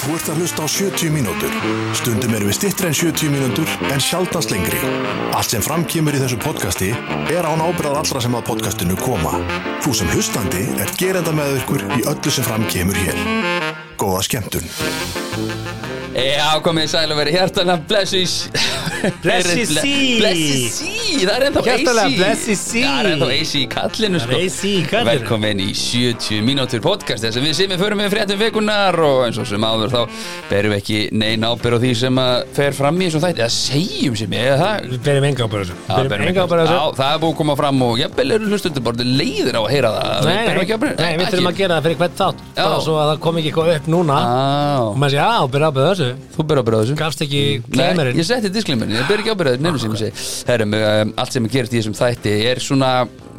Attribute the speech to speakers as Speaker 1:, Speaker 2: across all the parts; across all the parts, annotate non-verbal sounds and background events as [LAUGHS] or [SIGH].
Speaker 1: Þú ert að hlusta á 70 mínútur. Stundum erum við stittri en 70 mínútur en sjaldast lengri. Allt sem framkýmur í þessu podcasti er án ábyrðað allra sem að podcastinu koma. Þú sem hlustandi er gerenda með ykkur í öllu sem framkýmur hér. Góða skemmtun.
Speaker 2: Já, komið sæl og verið hjartalega blessis
Speaker 3: Blessuð sí.
Speaker 2: Blessis sí, það er ennþá AC
Speaker 3: Hjartanlega blessuð sí.
Speaker 2: Það er ennþá AC í kallinu sko
Speaker 3: Það er AC í kallinu.
Speaker 2: Velkomin í 70 mínútur podcast þess að við sem við förum með fréttum vikunar og eins og sem áður þá berum við ekki neina ábyrð á því sem að fer fram í eins og þætti eða segjum sem ég, eða það
Speaker 3: Við berum enga ábyrðu þessu
Speaker 2: Já, berum
Speaker 3: Við berum enga
Speaker 2: ekki-
Speaker 3: ábyrðu
Speaker 2: Já,
Speaker 3: þessu
Speaker 2: það er búið að koma fram og jafnvel eru hlustundur bara leiðir á að heyra það
Speaker 3: Nei, nei, nei, við þurfum að gera það fyrir hvert þátt bara
Speaker 2: Já.
Speaker 3: svo að það kom ekki eitthvað upp núna og
Speaker 2: Á,
Speaker 3: maður sé, já, berum ábyrðu þessu
Speaker 2: þú ber ábyrð á þessu
Speaker 3: Gafst ekki
Speaker 2: Nei,
Speaker 3: klemurinn
Speaker 2: ég setti disklímerinn, ég ber ekki ábyrðið neina sem ég segi Herrum, um, allt sem er gerist í þessum þætti er svona,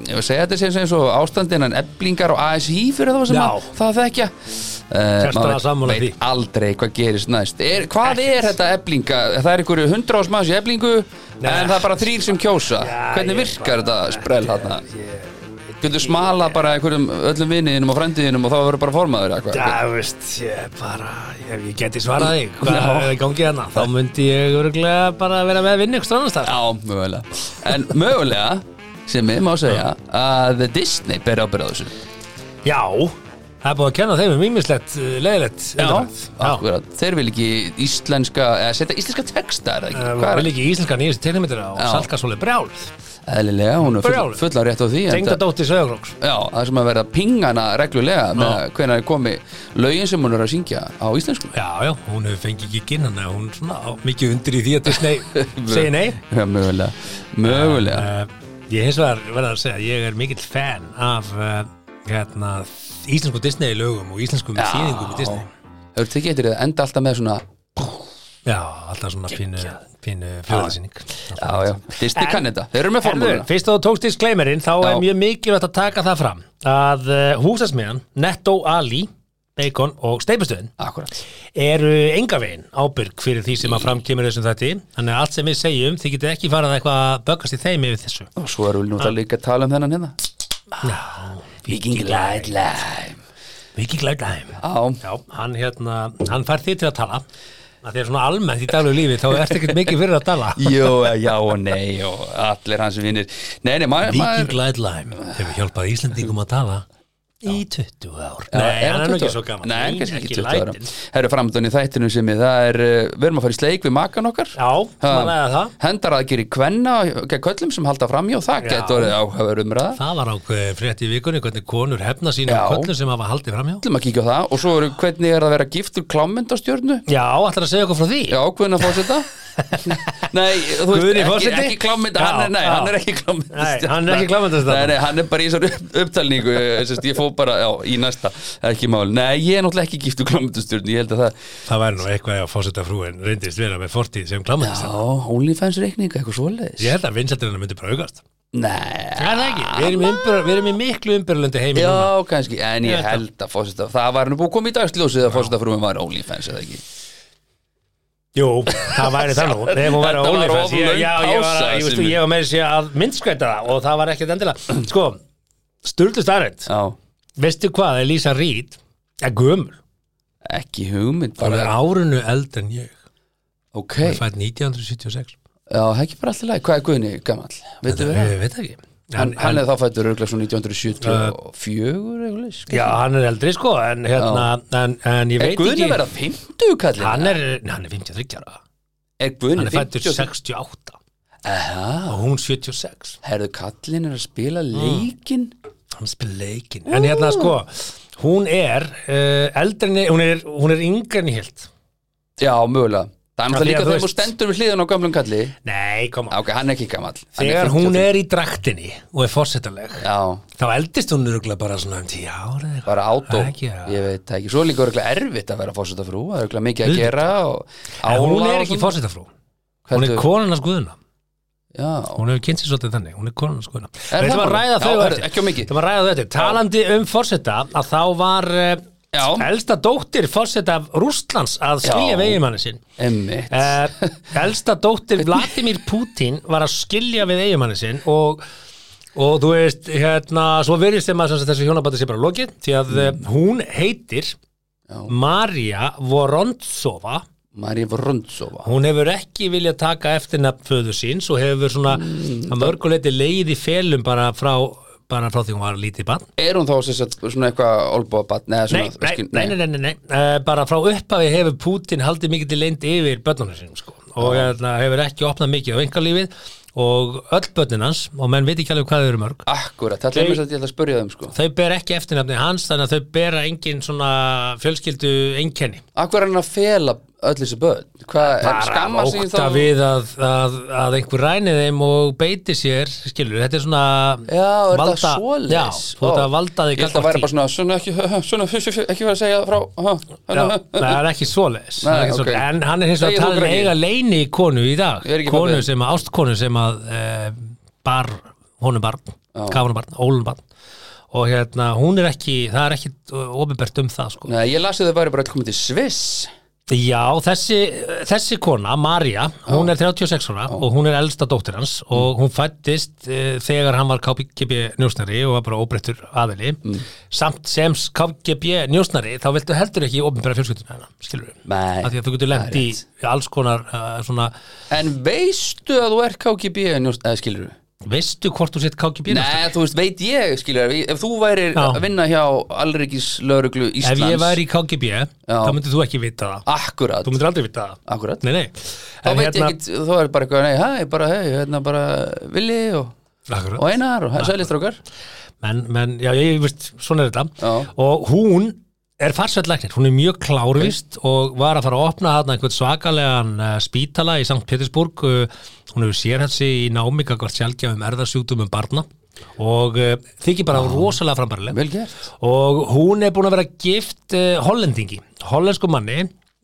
Speaker 2: ég vil segja þetta sem sem svo ástandin en eblingar og ASI fyrir það sem
Speaker 3: Já.
Speaker 2: að, það þekkja uh,
Speaker 3: Hjartanlega sammála því.
Speaker 2: aldrei hvað gerist næst er, Hvað er þetta eblinga? Það er einhverju hundra ás maður í eblingu en það er bara þrýr sem kjósa
Speaker 3: Já,
Speaker 2: Hvernig
Speaker 3: ég
Speaker 2: virkar þetta
Speaker 3: bara-
Speaker 2: sprell þarna? Getur smalað bara einhverjum öllum vinniðinum og frendiðinum og þá verður bara formaður eða
Speaker 3: Já,
Speaker 2: hvað?
Speaker 3: þú veist, ég bara ef ég geti svarað þig hvað er í gangi hérna þá myndi ég örgulega bara vera með að vinna ykkur strannast þar
Speaker 2: Já, mögulega En mögulega, sem ég má segja að Disney ber ábyrð á þessu
Speaker 3: Já, það er búið að kenna þeim um ímislegt leðilegt
Speaker 2: Akkurat, þeir vil ekki íslenska eða setja íslenska texta er það ekki?
Speaker 3: Við
Speaker 2: Hvað er
Speaker 3: viljum ekki íslenska nýjustu teknimyndina og
Speaker 2: Já.
Speaker 3: salkasóli brjál
Speaker 2: Eðlilega, hún er full,
Speaker 3: Brjáluð.
Speaker 2: fulla rétt á því en það-
Speaker 3: Tengdadótti Söðagróks
Speaker 2: Já, það er sem að verða pingana reglulega með
Speaker 3: Já.
Speaker 2: hvenær komi lögin sem hún er að syngja á íslensku
Speaker 3: Já, já, hún hefur fengið ekki inn hann hún er svona á- mikið undir í því að Disney
Speaker 2: [LAUGHS]
Speaker 3: segir nei
Speaker 2: Já, mögulega, mögulega
Speaker 3: uh, Ég hins vegar verða að segja ég er mikill fan af uh, hérna, íslensku Disney lögum og íslenskum
Speaker 2: Já.
Speaker 3: þýðingum eh, í Disney
Speaker 2: Hefur þið getur þið enda alltaf með svona
Speaker 3: Já, alltaf svona pínu, pínu fjóðarsýning
Speaker 2: Já, já, Disney kann þetta, þeir eru með
Speaker 3: Herðu,
Speaker 2: formúluna
Speaker 3: fyrst að þú tókst disclaimerinn þá
Speaker 2: Já.
Speaker 3: er mjög mikilvægt að taka það fram að uh, húsasmiðan, Netto Ali Bacon og Steipustöðin
Speaker 2: Akkurat
Speaker 3: eru engavegin ábyrg fyrir því sem að framkemur þessum þætti þannig að allt sem við segjum, þið getið ekki farað eitthvað að böggast í þeim yfir þessu
Speaker 2: Og svo erum við nú það líka að tala um þennan hérna Viking Light Lime
Speaker 3: Viki Glædheim
Speaker 2: Já,
Speaker 3: Já, hann, hérna, hann fær þið til að tala að því er svona almennt í daglegu lífi þá ertu ekkert mikið fyrir að tala
Speaker 2: Jú, já og nei og allir hans vinnir Nei, nei, maður
Speaker 3: Viki
Speaker 2: maður-
Speaker 3: Glædheim hefur hjálpað Íslendingum að tala í 20 ár
Speaker 2: Já,
Speaker 3: Nei,
Speaker 2: er
Speaker 3: hann er
Speaker 2: 20
Speaker 3: nú ekki svo gaman
Speaker 2: Nei, kannski ekki 20 ára
Speaker 3: Lætin.
Speaker 2: Það eru framdóni í þættinu sem ég Það er, uh, við erum að fara í sleik við makan okkar
Speaker 3: Já, maður ræða það
Speaker 2: Hendar að gera í kvenna gegn köllum sem halda fram í og það
Speaker 3: Já.
Speaker 2: getur orðið áhafur umræða
Speaker 3: Það var ákveðið frétt í vikunni hvernig konur hefna sínu
Speaker 2: Já.
Speaker 3: köllum sem hafa haldið framhjá
Speaker 2: Það að kíkja á það og svo eru hvernig er að vera giftur klámyndastjörnu
Speaker 3: Já, ætlar að segja okkur frá því?
Speaker 2: Já, Guðni
Speaker 3: [LAUGHS]
Speaker 2: fósita Nei, þú veist,
Speaker 3: Guðni
Speaker 2: ekki,
Speaker 3: forseti?
Speaker 2: ekki klámynd hann, er- nei,
Speaker 3: Já, já.
Speaker 2: hann er ekki klámynd
Speaker 3: Nei, hann er ekki klámmyndastjarna.
Speaker 2: Nei, nei, hann er bara í þessar upp, upptalningu sest, Ég fór bara, já, í næsta Ekki mál, nei, ég er náttúrulega ekki giftu klámyndastjörn Ég held að það,
Speaker 3: Það væri nú eitthvað ef að fósetta frúin reyndist vera með fortíð sem
Speaker 2: já,
Speaker 3: klamandist
Speaker 2: OnlyFans reikninga Eitthvað svoleiðis
Speaker 3: Ég held að vinsældirina myndi bara aukast
Speaker 2: Nei,
Speaker 3: Það er það ekki, við erum, í umbyrð, við erum í miklu umbyrðlöndi heimi
Speaker 2: já,
Speaker 3: núna
Speaker 2: kannski En
Speaker 3: Ég
Speaker 2: ég
Speaker 3: veit það.
Speaker 2: held að fósita Það var nú búið að koma í dagsljósið að fósita frúin var OnlyFans eða ekki
Speaker 3: Jú, það væri það nú Ef hún væri
Speaker 2: Þetta
Speaker 3: á
Speaker 2: var
Speaker 3: OnlyFans
Speaker 2: of
Speaker 3: ég,
Speaker 2: löng
Speaker 3: Já, ég var,
Speaker 2: pása,
Speaker 3: að- ég, veist,
Speaker 2: Simmi.
Speaker 3: ég var með þessi að myndskvæta það og það var ekkert endilega Sko, sturlu starrend
Speaker 2: Já,
Speaker 3: Veistu hvað, Elisa Reed er gömul
Speaker 2: ekki hugmynd
Speaker 3: Hún er
Speaker 2: bara,
Speaker 3: árunu eld en ég
Speaker 2: Ok,
Speaker 3: Hún er fætt 1976
Speaker 2: já, það er ekki bara allir læg Hvað er Guðni gamall? Veitum við það?
Speaker 3: Ég veit það ekki
Speaker 2: Hann, hann er þá fættur örgulega svona 1974 uh,
Speaker 3: Já, hann er eldri sko En, hérna, en, en ég
Speaker 2: Er
Speaker 3: veit
Speaker 2: Guðni
Speaker 3: ekki
Speaker 2: verða 50 kallið?
Speaker 3: Hann er, hann er 53 ára
Speaker 2: er Guðni
Speaker 3: Hann er fættur
Speaker 2: 50
Speaker 3: 68
Speaker 2: Aha,
Speaker 3: og hún 76
Speaker 2: Herðu kallin er að spila
Speaker 3: Mm.
Speaker 2: leikinn
Speaker 3: Hann spil leikin En hérna sko, hún er uh, eldrinni, hún er, hún er yngrenni hilt
Speaker 2: Já, mögulega Það er
Speaker 3: Af
Speaker 2: náttúrulega
Speaker 3: því að
Speaker 2: líka
Speaker 3: þú
Speaker 2: þegar þú
Speaker 3: veist-
Speaker 2: stendur við hliðan á gamlum kalli
Speaker 3: Nei,
Speaker 2: Já,
Speaker 3: koma
Speaker 2: Ok, hann er ekki gamall Hann
Speaker 3: Þegar
Speaker 2: 50
Speaker 3: hún er í draktinni og er fórsettaleg
Speaker 2: Já,
Speaker 3: þá eldist hún örgulega bara svona um 10 ára eða eitthvað
Speaker 2: bara átó
Speaker 3: Ekki, já.
Speaker 2: Ég veit það ekki Svo er líka örgulega erfitt að vera fórseta frú Það er örgulega mikið að
Speaker 3: Auðvitað.
Speaker 2: gera og
Speaker 3: En hún
Speaker 2: álag
Speaker 3: er
Speaker 2: og
Speaker 3: ekki
Speaker 2: svona.
Speaker 3: fórsetafrú Hún er
Speaker 2: Heldur-
Speaker 3: konan hans guðuna
Speaker 2: Já,
Speaker 3: Hún hefur kynnt sér svolítið þannig, hún er konan hans guðuna
Speaker 2: Er
Speaker 3: Við ætlum
Speaker 2: það
Speaker 3: að
Speaker 2: bara?
Speaker 3: ræða
Speaker 2: Já,
Speaker 3: þau á
Speaker 2: herru,
Speaker 3: eftir.
Speaker 2: ekki of mikið.
Speaker 3: Ætlum að ræða þau eftir Talandi um fórseta að þá var uh,
Speaker 2: Já.
Speaker 3: elsta dóttir fórseta af Rústlands að skilja
Speaker 2: Já.
Speaker 3: vegimanni sinn
Speaker 2: emmitt
Speaker 3: Eh, elsta dóttir Vladimir Putin var að skilja við eiginmanni sinn og, og þú veist, hérna, svo verið sem að sem sagt þessu hjónabandi sé bara lokið því að mm. hún eh, heitir Marja Vorontsova
Speaker 2: Marja Vorontsova
Speaker 3: hún hefur ekki viljað taka eftirnafn föður síns og hefur svona að mörguleiti leið í felum bara frá, bara frá því hún var lítið barn
Speaker 2: Er hún þá sem sagt, svona eitthvað olbóðabatn Nei,
Speaker 3: Nei,
Speaker 2: svona,
Speaker 3: nei,
Speaker 2: skil-
Speaker 3: nei, nei, nei, nei, nei. Eh, bara frá upphafi hefur Putin haldið mikið til leind yfir börnunum sínum sko. og hérna, hefur ekki opnað mikið á engalífið og öll börnin hans og menn veit ekki alveg hvað þau eru mörg
Speaker 2: Akkurat, það er mér satt ég ætla að spurja þeim sko
Speaker 3: þau ber ekki eftirnafni hans þannig að þau bera engin svona fjölskyldu einkenni
Speaker 2: Akkur er hann að fela öll þessi börn Hvað er skamma
Speaker 3: að
Speaker 2: sig
Speaker 3: ókta við að, að, að einhver ræni þeim og beiti sér skilur, þetta er svona
Speaker 2: Já, er
Speaker 3: valda,
Speaker 2: það svoleiðis?
Speaker 3: já, þú ert að valda því
Speaker 2: Ég ætla að væri bara svona, svona ekki, [LAUGHS] hö, hö, svona, hö, hö, hö, ekki verið að segja frá hö, hö, [LAUGHS]
Speaker 3: Já,
Speaker 2: hö,
Speaker 3: nei,
Speaker 2: hö.
Speaker 3: það er ekki svoleiðis það er
Speaker 2: Nei,
Speaker 3: ekki svoleiðis.
Speaker 2: ok.
Speaker 3: en hann er hins
Speaker 2: Segir
Speaker 3: vegar
Speaker 2: þú
Speaker 3: talin
Speaker 2: greinin?
Speaker 3: eiga leini í konu í dag
Speaker 2: Ég er ekki
Speaker 3: konu
Speaker 2: pabbi.
Speaker 3: sem að, ástkonu sem að e, bar, honum barn kafunum barn, ólum barn og hérna, hún er ekki, það er ekki ofinbært um það, sko
Speaker 2: Nei, ég lasi þau væri bara öll komið til Sviss
Speaker 3: Já, þessi, þessi kona, Marja, hún er 36 ára og hún er elsta dóttir hans
Speaker 2: Mm.
Speaker 3: og hún fættist uh, þegar hann var KGB njósnari og var bara óbreyttur aðili
Speaker 2: Mm.
Speaker 3: samt sem KGB njósnari þá viltu heldur ekki opinbera fjölskylduna hennar, skilur við
Speaker 2: Nei,
Speaker 3: að því að þú getur lent í alls konar uh, svona,
Speaker 2: En veistu að þú er KGB njóst, eða skilur við?
Speaker 3: veistu hvort þú sett KGB njósnari?
Speaker 2: Nei, þú veist, veit ég, skilur við Ef þú værir
Speaker 3: Já.
Speaker 2: að vinna hjá Alrikis lögreglu
Speaker 3: Ef
Speaker 2: Íslands
Speaker 3: ég væri í KGB
Speaker 2: Já.
Speaker 3: þá myndir þú ekki vita það
Speaker 2: Akkurat,
Speaker 3: Þú myndir aldrei vita það
Speaker 2: akkurat
Speaker 3: Nei, nei
Speaker 2: Þá veit
Speaker 3: hérna-
Speaker 2: ég ekki, þá er bara eitthvað, nei, hæ, bara, hei, hérna bara Vili og,
Speaker 3: Akkurat.
Speaker 2: og Einar og Sælistrókar
Speaker 3: menn, menn, já, ég veist, svona er þetta
Speaker 2: Já.
Speaker 3: og hún er farsveitlæknir, hún er mjög klárvist og var að fara að opna þarna einhvern svakalegan uh, spítala í Sankt Petersburg uh, hún hefur sérhætt sig í námika hvort sjálfgjafum erðarsjúkdumum barna og uh, þykir bara rosalega frambarileg
Speaker 2: Vel gert
Speaker 3: og hún er búin að vera gift uh, hollendingi, hollensku manni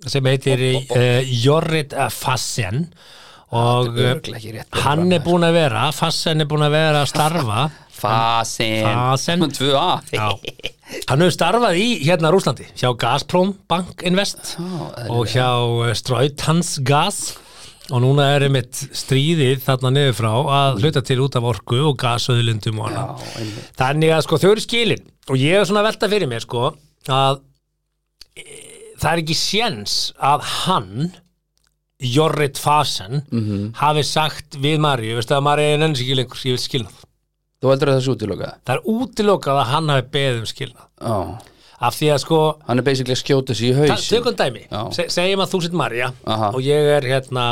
Speaker 3: sem heitir uh, Jorrit Fassen og
Speaker 2: Þetta er
Speaker 3: uh,
Speaker 2: örugglega ekki rétt
Speaker 3: hann er búin að vera Fassen er búin að vera að
Speaker 2: [LAUGHS]
Speaker 3: starfa
Speaker 2: Fasen
Speaker 3: Fasen.
Speaker 2: 2A
Speaker 3: Já, hann hefur starfað í hérna Rúslandi hjá Gazprom Bank Invest og hjá eh, Strautans Gas og núna er einmitt stríðið þarna niður frá að hluta til út af orku og gasöðlundum og annað.
Speaker 2: einmitt.
Speaker 3: Þannig að sko þau eru skilin og ég er svona að velta fyrir mér sko að e, það er ekki séns að hann Jorrit Fasen
Speaker 2: Mhm.
Speaker 3: hafi sagt við Marju, veistu að Marju er nennis ekki lengur, ég vil skilna það.
Speaker 2: Þú heldur að það sé útilokað?
Speaker 3: Það er útilokað að hann hafi beðið um skilnað
Speaker 2: Já
Speaker 3: af því að sko
Speaker 2: Hann er basically að skjóta sig í
Speaker 3: ta-
Speaker 2: hausin
Speaker 3: tökum dæmi,
Speaker 2: Já.
Speaker 3: Se, segjum að þú sitt Marja
Speaker 2: Aha.
Speaker 3: og ég er hérna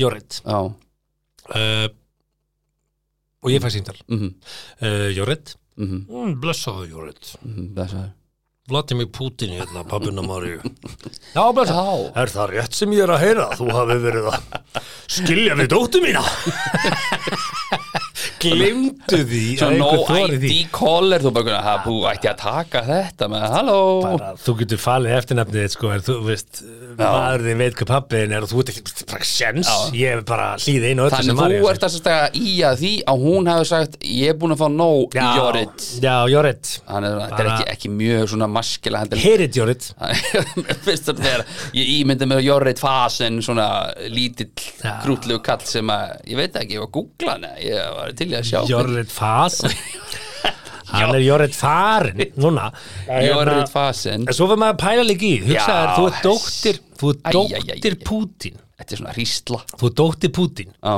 Speaker 3: Jorrit
Speaker 2: Já
Speaker 3: uh, og ég fæ síntal
Speaker 2: Mhm.
Speaker 3: uh, Jorrit
Speaker 2: Mhm.
Speaker 3: mm, blessaðu Jorrit
Speaker 2: Mhm, blessaður.
Speaker 3: Vladimir Putin hérna, pappuna Marju Já, blessaðu,
Speaker 2: Já.
Speaker 3: er það rétt sem ég er að heyra að þú hafi verið að skilja við dóttu [LAUGHS] mína Glimtu því
Speaker 2: Svo
Speaker 3: að
Speaker 2: no
Speaker 3: einhver þori því.
Speaker 2: ID call er þú bara kunna, ha, bú, ætti að taka þetta með, halló
Speaker 3: bara, þú getur falið eftirnafnið þitt, sko, en þú veist maður þið veit hvað pappiðin er og þú veit ekki bara sjens, ég er bara hlýðið einu og öllu sem
Speaker 2: Þannig
Speaker 3: María
Speaker 2: þú ert að segja í að því að hún hefði sagt, ég er búin að fá nóg
Speaker 3: Já,
Speaker 2: Jórit
Speaker 3: Já, Jórit
Speaker 2: Þannig að þetta er
Speaker 3: Bara-
Speaker 2: ekki, ekki mjög svona maskila hendur
Speaker 3: Herit Jórit
Speaker 2: Mér finnst þetta þegar ég ímyndi með Jorrit Fasen svona lítill
Speaker 3: Já.
Speaker 2: krútlegu kall sem að, ég veit ekki, ég var að googla hana ég var til í að sjá
Speaker 3: Jórit
Speaker 2: [LAUGHS]
Speaker 3: Fas Hann er Jórit Farin núna hérna-
Speaker 2: Jorrit Fasen
Speaker 3: En svo fyrir maður að pæla líka í, hugsa
Speaker 2: Já.
Speaker 3: þér, þú ert dóttir þú
Speaker 2: Æ, æ, æ,
Speaker 3: ert dóttir
Speaker 2: æ, æ.
Speaker 3: Pútín
Speaker 2: Þetta er svona hrísla
Speaker 3: þú ert dóttir Pútín
Speaker 2: Já.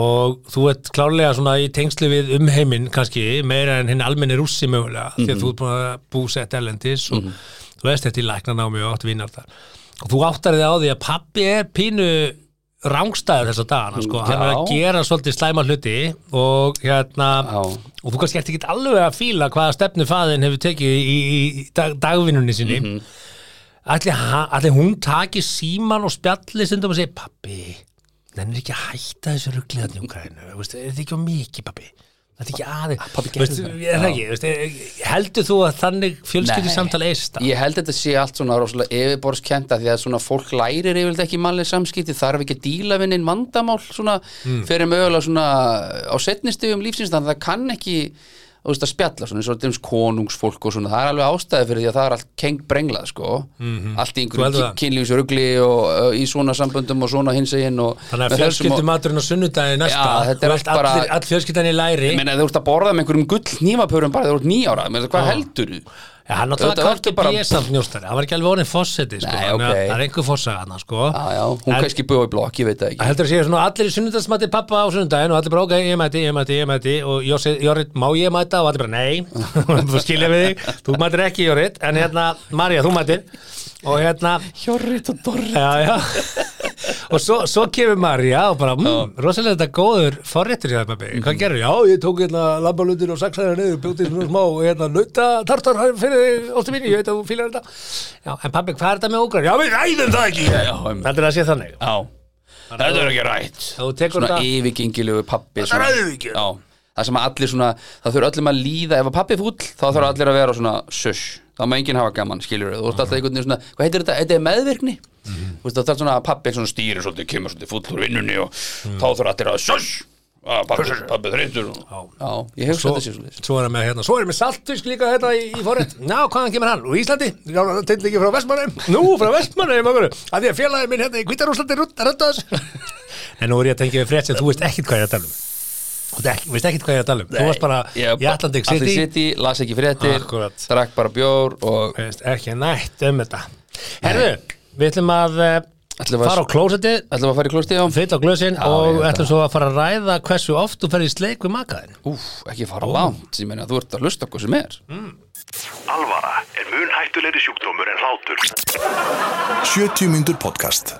Speaker 3: og þú ert klárlega svona í tengslu við umheiminn kannski meira en hinn almenni rússi mögulega því
Speaker 2: Mhm.
Speaker 3: að þú ert búin að búsett erlendis og þú veist þetta í læknanámi og átt vinnar þar og þú áttar þig á því að pappi er pínu rángstæður þessa dagana sko, hann er að
Speaker 2: Já.
Speaker 3: gera svolítið slæma hluti og hérna
Speaker 2: Já.
Speaker 3: og þú kannski ert ekki alveg að fíla hvaða stefnu faðin hefur tekið í, í dag, dagvinnunni sinni
Speaker 2: Mhm.
Speaker 3: mm -hmm. ætli, ha- ætli hún taki síman og spjalli stundum og segi pappi, nennir ekki að hætta þessu rugliðan í Ukraínu, veist, er þetta ekki á mikið pappi, þetta er ekki aðeins
Speaker 2: Ah, pabbi, gerðu
Speaker 3: veist,
Speaker 2: það.
Speaker 3: ég er það ekki, veist, er- heldur þú að þannig fjölskyldi samtal eista
Speaker 2: Ég held þetta sé allt svona rosalega yfirborðskenda því að svona fólk lærir yfirlega ekki mannlega samskipti, þarf ekki að díla við neinn vandamál svona,
Speaker 3: Hmm.
Speaker 2: fyrir mögulega svona á setni stegum lífsins þannig að það kann ekki þú veist, að spjalla svona, eins og dæmis konungsfólk og svona, það er alveg ástæði fyrir því að það er allt keng brenglað, sko, allt í
Speaker 3: Mhm. Þú heldur
Speaker 2: einhverjum
Speaker 3: það?
Speaker 2: kynlífsrugli og uh, í svona samböndum og svona hinsegin og
Speaker 3: þannig
Speaker 2: með þessum
Speaker 3: að
Speaker 2: og-
Speaker 3: fjölskyldi maturinn á sunnudagi næsta,
Speaker 2: Já, þetta er
Speaker 3: þú
Speaker 2: allt
Speaker 3: ert allir,
Speaker 2: bara-
Speaker 3: all fjölskyldan í læri
Speaker 2: Ég meina, þú ert að borða með einhverjum gull nýmapörum bara, þú ert nýjára, hvað heldur þú?
Speaker 3: Ja, hann náttúrulega
Speaker 2: Auðvitað
Speaker 3: kaldi
Speaker 2: ertu bara-
Speaker 3: bara... samt njóstari, hann var ekki alveg orðin fosseti sko,
Speaker 2: Nei,
Speaker 3: þannig að
Speaker 2: ok.
Speaker 3: það er einhver fossaga hann sko.
Speaker 2: Já, já, hún
Speaker 3: En-
Speaker 2: kannski búið í blokk, ég veit það ekki
Speaker 3: Heldur að segja svona allir í sunnudagsmæti pappa á sunnudaginn og allir bara ok, ég mæti, ég mæti, ég mæti og Jósef, Jórit, má ég mæta og allir bara nei, [LAUGHS] þú skilja við þig, þú mætir ekki Jórit, en hérna, Marja, þú mætir og hérna,
Speaker 2: Hjórrit og dorrit
Speaker 3: já, já og svo, svo kemur Marja og bara, mmm, rosalega þetta góður forréttur hjá þér pabbi,
Speaker 2: Mhm.
Speaker 3: hvað gerur, já, ég tók hérna lambalundir og saxaði niður, bjóti svona smá hérna, nauta, tartar fyrir þig, óttu mínu, ég veit að þú fílar þetta já, en pabbi, hvað er þetta með ógrar, já, við ræðum það ekki
Speaker 2: já, einmitt.
Speaker 3: heldur að sé þannig
Speaker 2: Já, þetta er ekki rætt
Speaker 3: Þú tekur
Speaker 2: Svona
Speaker 3: þetta-
Speaker 2: yfirgengilegu pappi
Speaker 3: Þetta er
Speaker 2: svona-
Speaker 3: auðvitað.
Speaker 2: Já, það sem að allir svona Það þurfa öllum að líða, ef að pappi er fúll Þá þurfa allir að vera svona sush Þá má enginn hafa gaman, skilur Þú ert alltaf einhvern veginn svona, hvað heitir þetta, þetta er meðvirkni
Speaker 3: Mhm.
Speaker 2: Þú veist, það er svona að pappi er svona stýri Svolítið kemur svolítið fúll úr vinnunni Og
Speaker 3: Mhm.
Speaker 2: þá þurfa allir að sush að Pappi, pappi þreytur og... Já, ég hugsa
Speaker 3: svo,
Speaker 2: þetta sér svolítið
Speaker 3: svo er hann með hérna, svo er hann með saltfisk líka hérna í, í forrétt, ná, hvaðan kemur hann? Úr Íslandi, já, til ekki frá Vestmannheim nú, frá Vestmannheim, okkur, að því að félagin minn hérna í Hvítarúslandi rönda þessu [LAUGHS] en nú er ég að tengja við frétt sem þú veist ekkit hvað ég er að tala um þú veist ekki- veist ekkit hvað ég er að tala um þú varst bara í Atlantic City
Speaker 2: las ekki fréttir,
Speaker 3: Akkurat.
Speaker 2: drakk bara bjór og
Speaker 3: veist, ekki nætt um þetta herru, við ætlum að eh,
Speaker 2: Ætlum við að-
Speaker 3: fara á klósetti
Speaker 2: ætlum að fara í klostið á
Speaker 3: fyrt á glösin
Speaker 2: ég
Speaker 3: og
Speaker 2: veit
Speaker 3: ætlum svo að fara að ræða hversu oft þú ferði í sleik við makaðin
Speaker 2: Úf, ekki fara langt, ég meina þú ert að hlusta okkur sem er
Speaker 3: Mm.
Speaker 4: Alvara er mun hættulegri sjúkdómur en hlátur.
Speaker 1: 70 mínútur podcast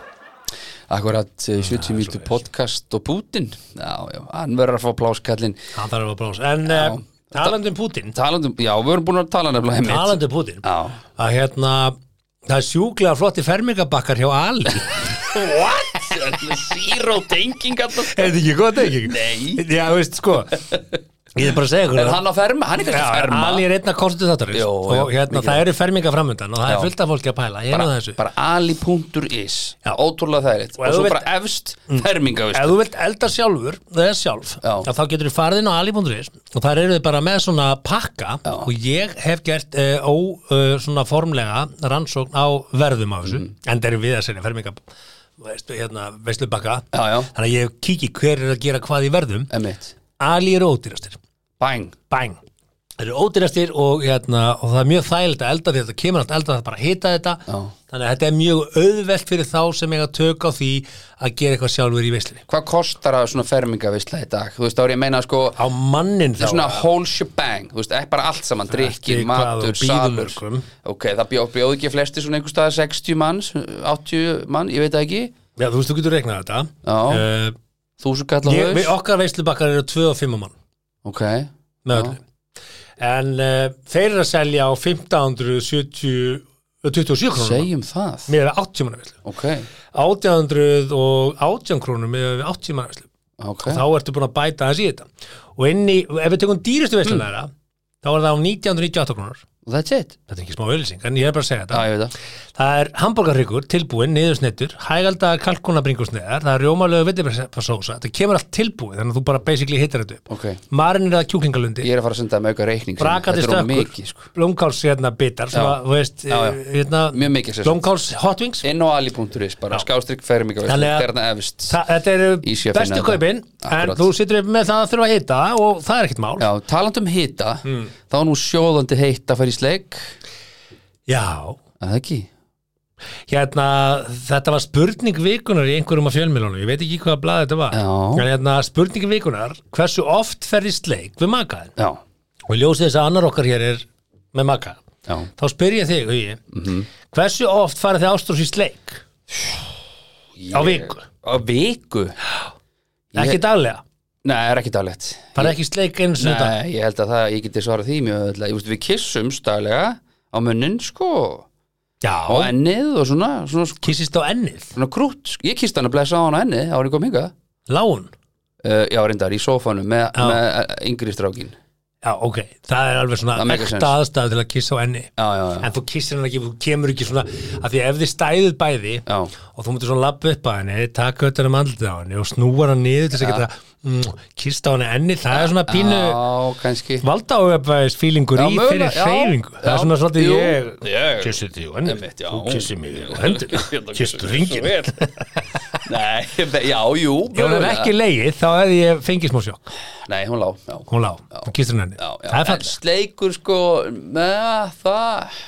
Speaker 2: Akkurat eh, 70 mínútur podcast og Putin Já, já, hann verður að fá pláskallin
Speaker 3: hann þarf að brósa en uh, talandum Putin
Speaker 2: Talandum, um, já, við erum búin að tala nefnilega um heimitt
Speaker 3: talandum um Putin
Speaker 2: Já,
Speaker 3: að hérna það er sjúklega flotti fermingabakkar hjá Ali [LAUGHS] er
Speaker 2: zero tenging [LAUGHS] alltaf
Speaker 3: þetta ekki gott ekki?
Speaker 2: Nei.
Speaker 3: já, þú veist, sko ég er bara að segja ykkur
Speaker 2: Er hann að ferma? Hann er kannski
Speaker 3: Já,
Speaker 2: að ferma
Speaker 3: Ali er einn að kostið þáttarins
Speaker 2: Jó,
Speaker 3: og
Speaker 2: já,
Speaker 3: hérna,
Speaker 2: mikið.
Speaker 3: það eru ferminga framöndan og það
Speaker 2: Já.
Speaker 3: er fullt af fólki að pæla, ég er nú
Speaker 2: bara,
Speaker 3: þessu
Speaker 2: bara ali.is
Speaker 3: Já.
Speaker 2: Ótrúlega þærið
Speaker 3: Og
Speaker 2: Og
Speaker 3: ef
Speaker 2: svo
Speaker 3: þú Mm.
Speaker 2: bara efst ferminga, veist
Speaker 3: ef þú vilt elda sjálfur, það er sjálf
Speaker 2: Já.
Speaker 3: að þá getur þú farið inn á ali.is og þar eru þið bara með svona pakka og ég hef gert uh, ó, uh, svona formlega rannsókn á verðum á
Speaker 2: Mm.
Speaker 3: þessu, en það eru við að segja ferminga veistu, hérna, veistu bakka
Speaker 2: Já, já.
Speaker 3: þannig að ég kíki hver er að gera hvað í verðum
Speaker 2: Emmitt,
Speaker 3: ali eru ódýrastir,
Speaker 2: bang
Speaker 3: bang þeir eru ódýrastir og, hérna, og það er mjög þægilegt að elda því að þetta kemur allt elda það er bara að hita þetta
Speaker 2: Já.
Speaker 3: þannig að þetta er mjög auðvelt fyrir þá sem eiga tök á því að gera eitthvað sjálfur í veislinni
Speaker 2: Hvað kostar að svona fermingavisla í dag? Þú veist, þá er ég að meina sko
Speaker 3: á mannin þá
Speaker 2: svona whole shebang, þú veist, ekki bara allt saman drikkir,
Speaker 3: Ekki hvað sko.
Speaker 2: matur,
Speaker 3: og
Speaker 2: salur
Speaker 3: bíðumörkum.
Speaker 2: ok, það bjóð, bjóð ekki flesti svona einhver staðar 60 manns 80 mann, ég veit það ekki
Speaker 3: Já, þú veist, þú getur reiknað þetta
Speaker 2: Já.
Speaker 3: uh,
Speaker 2: þú sem kalla
Speaker 3: ég, við,
Speaker 2: haus
Speaker 3: Okkar veislubakkar eru 2 og 5 mann
Speaker 2: ok,
Speaker 3: með öllu En uh, þeir eru að selja á 1570 eh, 27 krónum
Speaker 2: segjum það
Speaker 3: með 80 manna veislu
Speaker 2: ok,
Speaker 3: 1818 krónum með 80 manna veislu
Speaker 2: ok
Speaker 3: þá ertu búin að bæta aðeins í þetta og inn í, ef við tökum dýrustu
Speaker 2: Mm.
Speaker 3: veislunaðara þá er það á 1998 krónur
Speaker 2: that's it,
Speaker 3: Þetta er ekki smá auðlýsing, en ég er bara að segja þetta
Speaker 2: já ég veit það
Speaker 3: Það er hambúrgarryggur, tilbúinn, niðursnettur, hægalda kalkunabringusneðar, það er rjómalögu villibarsósa, þetta kemur allt tilbúið, þannig að þú bara basically hittar þetta upp.
Speaker 2: ok,
Speaker 3: Marinn er það kjúklingalundi,
Speaker 2: ég er að fara að senda það með auka reikning þetta
Speaker 3: brakandi
Speaker 2: er of
Speaker 3: stökkur,
Speaker 2: mikið sko
Speaker 3: blómkáls hérna bitar, svona,
Speaker 2: Já.
Speaker 3: þú veist,
Speaker 2: Já, já.
Speaker 3: eh, hérna,
Speaker 2: Mjög mikið, sem sagt.
Speaker 3: blómkáls hot wings.
Speaker 2: inn á ali.is bara, skástrík fermingavisla
Speaker 3: Þannig að-
Speaker 2: þarna efst
Speaker 3: Þa, þetta
Speaker 2: Í sé að finna
Speaker 3: eru bestu
Speaker 2: þetta.
Speaker 3: kaupin, en
Speaker 2: Akkurat.
Speaker 3: þú situr upp með það að þurfa að hita og það er ekkert mál.
Speaker 2: já, taland um hita,
Speaker 3: Hmm.
Speaker 2: þá er nú sjóðandi heitt að fara í sleik,
Speaker 3: Já.
Speaker 2: að það ekki
Speaker 3: Hérna, þetta var spurning vikunar í einhverjum af fjölmilónum, ég veit ekki hvaða blað þetta var
Speaker 2: Já.
Speaker 3: en hérna, spurning vikunar, hversu oft ferði sleik við makaðin
Speaker 2: já,
Speaker 3: og í ljósið þess að annar okkar hér er með maka,
Speaker 2: já,
Speaker 3: þá spyr ég þig Hugi, hversu oft farið þið ástrós í sleik á viku,
Speaker 2: á viku
Speaker 3: ekki daglega
Speaker 2: Nei, það er ekki daglegt
Speaker 3: farið ekki í sleik einu sinni dag
Speaker 2: Nei, ég held að það, ég geti svarað því mjög öðvöldlega Ég veist, við kissum daglega á munnin, sko og
Speaker 3: já,
Speaker 2: ennið og svona svona, svona,
Speaker 3: kissist á ennið,
Speaker 2: svona krútt sko. Ég kist hann að blessa á hann á ennið, árið kom hinga
Speaker 3: lágun
Speaker 2: uh, Já, reyndar, í sófanum með,
Speaker 3: Já.
Speaker 2: með eh, yngri strákin
Speaker 3: já, ok, það er alveg
Speaker 2: Það
Speaker 3: svona
Speaker 2: make sense.
Speaker 3: ekta aðstæð til að kissa á enni
Speaker 2: Já, já, já,
Speaker 3: en þú kissir hann ekki, þú kemur ekki svona af því að ef þið stæðuð bæði
Speaker 2: Já.
Speaker 3: og þú mútur svona lappa upp að henni taka öllur um andlitið á henni og snúa hann niður til þess að geta mm, kista á henni enni, það er svona pínu
Speaker 2: já kannski
Speaker 3: valda áöfæðis fílingur
Speaker 2: Já,
Speaker 3: í
Speaker 2: mögulega,
Speaker 3: fyrir
Speaker 2: já,
Speaker 3: hreyfingu það
Speaker 2: já,
Speaker 3: er svona svolítið
Speaker 2: jú,
Speaker 3: ég
Speaker 2: ég-
Speaker 3: kissið því á henni,
Speaker 2: [LAUGHS] Einmitt, já.
Speaker 3: þú kissið mig á hendur kistu
Speaker 2: Svo
Speaker 3: ringin
Speaker 2: vel. [LAUGHS] Nei, já, jú
Speaker 3: [LAUGHS] Ef hún hefði
Speaker 2: mögulega.
Speaker 3: ekki leið, þá hefði ég fengið smá sjokk.
Speaker 2: Nei, hún lá, já
Speaker 3: Hún lá, hún kýstur henni.
Speaker 2: já, já.
Speaker 3: Það er
Speaker 2: En
Speaker 3: fæll.
Speaker 2: sleikur sko með það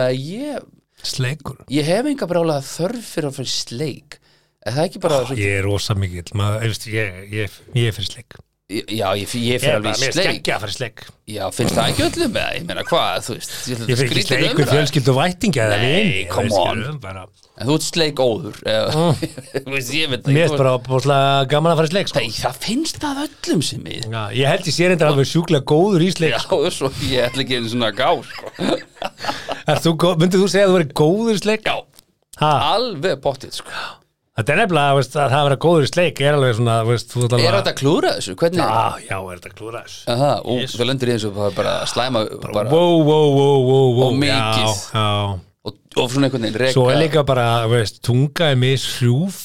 Speaker 2: Nei, ég,
Speaker 3: Sleikur.
Speaker 2: ég hef enga brálega þörf fyrir að fyrir sleik Er það ekki bara oh,
Speaker 3: Ég er rosa mikill, maður, veist, ég, ég, ég er fyrir sleik.
Speaker 2: Já, ég, ég fyrir alveg í
Speaker 3: Ég er
Speaker 2: sleik
Speaker 3: ekki að fyrir sleik.
Speaker 2: Já, finnst það ekki öllum með Ég meina hvað, þú veist ætla
Speaker 3: Ég
Speaker 2: þetta
Speaker 3: fyrir ekki
Speaker 2: skrýtin
Speaker 3: sleikur
Speaker 2: umræða.
Speaker 3: fjölskyld og vætinga eða
Speaker 2: Nei,
Speaker 3: vini.
Speaker 2: come
Speaker 3: þú veist,
Speaker 2: on.
Speaker 3: ég er bara-
Speaker 2: En þú ert sleik óður [LAUGHS] Þú veist, ég veit það
Speaker 3: Ah. Mér
Speaker 2: ekki,
Speaker 3: er
Speaker 2: þú-
Speaker 3: bara bóðslega gaman að fara í sleik, sko.
Speaker 2: Nei, það finnst það öllum sem ég
Speaker 3: Já, ég held ég sé reyndar alveg sjúklega góður í sleik.
Speaker 2: Já, [LAUGHS] svo ég ætla ekki einu svona gá sko.
Speaker 3: Ah. Er þú gó- Myndir þú segja að þú verið góður í sleik?
Speaker 2: Já,
Speaker 3: Ha,
Speaker 2: alveg pottið sko.
Speaker 3: Ah. þetta er nefnilega veist, að það að vera góður í sleik er alveg svona, veist, þú ert alveg...
Speaker 2: Er þetta að klúra þessu? Hvernig?
Speaker 3: Já, já, er þetta klúra þessu?
Speaker 2: Aha, og yes. þú lendir í eins og bara, bara slæma bara,
Speaker 3: Wow, wow, wow, wow, wow.
Speaker 2: Og mikið.
Speaker 3: Já, já.
Speaker 2: og, og svona einhvern veginn reka
Speaker 3: Svo er líka bara, veist, tunga er mis hrjúf.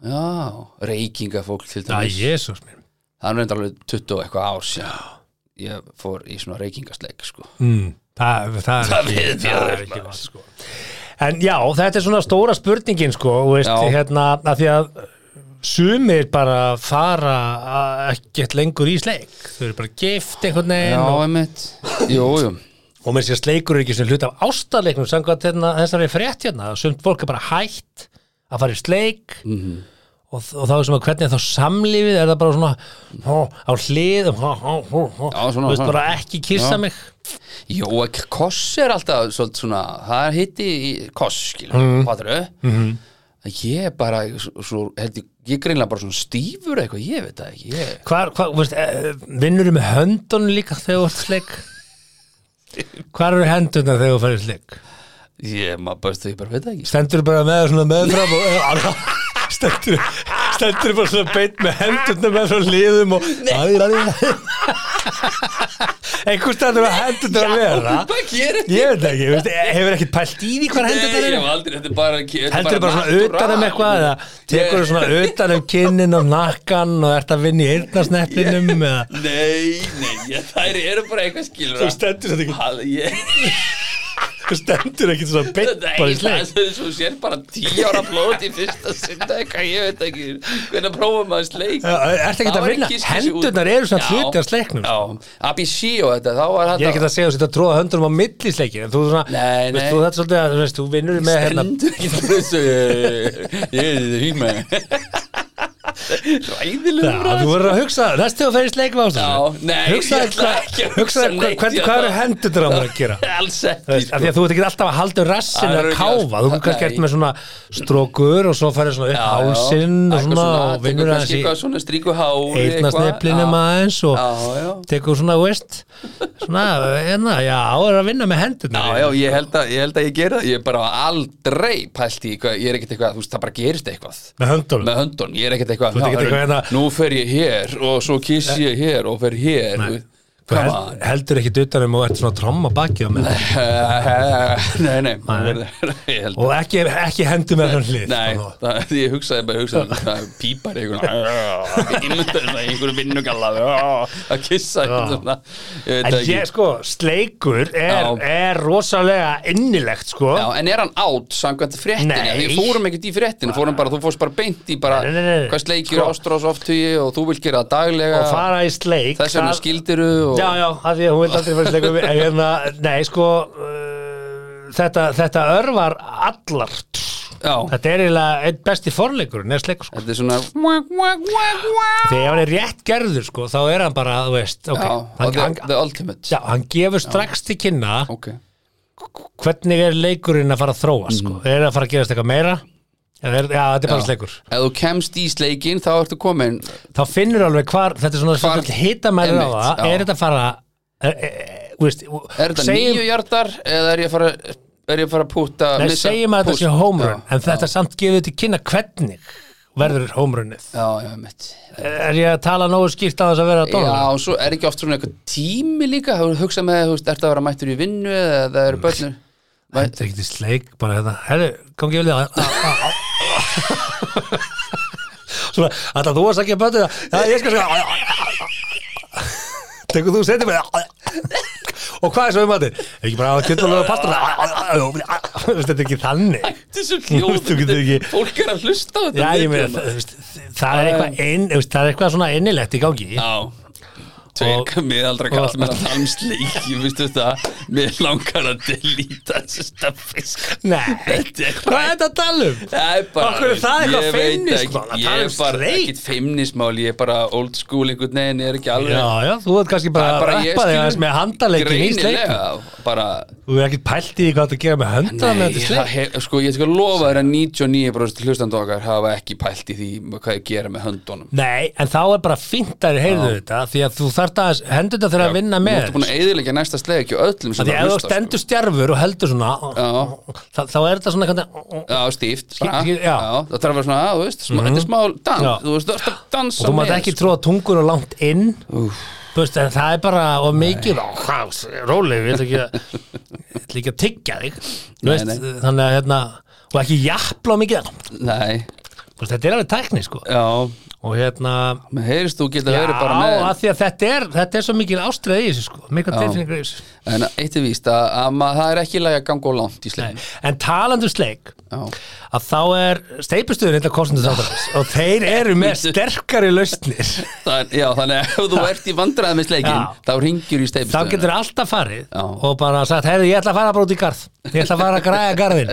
Speaker 2: já, reykingafólk til
Speaker 3: Æ,
Speaker 2: dæmis
Speaker 3: jésús mér.
Speaker 2: það er nú reyndar alveg 20 og eitthvað árs já. ég fór í svona reykingasleik sko.
Speaker 3: Mm, það, það
Speaker 2: Það
Speaker 3: er ekki,
Speaker 2: veit ég
Speaker 3: það er
Speaker 2: alveg.
Speaker 3: ekki vatn, sko. En já, þetta er svona stóra spurningin, sko, og veist,
Speaker 2: Já.
Speaker 3: hérna, að því að sumir bara fara að- ekkert lengur í sleik. Þau eru bara gift
Speaker 2: já,
Speaker 3: einhvern veginn og,
Speaker 2: einmitt jú, jú,
Speaker 3: og mér sé að sleikur er ekki sem hlut af ástarleiknum, samkvæmt hérna, þessari frétt hérna, að sumt fólk er bara hætt að fara í sleik
Speaker 2: Mhm.
Speaker 3: og, og þá er sem að hvernig er þá samlífið, er það bara svona ó, á hlið, ó, ó, ó, ó,
Speaker 2: Já, svona,
Speaker 3: þú veist,
Speaker 2: svona.
Speaker 3: bara ekki kissa
Speaker 2: Já.
Speaker 3: mig.
Speaker 2: jú, og koss er alltaf svolítið svona, það er hitti í koss, skilur,
Speaker 3: Mhm.
Speaker 2: mm. fattur mm. ég er bara svo, svo, held, ég- ég er greinlega bara svona stífur eitthvað, ég veit það ekki ég,
Speaker 3: Hvar, hvar, veist, eh, vinnurðu með höndunum líka þegar þú ert
Speaker 2: [LAUGHS]
Speaker 3: sleik? Hvar eru hendurna þegar þú færir sleik?
Speaker 2: ég, maður, bara, ég bara veit það ekki
Speaker 3: Stendur bara með svona meðfram og eh, alveg, stendur, stendur bara svona beint með hendurna með frá liðum og Æ, æ, æ. einhver stendur með hendurna að vera
Speaker 2: [LAUGHS] hvað gerir
Speaker 3: ég veit ekki, veist, hefur ekkert pælt í því hvar hendurna
Speaker 2: Nei, ég
Speaker 3: eru
Speaker 2: hef aldrei, þetta er bara þetta er
Speaker 3: heldur bara svona
Speaker 2: náttúra.
Speaker 3: utan um eitthvað eða tekur þú svona utan um kinnin og nakkan og ert að vinna í eyrnarsneppinum eða
Speaker 2: Nei, nei, ég, þær eru bara eitthvað skilur
Speaker 3: Þú stendur þetta ekki-
Speaker 2: Hal- ég-
Speaker 3: Þú stendur ekkert svona beint
Speaker 2: Nei,
Speaker 3: bara í
Speaker 2: það er
Speaker 3: sleik
Speaker 2: svo- svo sér bara tíu ára blót í fyrsta synda eitthvað, ég veit ekki hvernig prófa maður sleik
Speaker 3: Já, Ertu ekkert
Speaker 2: Það
Speaker 3: að
Speaker 2: var
Speaker 3: vinna?
Speaker 2: ekki kissi út.
Speaker 3: Hendurnar eru svona
Speaker 2: Já.
Speaker 3: hluti af sleiknum
Speaker 2: Já, ABC og þetta, þá var
Speaker 3: Ég er ekkert
Speaker 2: þetta
Speaker 3: að segja þú þetta að tróða höndunum á milli sleikin en þú svona,
Speaker 2: Nei,
Speaker 3: veist
Speaker 2: nei.
Speaker 3: þú þetta er svolítið að, þú veist, þú vinnur með hérna
Speaker 2: Stendur ekki fyrir þessu Ég veit þetta hýma
Speaker 3: Já,
Speaker 2: Ræðilega
Speaker 3: þú verður að hugsa, næstu að ferja sleik með
Speaker 2: Já,
Speaker 3: ástæðu
Speaker 2: nei,
Speaker 3: Hugsa
Speaker 2: ég ætla
Speaker 3: þetta,
Speaker 2: ekki að
Speaker 3: hugsa
Speaker 2: hugsa neitt,
Speaker 3: hvernig,
Speaker 2: ég
Speaker 3: hvað eru
Speaker 2: ætla-
Speaker 3: hendurnar á mér að gera
Speaker 2: [LAUGHS] Alls
Speaker 3: Þú
Speaker 2: ekki sko.
Speaker 3: veist, af því að þú ert ekki alltaf að halda um rassin
Speaker 2: Það
Speaker 3: eða
Speaker 2: er ekki-
Speaker 3: káfa, þú
Speaker 2: það-
Speaker 3: kannski ert
Speaker 2: nei.
Speaker 3: með svona strókur og svo færið svona upp hálsinn og svona og vinnur
Speaker 2: aðeins
Speaker 3: aðeins í
Speaker 2: eitthvað svona stríku hári
Speaker 3: eyrnasneflinum aðeins og
Speaker 2: Já, já.
Speaker 3: tekur svona, þú veist svona, hérna, já, áður að vinna með hendurnar
Speaker 2: Já, já, ég held að ég, held að ég gera það, ég er bara aldrei pælt í, hvað, ég er ekkert eitthvað, þú veist, það bara gerist eitthvað
Speaker 3: með höndunum
Speaker 2: með höndun, ég er ekkert eitthvað,
Speaker 3: ert ekkert
Speaker 2: já,
Speaker 3: eitthvað hérna-
Speaker 2: nú fer ég hér og svo kiss ég hér og fer hér,
Speaker 3: Nei. Þú
Speaker 2: hvað
Speaker 3: held, heldur ekki utanum og ert svona tromma bakið á með
Speaker 2: [LAUGHS] Nei, nei, [LAUGHS] ég held
Speaker 3: og ekki, ekki hendur með hann hlið sko.
Speaker 2: Nei,
Speaker 3: svona.
Speaker 2: það, ég hugsaði bara, ég hugsaði um það pípar í einhvern ímyndaði það í einhverju vinnugalla [LAUGHS] að kissa hérna ég veit
Speaker 3: En
Speaker 2: það ekki.
Speaker 3: ég, sko, sleikur er,
Speaker 2: Já.
Speaker 3: er rosalega innilegt, sko
Speaker 2: Já, en er hann átt samkvæmt fréttinni?
Speaker 3: Nei.
Speaker 2: Nei. Því við fórum ekkert í fréttinni, fórum bara, þú fórst bara beint í bara
Speaker 3: Nei, nei, nei, nei.
Speaker 2: hvað sleikir
Speaker 3: Sko.
Speaker 2: ástrás oftugi og þú vil gera það daglega
Speaker 3: og fara í sleik
Speaker 2: þess vegna
Speaker 3: það-
Speaker 2: skildiru og
Speaker 3: Já, já, af því að hún vil aldrei fara í sleikum en hérna, nei, sko uh, þetta, þetta örvar allar sko.
Speaker 2: Já.
Speaker 3: þetta er eiginlega einn besti forleikur neða sleikur, sko.
Speaker 2: þetta er svona wah, wah, wah, wah.
Speaker 3: þegar hann er rétt gerður, sko, þá er hann bara, þú veist, ok
Speaker 2: Já, og
Speaker 3: hann,
Speaker 2: the,
Speaker 3: hann,
Speaker 2: the ultimate
Speaker 3: já, hann gefur strax til kynna
Speaker 2: Ok,
Speaker 3: hvernig er leikurinn að fara að þróast,
Speaker 2: Mhm.
Speaker 3: sko er að fara að gerast eitthvað meira Eða er, já, þetta er bara sleikur
Speaker 2: ef þú kemst í sleikin þá ertu komin
Speaker 3: þá finnur alveg hvar, þetta er svona
Speaker 2: Hvar-
Speaker 3: hvar, hitamæður á
Speaker 2: Einmitt,
Speaker 3: það,
Speaker 2: já.
Speaker 3: er þetta að fara er, er, veist,
Speaker 2: Er þetta Segjum... nýju hjartar eða er ég að fara er ég að fara að púta
Speaker 3: Nei,
Speaker 2: missa
Speaker 3: segjum að þetta
Speaker 2: púst?
Speaker 3: sé homerun
Speaker 2: Já,
Speaker 3: en þetta samt gefið til kynna hvernig verður homerunnið.
Speaker 2: já, já, mitt
Speaker 3: Er ég að tala nógu skýrt á þess að vera að dóla?
Speaker 2: Já, og svo er ekki oft svona eitthvað tími líka Þú hugsað með, þú veist, ertu að vera mættur í vinnu eða það eru börnur
Speaker 3: Þetta er ekki til sleik, bara þetta Herru, kom ekki vel í það Ah, Svona, alltaf þú að sakja bötu Ah, það Já, ég skal segja Tekur þú setið mig Ah, og hvað er svo um að þetta? Ekki bara að Ah, kjöldalöga pasta ah. Þú veist, þetta er ekki þannig
Speaker 2: Þessu
Speaker 3: Þú getur ekki-
Speaker 2: hljóð, fólk er að hlusta á þetta
Speaker 3: Já, ég meina,
Speaker 2: mikið.
Speaker 3: það, þú veist, um það er eitthvað ein, þú veist, það er eitthvað svona innilegt í gangi
Speaker 2: Já Tveir
Speaker 3: Og-
Speaker 2: miðaldra
Speaker 3: og-
Speaker 2: kall með talmsleik Ég veist þetta, mér langar að delíta þessu staffisk
Speaker 3: Nei,
Speaker 2: Þetta er
Speaker 3: hvað er þetta að tala um?
Speaker 2: Það er bara
Speaker 3: Af hverju er það eitthvað
Speaker 2: Ég veit ekki,
Speaker 3: feimnismál að tala
Speaker 2: Ég
Speaker 3: um
Speaker 2: er bara
Speaker 3: sleik?
Speaker 2: ekkit feimnismál Ég er bara old school einhvern veginn Ég er ekki alveg
Speaker 3: Já, já, þú ert kannski bara
Speaker 2: Það er ég
Speaker 3: að rappa þig
Speaker 2: skil-
Speaker 3: aðeins með handaleikin í
Speaker 2: greinilega,
Speaker 3: sleikum
Speaker 2: Bara
Speaker 3: Þú er ekkert pælt í því hvað það gera með höndan með
Speaker 2: Nei,
Speaker 3: þetta
Speaker 2: það
Speaker 3: sleik
Speaker 2: hef, sko, ég skal lofa þér að 99% hlustandu okkar hafa ekki pælt í því hvað ég gera með höndunum
Speaker 3: Nei, en þá er bara fínt að þið heyrðu þetta því að þú þarft að hendur þetta þegar að vinna
Speaker 2: Þú
Speaker 3: með
Speaker 2: ertu búin að eðilegja næsta sleik ekki öllum sem
Speaker 3: Því
Speaker 2: eru að
Speaker 3: ef þú
Speaker 2: hlusta, sko.
Speaker 3: stendur stjærfur og heldur svona þá, þá er þetta svona kannski
Speaker 2: Já, stíft
Speaker 3: Skil-
Speaker 2: bara.
Speaker 3: skil- já. Mhm.
Speaker 2: það þarf að vera svona, þú veist, smá, þetta er smá dans,
Speaker 3: Já.
Speaker 2: þú veist, þú ert að dansa
Speaker 3: og þú mátt
Speaker 2: með,
Speaker 3: ekki
Speaker 2: sko.
Speaker 3: tróða tungun og langt inn Þú veist, en það er bara og mikið, ó, hvað, róleg við ætlum ekki að, ég ætla ekki að tyggja þig Þú
Speaker 2: Nei,
Speaker 3: veist,
Speaker 2: nei.
Speaker 3: þannig að hérna og ekki jafnla mikið Þú
Speaker 2: Nei,
Speaker 3: veist, þetta er alveg tækni sko
Speaker 2: já,
Speaker 3: og hérna
Speaker 2: menn heyrist þú geta
Speaker 3: Já,
Speaker 2: verið bara með
Speaker 3: að því að þetta er, þetta er svo mikil ástreið í þessu sko, mikil
Speaker 2: Já.
Speaker 3: tilfinningur í þessu
Speaker 2: En eitt er víst að, að ma, það er ekki lægi að ganga og langt í sleim
Speaker 3: En talandu sleik
Speaker 2: Já,
Speaker 3: að þá er steipustuður hérna kostnum þáttarins og þeir eru með sterkari lausnir
Speaker 2: það, já þannig að ef þú ert í vandræði með sleikin
Speaker 3: Já.
Speaker 2: þá ringjur í
Speaker 3: þá
Speaker 2: steipustöðuna
Speaker 3: getur alltaf farið
Speaker 2: Já.
Speaker 3: og bara sagt, heyrðu, ég ætla að fara bara út í garð ég ætla að fara að græja
Speaker 2: [LAUGHS]
Speaker 3: garðin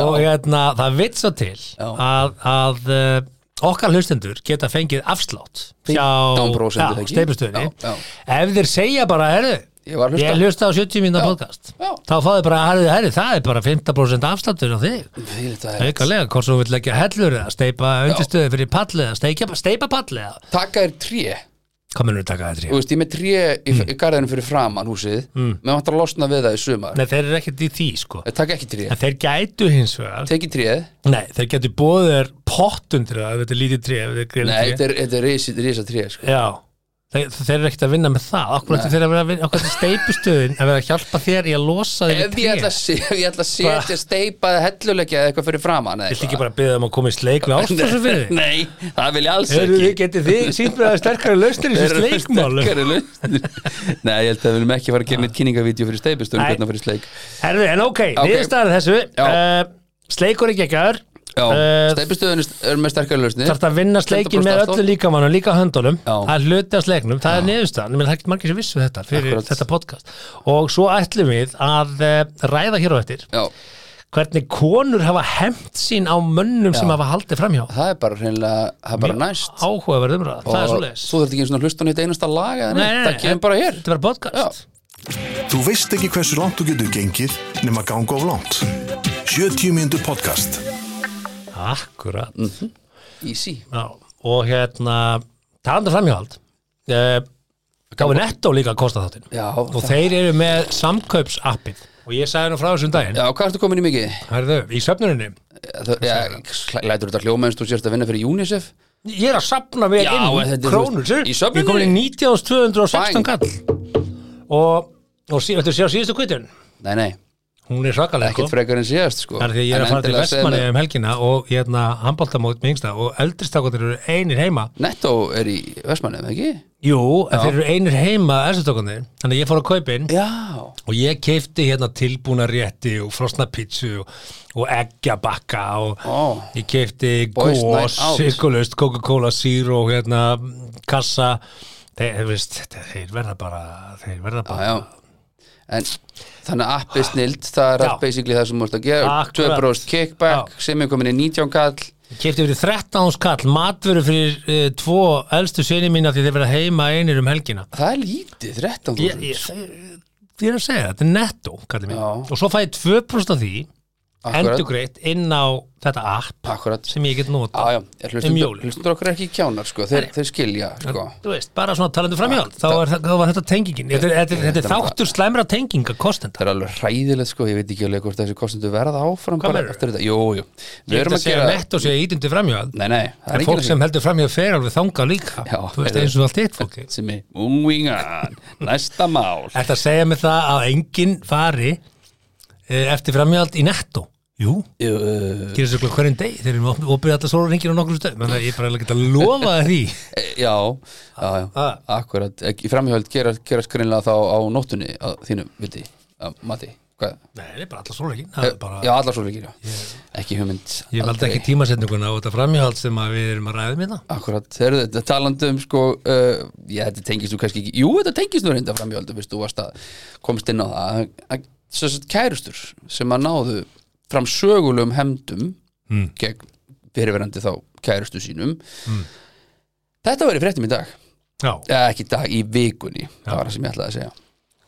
Speaker 3: og hérna, það vitt svo til
Speaker 2: Já.
Speaker 3: að, að uh, okkar hlustendur geta fengið afslátt hjá
Speaker 2: 15% er það
Speaker 3: já,
Speaker 2: ekki?
Speaker 3: steipustöðinni
Speaker 2: Já, já.
Speaker 3: ef þeir segja bara, heyrðu
Speaker 2: Ég var að hlusta.
Speaker 3: ég hlusta á 70 mínúna
Speaker 2: Já.
Speaker 3: podcast
Speaker 2: Já.
Speaker 3: þá fáðu bara, heyrðu, heyrðu, það er bara 15% afsláttur á þig Aukalega, hvort svo vill leggja hellur eða steipa undirstöðu fyrir pallið eða steikja, steipa pallið eða
Speaker 2: Taka er tré
Speaker 3: Hvað munum við taka þetta
Speaker 2: Þú
Speaker 3: í?
Speaker 2: veist, ég er með tré í, mm. í garðinu fyrir framan húsið mm. Mér vantar að losna við það í sumar
Speaker 3: Nei, þeir eru ekkert í því sko
Speaker 2: Taka ekki tré,
Speaker 3: En þeir gætu hins vegar
Speaker 2: teki tréð
Speaker 3: Nei, þeir gætu bóðið þér pott undir það ef þetta er lítið tré, ef þetta er
Speaker 2: Nei,
Speaker 3: grillið tré
Speaker 2: þetta er, þetta er risa, risa tré sko.
Speaker 3: Já, þeir, þeir eru ekkert að vinna með það Okkur ættu þeir að vera að vinna, okkur ættu steipustöðin að vera að hjálpa þér í að losa þér
Speaker 2: ef ég ætla að se- ef ég ætla að setja steipa eða helluleggja eða eitthvað fyrir framan eða
Speaker 3: Viltu ekki bara að byrja þeim að koma í sleik með ástofsum fyrir
Speaker 2: eitthvað
Speaker 3: þig?
Speaker 2: nei, það vil ég alls
Speaker 3: Eru þið,
Speaker 2: ekki
Speaker 3: getið þið síðbreið að sterkari lausnir í
Speaker 2: Þeir
Speaker 3: þessu
Speaker 2: eru
Speaker 3: sleikmálum?
Speaker 2: sterkari lausnir. nei, ég held að við viljum ekki fara að gera neitt kynningavídeó fyrir steipustöðum
Speaker 3: Ah. Nei.
Speaker 2: hvernig fyrir sleik
Speaker 3: Herðu, en ok, okay.
Speaker 2: Ok.
Speaker 3: niðurstaðan er þessu
Speaker 2: Já.
Speaker 3: uh, Sleikur er geggjaður
Speaker 2: já,
Speaker 3: Eh,
Speaker 2: steipustöðun er með sterkari lausnir
Speaker 3: Þarf að vinna sleikin
Speaker 2: 100%
Speaker 3: með
Speaker 2: afslátt.
Speaker 3: öllu líkamannum, líka höndunum
Speaker 2: Já.
Speaker 3: Það er hluti af sleiknum, það er niðurstaðan Mér er hægt margir sem vissu þetta fyrir
Speaker 2: Akkurat.
Speaker 3: þetta podcast Og svo ætlum við að uh, ræða hér á eftir
Speaker 2: já,
Speaker 3: Hvernig konur hafa hemmt sín á mönnum sem hafa haldið framhjá
Speaker 2: það er bara hreinlega, það er bara næst
Speaker 3: Áhugaverð umræða, það er
Speaker 2: Og
Speaker 3: svoleiðis
Speaker 2: þú þurft ekki einu svona að hlusta á neitt einasta lag eða neitt, það kemur bara hér
Speaker 3: Þetta verður podcast
Speaker 2: Já.
Speaker 1: Þú veist ekki hversu langt þú getur gengið nema ganga of langt. 70 mínútur podcast.
Speaker 3: Akkurat
Speaker 2: Mm. easy,
Speaker 3: Já, og hérna talandi um framhjáhald uh, gáði netto líka að kosta þáttinn
Speaker 2: Já,
Speaker 3: og
Speaker 2: það-
Speaker 3: þeir eru með samkaupsappið og ég sagði nú frá þessum daginn
Speaker 2: já, hvað ertu komin í mikið?
Speaker 3: Herðu, í söfnuninni
Speaker 2: Það- Já, lætur þetta hljóma eins og þú sérst að vinna fyrir UNICEF
Speaker 3: ég er að sapna mig
Speaker 2: Já, en
Speaker 3: inn
Speaker 2: þetta er-
Speaker 3: krónur sér,
Speaker 2: í
Speaker 3: ég
Speaker 2: söfnuninni?
Speaker 3: er komin í 19.216
Speaker 2: Bang.
Speaker 3: kall og, og sí, þetta sé á síðustu kvitun
Speaker 2: Nei, nei,
Speaker 3: hún er svakalega
Speaker 2: ekkert frekar en síðast sko.
Speaker 3: Það er því að ég er
Speaker 2: En
Speaker 3: að fara til
Speaker 2: endilega segðu
Speaker 3: vestmanni
Speaker 2: mér-
Speaker 3: um helgina og hérna handbóltamót með yngsta og eldristakotir eru einir heima
Speaker 2: Netto er í vestmanni, eða ekki?
Speaker 3: Jú, en þeir eru einir heima eldristakotir, þannig að ég fór að kaupin
Speaker 2: Já
Speaker 3: og ég keipti hérna tilbúna rétti og frosna pítsu og, og eggjabakka og
Speaker 2: Ó.
Speaker 3: ég keipti
Speaker 2: Boys night
Speaker 3: gós,
Speaker 2: out.
Speaker 3: sykulust, Coca-Cola Zero hérna, kassa þeir, þeir, veist, þetta- þeir verða bara þeir verða bara
Speaker 2: Já, En þannig að appi snild það er
Speaker 3: Já.
Speaker 2: allt basically það sem múlst að gera
Speaker 3: Akkurat.
Speaker 2: 2% kickback, sem er komin í 19 kall
Speaker 3: ég keipti fyrir 13 skall matvöru fyrir uh, tvo elstu sinni mína því þeir verða heima einir um helgina
Speaker 2: Það er lítið, 13
Speaker 3: ég, ég, ég, ég er að segja, þetta er netto kallið mín,
Speaker 2: Já.
Speaker 3: og svo fæ ég 2% af því
Speaker 2: Akkurat.
Speaker 3: endugreitt inn á þetta app
Speaker 2: Akkurat
Speaker 3: sem ég get nota
Speaker 2: Já, já, er
Speaker 3: Um
Speaker 2: hlustundur,
Speaker 3: jólin.
Speaker 2: hlustundur okkur ekki kjánar sko. þeir, þeir skilja sko.
Speaker 3: þú veist, bara svona talandi framhjálp þá, er, það- þá var þetta tengingin þetta, er- þetta, er- þetta er þáttur slæmra tenginga kostenda
Speaker 2: Það er alveg hræðilegt sko, ég veit ekki alveg hvort þessi kostendur verða áfram
Speaker 3: Hvað
Speaker 2: bara
Speaker 3: meinarðu?
Speaker 2: eftir þetta, jú, jú Við
Speaker 3: ég er
Speaker 2: erum
Speaker 3: að
Speaker 2: að
Speaker 3: segja
Speaker 2: gera,
Speaker 3: nett og segja ítundu framhjálp
Speaker 2: nei, nei, það er
Speaker 3: en
Speaker 2: enginn
Speaker 3: fólk
Speaker 2: að-
Speaker 3: sem heldur framhjálp fer alveg þanga líka
Speaker 2: Já,
Speaker 3: þú veist,
Speaker 2: heyrðu.
Speaker 3: eins og allt eitt fólki
Speaker 2: sem er ungvingan, næsta mál
Speaker 3: Þetta að segja mig það að enginn fari eh, eftir framhjálp í netto [LAUGHS] Jú,
Speaker 2: uh,
Speaker 3: gerir svo klart hverjum deg þeir eru opið, opið alltaf sólar hringir á nokkrum stöðum þannig að ég bara get að lofa þér því
Speaker 2: E, já, já, já
Speaker 3: Ah.
Speaker 2: akkurat, E, í framhjöld gera, gera skrinlega þá á nóttunni að þínum, vildi, að mati hvað?
Speaker 3: [LAUGHS] Nei, það er bara allar sólar það er bara
Speaker 2: já, allar svo leikir, já, ekki hugmynd
Speaker 3: Ég valdi ekki tímasetninguna og þetta framhjáhald sem að við erum að ræða um hérna. minna
Speaker 2: Akkurat, þegar þetta talandi um sko, uh, já þetta tengist nú kannski ekki Jú, þetta tengist nú reynda framhjöldu, veist, þú varst að komst inn á það að, að, að, kærustur sem að náðu fram sögulegum hemdum
Speaker 3: Mm.
Speaker 2: gegn fyrirverandi þá kærustu sínum
Speaker 3: Hmm.
Speaker 2: Þetta var í fréttum í dag
Speaker 3: Já,
Speaker 2: eða ekki í dag, í vikunni það var það sem ég ætlaði að segja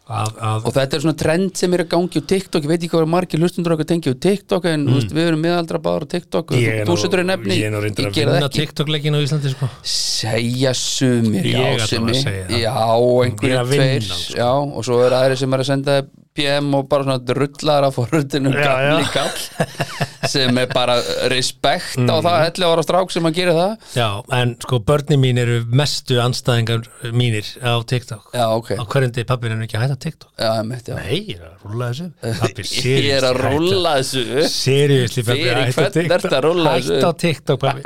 Speaker 3: að, að,
Speaker 2: og þetta er svona trend sem er að gangi á TikTok ég veit ekki hvað eru margir hlustundur okkar tengi á TikTok en mm. veist, við erum miðaldra báður á TikTok og
Speaker 3: Hmm. ég er
Speaker 2: þú- þú setur einn nefni,
Speaker 3: Ég er nú reyndur að
Speaker 2: geri það
Speaker 3: vinna
Speaker 2: ekki
Speaker 3: TikTok-leikin á Íslandi sko.
Speaker 2: segja sumir,
Speaker 3: Ég
Speaker 2: já
Speaker 3: ætla að
Speaker 2: sumir
Speaker 3: segja það.
Speaker 2: já, einhverjir
Speaker 3: Ég er að vinna,
Speaker 2: tveir
Speaker 3: sko.
Speaker 2: já, og svo er aðri sem er að senda PM og bara svona drullar af forröndinu
Speaker 3: Já,
Speaker 2: gamli
Speaker 3: já.
Speaker 2: kall sem er bara respekt
Speaker 3: Mm.
Speaker 2: á það 11 ára strák sem að gera það
Speaker 3: Já, en sko börnin mín eru mestu anstæðingar mínir á TikTok
Speaker 2: já, ok,
Speaker 3: Á hverjum degi pappin er nú ekki að hætta á TikTok
Speaker 2: já, mitt, já
Speaker 3: Nei, ég er að rúlla þessu Pappi,
Speaker 2: [LAUGHS] ég er að rúlla þessu upp
Speaker 3: Seriðisli pappi,
Speaker 2: Fyrir
Speaker 3: hætta á
Speaker 2: hvern
Speaker 3: TikTok.
Speaker 2: ertu að rúlla þessu?
Speaker 3: Hætta á TikTok
Speaker 2: [LAUGHS]
Speaker 3: pappi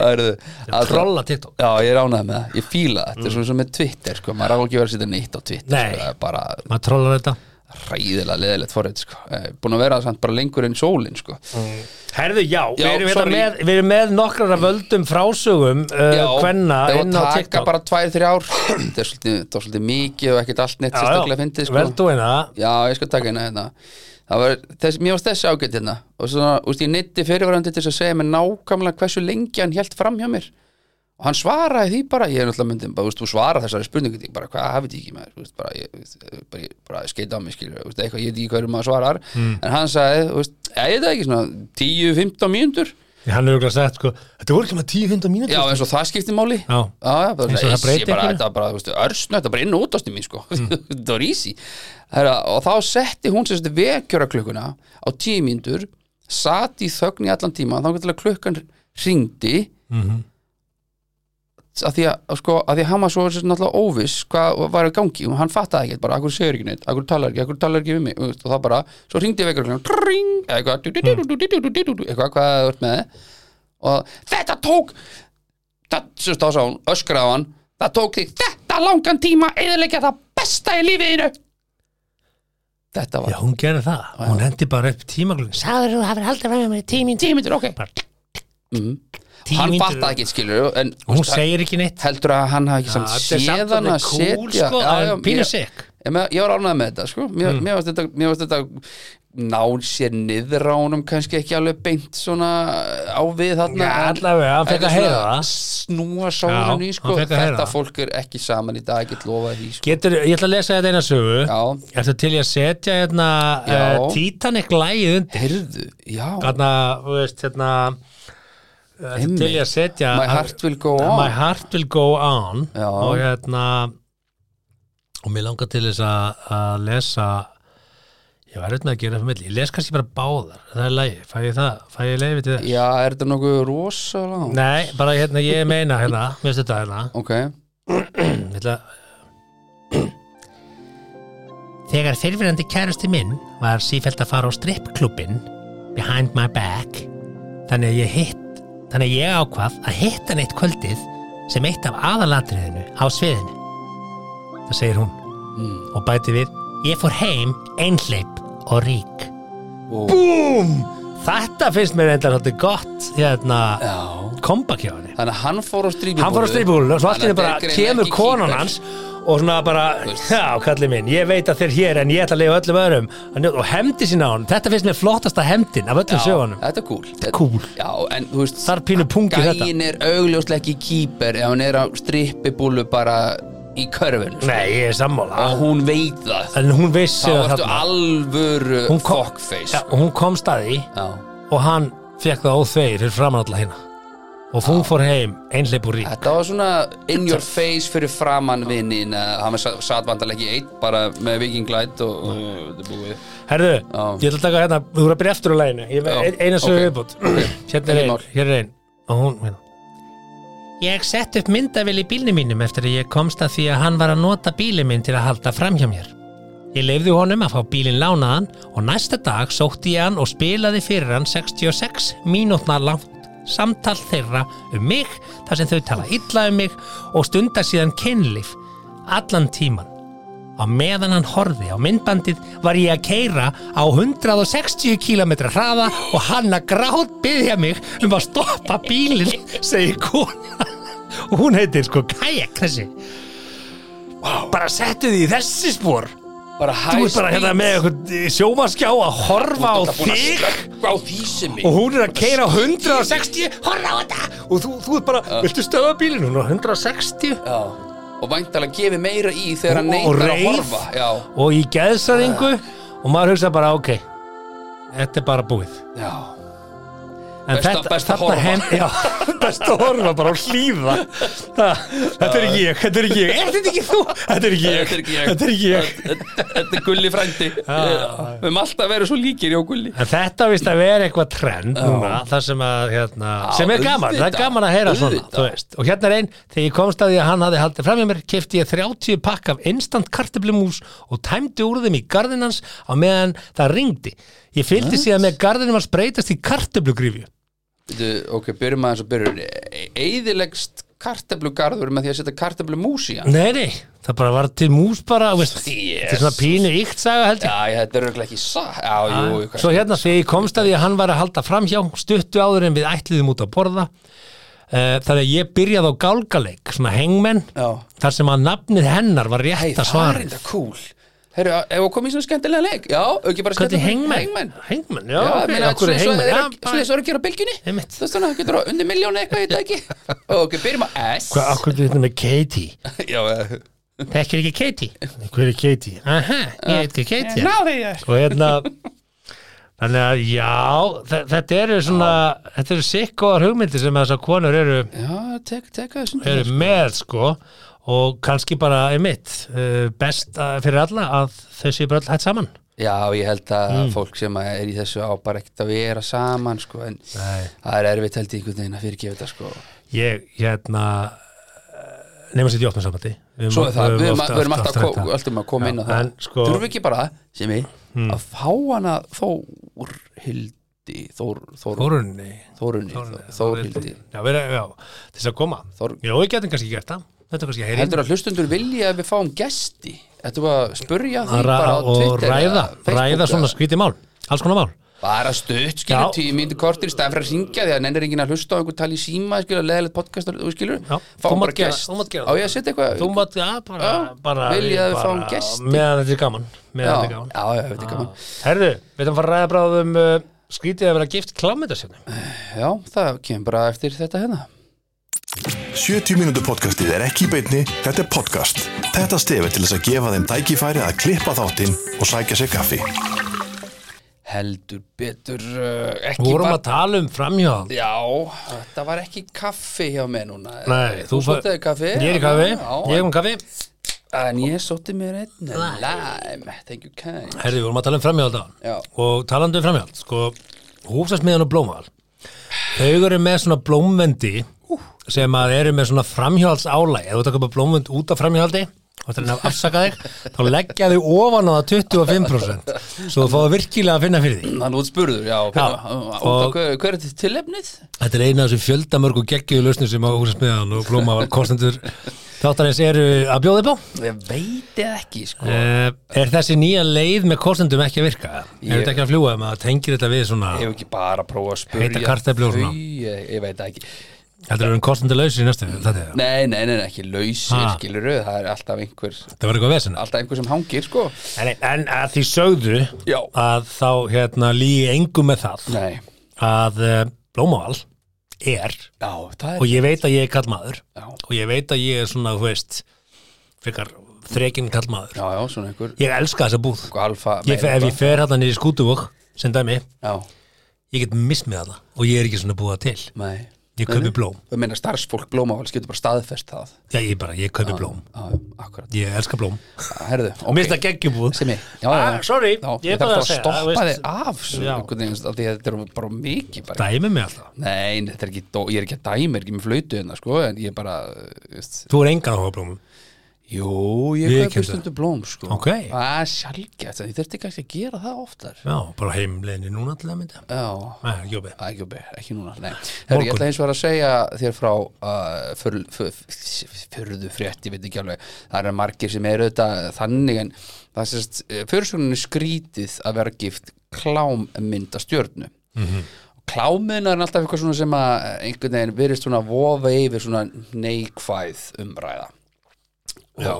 Speaker 2: Hörðu, að-
Speaker 3: Trolla TikTok
Speaker 2: Já, ég ránaði með það, ég fíla það, þetta er svona sem með Twitter sko, maður á ekki verið að setja neitt á Twitter
Speaker 3: Nei.
Speaker 2: sko, það er bara
Speaker 3: Maður trollar þetta
Speaker 2: ræðilega leðilegt forrið sko, Eh, búin að vera það samt bara lengur en sólin sko,
Speaker 3: Herðu, já,
Speaker 2: Já,
Speaker 3: við, erum hérna
Speaker 2: sorry.
Speaker 3: með, við erum með nokkrar af völdum frásögum uh, hvenna
Speaker 2: það var
Speaker 3: inn á
Speaker 2: taka
Speaker 3: TikTok
Speaker 2: bara tvær, þrjá
Speaker 3: [COUGHS]
Speaker 2: ár, þetta er svolítið, það var svolítið mikið og ekkert allt neitt sérstaklega fyndið sko,
Speaker 3: vel þú eina
Speaker 2: já, ég skal taka hérna hérna, það var, þess, mér varst þessi ágætt hérna, og svona, úst, ég neytti fyrirvarandi til þess að segja mér nákvæmlega hversu lengi hann hélt fram hjá mér, og hann svaraði því bara, ég er náttúrulega myndin bara, þú veist, þú svarar þessari spurningu, ég bara, hvað hafið þið ekki með, þú veist, bara, ég, bara, ég, bara skeita á mig, skilur, þú veist, eitthvað, ég veit ekki hverju maður svarar,
Speaker 3: Mm.
Speaker 2: en hann sagði, þú veist, ég veit það ekki, svona, 10-15 mínútur,
Speaker 3: Hann er auðvitað sagt, sko, þetta voru ekki maður 10-15 mínútur
Speaker 2: já, eins og það skipti máli,
Speaker 3: Já.
Speaker 2: já, já, bara,
Speaker 3: Eins og það Mm.
Speaker 2: easy,
Speaker 3: breyti
Speaker 2: bara,
Speaker 3: einhverju.
Speaker 2: þetta var bara, þú veist, örsnu, þetta var bara inn og útastu mín, sko, [LAUGHS] þetta var easy, Herra, og þá setti hún sérst vekjöraklökkuna á 10 mínútur, sat í þögn í allan tíma, þá getur klukkan hringdi,
Speaker 3: Mhm.
Speaker 2: að því að, að sko, að því að hann var svo svo náttúrulega óviss hvað var í gangi og hann fattaði ekkert bara, akkur segir ekki neitt, akkur talar ekki, akkur talar ekki við mig og það bara, svo ringdi vekkur tring, eitthvað, du- du- du- du- du- du- du- du- du- du- eitthvað, hvað það vart með og þetta tók það, svo þá sá hún, öskraði á hann það tók þig þetta langan tíma eðilegja það besta í lífiðinu þetta
Speaker 3: Já,
Speaker 2: var
Speaker 3: hún gerði það, hún hendi bara upp tímaglugin Sáður þú hafur haldið fram með mér í 10 mínútur
Speaker 2: tíu myndir, ok
Speaker 3: Bara tíu
Speaker 2: Mhm. hann
Speaker 3: mínútur.
Speaker 2: fattaði ekki, skilur en
Speaker 3: Hún segir ekki neitt
Speaker 2: heldur að hann hafi ekki
Speaker 3: Já,
Speaker 2: samt
Speaker 3: þetta er samt
Speaker 2: séð hann að
Speaker 3: alveg kúl,
Speaker 2: setja
Speaker 3: sko,
Speaker 2: Já, já,
Speaker 3: en pínu Mm.
Speaker 2: ég-
Speaker 3: sick.
Speaker 2: ég, með- ég var ánægð með þetta sko. mér, mér varst þetta, mér varst þetta nán sér niður á honum kannski ekki alveg beint svona á við þarna
Speaker 3: Já,
Speaker 2: en-
Speaker 3: allavega, hann fékk
Speaker 2: þetta
Speaker 3: að
Speaker 2: svona
Speaker 3: heyra það.
Speaker 2: snúa sárinu í
Speaker 3: Já,
Speaker 2: sko.
Speaker 3: hann fékk að heyra
Speaker 2: þetta
Speaker 3: það.
Speaker 2: fólk er ekki saman í dag ekki lofað því sko.
Speaker 3: Getur, ég ætla að lesa þetta eina sögu
Speaker 2: já,
Speaker 3: Ertu til ég að setja hérna
Speaker 2: Já.
Speaker 3: uh, Titanic lægið undir
Speaker 2: heyrðu, já
Speaker 3: Þarna, þú veist, hérna Ertu til ég að setja
Speaker 2: my heart will go on
Speaker 3: My heart will go on
Speaker 2: Já.
Speaker 3: og hérna og mér langar til þess að að lesa ég var auðvitað að gera það fyrir milli, ég les kannski bara báðar það er lægi, fæ ég það, fæ ég leiði til þess
Speaker 2: já, er þetta nokkuð rosalega
Speaker 3: Nei, bara hérna, ég meina hérna mér finnst þetta hérna
Speaker 2: ok,
Speaker 3: Ég ætla... Þegar fyrirverandi kærasti minn var sífælt að fara á strippklubin behind my back þannig að ég hitt þannig að ég ákvað að hitta hann eitt kvöldið sem eitt af aðalatriðinu á sviðinu það segir hún
Speaker 2: Hmm.
Speaker 3: og bæti við ég fór heim einhleip og rík
Speaker 2: Ó.
Speaker 3: BOOM Þetta finnst mér enda svolítið gott hérna
Speaker 2: já
Speaker 3: kompakjáni
Speaker 2: þannig að hann fór á strípubúlu
Speaker 3: hann fór á strýpúlun og svo allir bara kemur konan hans og svona bara,
Speaker 2: veist.
Speaker 3: já kalli minn ég veit að þér hér en ég ætla að leiða öllum öðrum að njóta- og hefndi sín á hann, þetta finnst mér flottasta hefndin af öllum sögunum
Speaker 2: þetta er cool þetta
Speaker 3: cool.
Speaker 2: já, en þú veist
Speaker 3: þar pínu pungi þetta
Speaker 2: gæin er augljóslega ekki kýper ef hann er á strippibúlu bara í körfinu sko.
Speaker 3: nei, ég er sammála
Speaker 2: og hún veit það
Speaker 3: en hún vissi
Speaker 2: þá
Speaker 3: það
Speaker 2: ertu
Speaker 3: þarna
Speaker 2: alvöru
Speaker 3: Hún kom-
Speaker 2: fuckface sko.
Speaker 3: Já, og hún kom staði
Speaker 2: Já.
Speaker 3: og hann fekk það óþvegir fyrir framan alla hérna og hún fór heim einhleip úr rík
Speaker 2: Þetta var svona in your face fyrir framann vinnin hann var sa- sat vandalega ekki eitt bara með vikinglætt og, og þetta er búið
Speaker 3: Herðu,
Speaker 2: Já.
Speaker 3: ég ætla að taka hérna, þú er að byrja eftir á læginu Ég-
Speaker 2: Já,
Speaker 3: ein- Eina
Speaker 2: ok.
Speaker 3: sögur viðbútt Hérna er
Speaker 2: Ekki
Speaker 3: ein,
Speaker 2: mál.
Speaker 3: hér er ein Og hún, hérna Ég sett upp myndavél í bílnum mínum eftir að ég komst að því að hann var að nota bílum minn til að halda fram hjá mér Ég leifði honum að fá bílinn lánaðan og næsta dag sótti ég hann og spilaði fyrir hann 66 mínútna langt samtal þeirra um mig þar sem þau tala illa um mig og stunda síðan kynlif allan tíman. Á meðan hann horfi á myndbandið var ég að keira á 160 km hraða og hann að grátt byggja mig um að stoppa bílinn, segir kona. Og hún heitir sko Kajak þessi. Bara settu því í þessi spór.
Speaker 2: bara
Speaker 3: Þú ert bara hérna með eitthvað sjómaskjá að horfa á þig
Speaker 2: á því sem
Speaker 3: og hún er að keira 160 horfa á þetta og þú, þú ert bara, viltu stöða bílinn hún er á 160
Speaker 2: já. og væntalega gefi meira í þegar hann
Speaker 3: Og- og
Speaker 2: neytar að
Speaker 3: reif.
Speaker 2: horfa já,
Speaker 3: og í geðsaðingu og maður hugsa bara, ok þetta er bara búið
Speaker 2: já,
Speaker 3: en
Speaker 2: Best að- best að horfa.
Speaker 3: já, [LAUGHS] best að horfa bara og
Speaker 2: [LAUGHS]
Speaker 3: hlýða Það- þetta er ekki ég, þetta er ekki ég er þetta ekki þú, þetta er ekki ég þetta er ekki ég
Speaker 2: Þetta- þetta er gulli frændi
Speaker 3: já.
Speaker 2: við erum alltaf að vera svo líkir já gulli
Speaker 3: En þetta vist að vera eitthvað trend núna, það sem að, hérna, sem er gaman, það er
Speaker 2: auðvitað,
Speaker 3: gaman að heyra svona,
Speaker 2: auðvitað.
Speaker 3: þú veist. Og hérna er einn, þegar ég komst að því að hann hafði haldið fram í mér, kefti ég 30 pakk af instant kartöflumús og tæmdi úr þeim í garðinn hans á meðan það ringdi. Ég fylgdi síðan með garðinum hans breytast í kartöflugrifju.
Speaker 2: Bíddu, ok, byrjum aðeins og byrjum eðilegst karteblugarður með því að setja karteblumús í hann
Speaker 3: Nei, nei, það bara var til mús bara, þú veist, þetta er svona
Speaker 2: Jesus.
Speaker 3: pínu ykt saga held ég.
Speaker 2: já, já, þetta er örugglega ekki sá já, jú, jú,
Speaker 3: Svo hérna þegar ég komst að því að hann var að halda framhjá stuttu áður en við ætliðum út að borða Eh, Þannig að ég byrjaði á gálgaleik, svona hengmenn
Speaker 2: Já.
Speaker 3: Þar sem að nafnið hennar var
Speaker 2: Hei, það
Speaker 3: rétta
Speaker 2: er
Speaker 3: svarið
Speaker 2: enda cool Herru, ef þú komið í svona skemmtilega leik Já, ekki bara
Speaker 3: Hvað er
Speaker 2: skemmtilega
Speaker 3: hengmenn?
Speaker 2: Hengmenn
Speaker 3: Hengmenn, já,
Speaker 2: Já,
Speaker 3: ok,
Speaker 2: meina,
Speaker 3: okkur er
Speaker 2: svo- svo
Speaker 3: hengmenn
Speaker 2: er
Speaker 3: Já,
Speaker 2: að- svo
Speaker 3: bara-
Speaker 2: er að gera á bylgjunni
Speaker 3: Einmitt.
Speaker 2: Þú veist þannig, getur á undir miljónu eitthvað, ég veit það ekki
Speaker 3: [LAUGHS]
Speaker 2: Ok, byrjum á S
Speaker 3: Hvað, okkur er þetta með Katie?
Speaker 2: Já, eh,
Speaker 3: Þekkir ekki Katie? Hver er Katie? Aha, ég veit ekki Katie er.
Speaker 2: náði ég
Speaker 3: Og hérna Þannig að já, þe- þetta eru svona, þetta eru sikkóar hugmyndir sem þessar konur eru
Speaker 2: Já, tek, tek að þessum
Speaker 3: eru með sko og kannski bara einmitt uh, best uh, fyrir alla að þau séu bara all hætt saman
Speaker 2: Já, ég held að
Speaker 3: Mm.
Speaker 2: fólk sem að er í þessu á bara ekkert að vera saman sko, en
Speaker 3: Nei.
Speaker 2: það er erfitt held ég einhvern veginn að fyrirgefa þetta sko.
Speaker 3: ég hérna eh, nema sér í opna samandi við
Speaker 2: Svo er það, við erum
Speaker 3: oft-
Speaker 2: að- við erum
Speaker 3: oft-
Speaker 2: alltaf
Speaker 3: oft
Speaker 2: að
Speaker 3: rætt
Speaker 2: ko-
Speaker 3: það.
Speaker 2: alltaf að koma
Speaker 3: Já,
Speaker 2: inn á það
Speaker 3: en sko- Hmm.
Speaker 2: Þurfum við ekki bara, sem ég, að fá hana Þórhildi Þór, Þór,
Speaker 3: Þórunni
Speaker 2: Þórunni, Þór- Þórhildi
Speaker 3: Já, við erum, já, til þess að koma
Speaker 2: Þór-
Speaker 3: Já, við getum kannski gert það Þetta er kannski að heyri
Speaker 2: Heldur að hlustundur vilja að við fáum gesti Þetta var að spurja því
Speaker 3: Ra
Speaker 2: bara á
Speaker 3: og
Speaker 2: Twitter
Speaker 3: ræða,
Speaker 2: eða Facebook
Speaker 3: ræða svona
Speaker 2: eða-
Speaker 3: skrítið mál alls konar mál
Speaker 2: Bara stutt, skilur,
Speaker 3: Já.
Speaker 2: tíu mínútur kortir í staðan fyrir að ringja því að nennir enginn að hlusta á einhver tali í síma, skilur, leðilegt podcast og- og skilur,
Speaker 3: Já, þú
Speaker 2: fáum
Speaker 3: mátt
Speaker 2: bara
Speaker 3: gera-
Speaker 2: gest
Speaker 3: þú mátt gera
Speaker 2: Á ég að setja eitthvað
Speaker 3: Þú mátt, já, bara,
Speaker 2: Já,
Speaker 3: bara
Speaker 2: vilja að við
Speaker 3: bara-
Speaker 2: fáum gesti.
Speaker 3: Meðan þetta er gaman Meðan
Speaker 2: Já,
Speaker 3: þetta er gaman
Speaker 2: já, já, þetta er gaman
Speaker 3: Herðu, við erum að fara að ræða bráðum uh, skrítið að vera gift klámyndasjöfnum.
Speaker 2: Já, það kemur bara eftir þetta hérna
Speaker 1: 70 mínútur podcastið er ekki í beinni, þetta er podcast. Þetta stefið til þess að gefa þeim tækifæri að klippa þáttinn og sækja sér kaffi.
Speaker 2: heldur betur uh, ekki
Speaker 3: Við vorum
Speaker 2: var,
Speaker 3: að tala um framhjóð.
Speaker 2: já, þetta var ekki kaffi hjá mér núna
Speaker 3: Nei,
Speaker 2: þú
Speaker 3: fær-
Speaker 2: sóttið kaffi
Speaker 3: Ég er í kaffi,
Speaker 2: já,
Speaker 3: ég er um kaffi.
Speaker 2: en ég sótti mér einn lime, thank you kind
Speaker 3: Herðu, við vorum að tala um framhjóð
Speaker 2: Já.
Speaker 3: þá. Og talandi um framhjóð, sko, húsasmiðan og blómaval. Þau eru með svona blómvendi sem að eru með svona framhjóðsálæg. Ef þú takkar bara blómvend út af framhjóðaldi og þannig að afsaka þig, þá leggja þau ofan á það 25% svo þú fáðu virkilega að finna fyrir því.
Speaker 2: hann út spurður, já, já
Speaker 3: og-
Speaker 2: og, hver, hver er þetta tilefnið?
Speaker 3: Þetta er eina af þessu fjöldamörgu geggjúðu lausnir sem á húsasmiðan og blómaval kostendur þáttarins eru að bjóða upp á.
Speaker 2: ég veit eða ekki, sko
Speaker 3: Uh, er þessi nýja leið með kostendum ekki að virka? Ég... Er þetta ekki að fljúa um að tengir þetta við svona
Speaker 2: ég hef ekki bara að prófa að spurja
Speaker 3: Heita kartöflu og svona.
Speaker 2: ég, ég veit það ekki
Speaker 3: Þetta er um kostendulegs í næstu þetta, er-
Speaker 2: nei, nei, nei, nei, ekki lausir,
Speaker 3: Ha.
Speaker 2: skiluru það er alltaf einhver,
Speaker 3: þetta var eitthvað vesen
Speaker 2: alltaf einhver sem hangir, sko
Speaker 3: en, en að því sögðu
Speaker 2: Já.
Speaker 3: að þá hérna, lígi engum með það
Speaker 2: nei,
Speaker 3: að uh, Blómaval er
Speaker 2: já, það er
Speaker 3: og ég veit að ég er kallmaður
Speaker 2: já,
Speaker 3: og ég veit að ég er svona, þú veist frekar þrekinn kallmaður
Speaker 2: já, já, svona einhver
Speaker 3: Ég elska þessa búð
Speaker 2: Sko, alfa
Speaker 3: ég, fer- Ef ég fer hérna niður í skútuvog sem dæmi,
Speaker 2: já,
Speaker 3: ég get mismið hana og ég er ekki svona búið til
Speaker 2: nei
Speaker 3: Ég
Speaker 2: Nei,
Speaker 3: kaupi
Speaker 2: nei.
Speaker 3: blóm
Speaker 2: Ég meina starfsfólk blómaváls getur bara staðfest það
Speaker 3: Já, ég bara, ég kaupi blóm
Speaker 2: Já, já, akkurat
Speaker 3: Ég elska blóm
Speaker 2: Herðu,
Speaker 3: Og mér finnst það geggjubúð
Speaker 2: Sem ég, já, já, já.
Speaker 3: Ah, sorry,
Speaker 2: já,
Speaker 3: ég
Speaker 2: Ég þarf bara
Speaker 3: bara að
Speaker 2: að
Speaker 3: segja,
Speaker 2: stoppa
Speaker 3: það,
Speaker 2: þig
Speaker 3: veist.
Speaker 2: af svo
Speaker 3: Já.
Speaker 2: einhvern veginn, af Því að þetta eru bara mikið bara.
Speaker 3: Dæmi mig alltaf
Speaker 2: Nei, þetta er ekki, dó- ég er ekki að dæmi, ég er ekki með flautu hérna sko En ég bara, þú veist
Speaker 3: Þú er engan áhuga á blómum
Speaker 2: Jú, ég,
Speaker 3: Ég
Speaker 2: ég kaupi
Speaker 3: kenndi.
Speaker 2: stundum blóm sko
Speaker 3: Ok.
Speaker 2: Það er sjálfgætt, ég þurfti kannski að gera það oftar
Speaker 3: Já, bara heimleginni núna til að mynda
Speaker 2: Já,
Speaker 3: Nei, ekki opið
Speaker 2: Æ, ekki, opið, ekki núna nei. Herru, ég
Speaker 3: Morgun.
Speaker 2: ætla eins og var að segja þér frá uh, fyrðu frétt ég veit ekki alveg, það eru margir sem eru þetta þannig en það er sérst fyrirsögninni skrítið að vera gift klámmyndastjörnu mm
Speaker 3: Mhm.
Speaker 2: -hmm. klámyndar er alltaf eitthvað svona sem að eh, einhvern veginn virðist svona vofa yfir svona neikvæð umræða
Speaker 3: Já,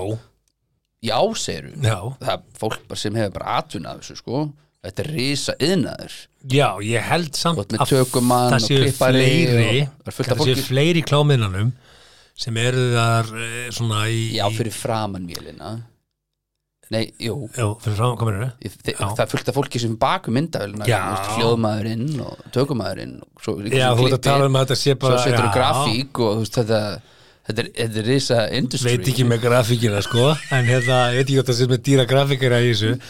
Speaker 2: já, segir
Speaker 3: já,
Speaker 2: það er fólk bara sem hefur bara atvinnað þessu sko þetta er risa yðnaður
Speaker 3: já, ég held
Speaker 2: Og
Speaker 3: samt
Speaker 2: með tökumann
Speaker 3: það
Speaker 2: og
Speaker 3: séu
Speaker 2: klippari
Speaker 3: fleiri
Speaker 2: og- Það er fullt af
Speaker 3: það séu
Speaker 2: fólki.
Speaker 3: fleiri klámiðnanum sem eru þar eh, svona í
Speaker 2: Já, fyrir framan vélina Nei, jú
Speaker 3: í- Já, fyrir frá kominu
Speaker 2: ég- þe-
Speaker 3: Já.
Speaker 2: Það er fullt af fólki sem baku myndavélina
Speaker 3: Já.
Speaker 2: Hljóðmaðurinn og tökumæðurinn og svo, líka
Speaker 3: Já,
Speaker 2: sem
Speaker 3: þú ert að
Speaker 2: klippir,
Speaker 3: tala um að þetta sé bara
Speaker 2: Svo setur
Speaker 3: já,
Speaker 2: þú grafík og þú veist þetta Þetta er, þetta er risa industry
Speaker 3: Veit ekki með grafíkina sko En hérna, ég veit ekki hvað það sem er dýra grafíkina í þessu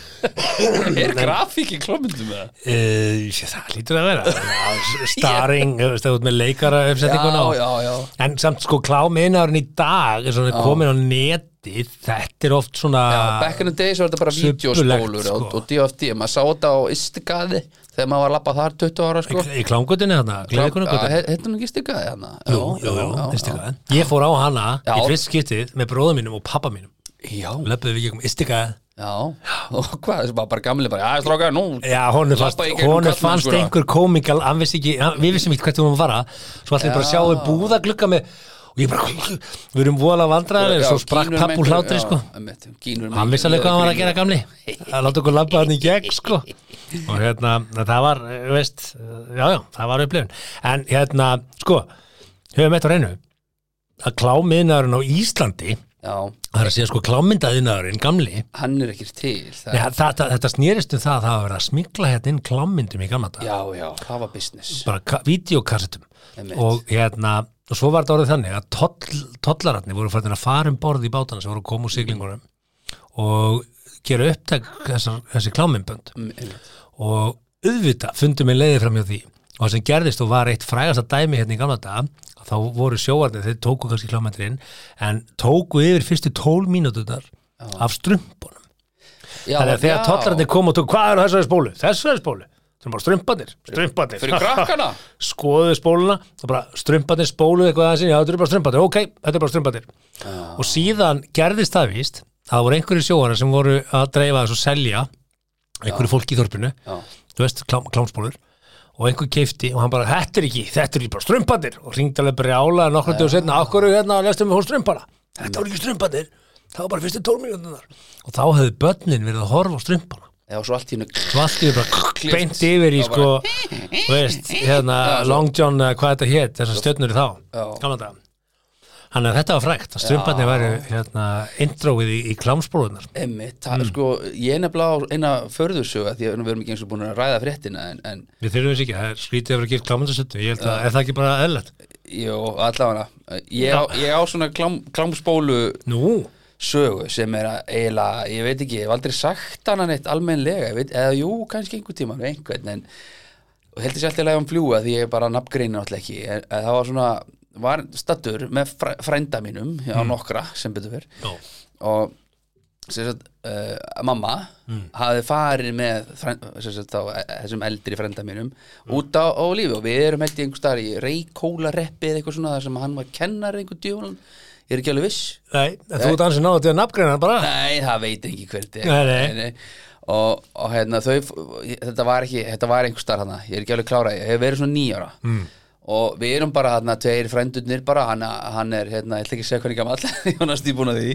Speaker 2: Er grafík í klómyndum með það?
Speaker 3: Uh, það lítur að vera Já, starring, þú veist, það út með leikara uppsetninguna
Speaker 2: Já,
Speaker 3: og-
Speaker 2: já, já.
Speaker 3: en samt sko klámiðnaðurinn í dag er svona komin á netið þetta er oft svona
Speaker 2: Já, back in the days var þetta bara
Speaker 3: subbulegt,
Speaker 2: vídeospólur
Speaker 3: sko.
Speaker 2: og, og DFD, maður sá þetta á Istigaði þegar maður var að labba þar 20 ára sko.
Speaker 3: í klámgötunni þarna, gleðikonagötunni
Speaker 2: Hérna nú ekki Istigaði hérna
Speaker 3: ég fór á hana
Speaker 2: Já.
Speaker 3: í fyrst skiptið með bróðum mínum og pappa mínum
Speaker 2: Já,
Speaker 3: löpuðu við gegnum istikaði
Speaker 2: já, og hvað, þessi bara, bara gamli bara, já, stráka, nú
Speaker 3: Já, honum fannst,
Speaker 2: Labbaði í gegnum sko.
Speaker 3: honum fannst
Speaker 2: karlmennskuna.
Speaker 3: einhver komikal hann vissi ekki, hann, við vissum ekki hvert við vorum að fara svo allir bara sjáum við búðaglugga með og ég bara, við erum vola vandræðar en
Speaker 2: Já,
Speaker 3: svo sprakk
Speaker 2: gínur
Speaker 3: papp
Speaker 2: með
Speaker 3: úr
Speaker 2: einhver-
Speaker 3: hlátri
Speaker 2: já,
Speaker 3: sko
Speaker 2: einmitt, gínur með
Speaker 3: hann vissi alveg
Speaker 2: einhver-
Speaker 3: hvað hann var að gera gamli að láta okkur labba hann í gegn sko og hérna, það var eh, veist, eh, já já, það var upplifun en hérna, sko höfum eitt á reynu að klámiðnaðurinn á Íslandi
Speaker 2: Já,
Speaker 3: það er að segja sko klámyndaðinaðurinn gamli
Speaker 2: hann er ekki til það,
Speaker 3: Nei, þetta, þetta snýrist um það að það hafa verið að smikla hérna inn klámyndum í gamla dag
Speaker 2: Já, já, það var business
Speaker 3: bara ka- videokassetum
Speaker 2: Einmitt.
Speaker 3: og hérna og svo var þetta orðið þannig að toll, tollararnir voru færdin að fara um borð í bátana sem voru að koma úr siglingunum og gera upptæk þessar, þessi klámyndbönd
Speaker 2: Mm, einmitt.
Speaker 3: og auðvita fundum við leiðið fram hjá því og það sem gerðist og var eitt frægasta dæmi hérna í gamla dag að þá voru sjóarnir, þeir tóku kannski klámyndurinn en tóku yfir fyrstu tól mínúturnar af strumpunum
Speaker 2: já,
Speaker 3: Þannig að þegar
Speaker 2: já.
Speaker 3: tollarnir komu og tók, hvað er á þessari spólu? Þessari spólu? Það er bara strumpanir, strumpanir.
Speaker 2: Fyrir
Speaker 3: [LAUGHS]
Speaker 2: krakkana?
Speaker 3: Skoðuðu spóluna og bara strumpanir spóluðu eitthvað aðeins inn, já þetta eru bara strumpanir, ok, þetta eru bara strumpanir. Og síðan gerðist það víst, að það voru einhverju sjóara sem voru að dreifa þessu og selja einhverju fólki í þorpinu,
Speaker 2: Já.
Speaker 3: þú veist, klám, klámspólur og einhver keifti og hann bara, þetta er ekki, þetta er ekki bara strumpanir og ringd alveg brjála nokkrum dögum setna, okkur er hérna að lesta með hún strumpana þetta voru ekki strumpanir, það var bara fyrstu tólmíðunar og þá hefðu börnin verið að horfa á strumpana
Speaker 2: Já, svo allt í hennu
Speaker 3: svo allt yfir bara beint yfir í [LAUGHS] sko, þú veist, hérna Long John, eða hvað þetta hétt, þessar stjörnur í þá
Speaker 2: Já.
Speaker 3: gaman þetta Þannig að þetta var frægt, að strumpanir væri hérna, introið í, í klámspólunar
Speaker 2: Emmitt,
Speaker 3: Mm.
Speaker 2: það, sko, ég er nefnilega á eina förðursöga því að nú, við erum ekki eins og búin að ræða fréttina en, en
Speaker 3: Við þurfum þess ekki, það er skrítið að vera gift klámyndarsötu, ég held að, er það ekki bara eðlætt?
Speaker 2: jú, allavega ég, á- ég á svona klám, klámspólu
Speaker 3: Nú,
Speaker 2: sögu sem er að eiginlega, ég veit ekki, ég hef aldrei sagt hana neitt almennlega, ég veit, eða jú, kannski einhvern tíma, einhvern, en og heldur sér alltaf að um fljúa því ég bara nafngreinu náttúrulega ekki, en, en það var svona var stattur með fræ, frænda mínum á nokkra, sem betur fyrr
Speaker 3: Já.
Speaker 2: og sem sagt, uh, mamma hafði farið með frænd, sem sagt, á, eh, þessum eldri frænda mínum út á, á lífi og við erum held í einhver staðar í reykólareppi eða eitthvað svona þar sem hann var kennari einhver djúlan, ég er ekki alveg viss
Speaker 3: Nei, en þú ert ansið náðu til að nafngreina hann bara
Speaker 2: Nei, það veit ekki hver þetta
Speaker 3: Nei,
Speaker 2: er
Speaker 3: nei.
Speaker 2: Og, og hérna þau þetta var ekki, þetta var einhver starf hana ég er ekki alveg klárað, ég hef verið svona nýjára mm. og við erum bara hérna tveir frendurnir bara, hann, hann er hérna ég ætla ekki að segja hvernig gamall, [LAUGHS] hann er stíbúna því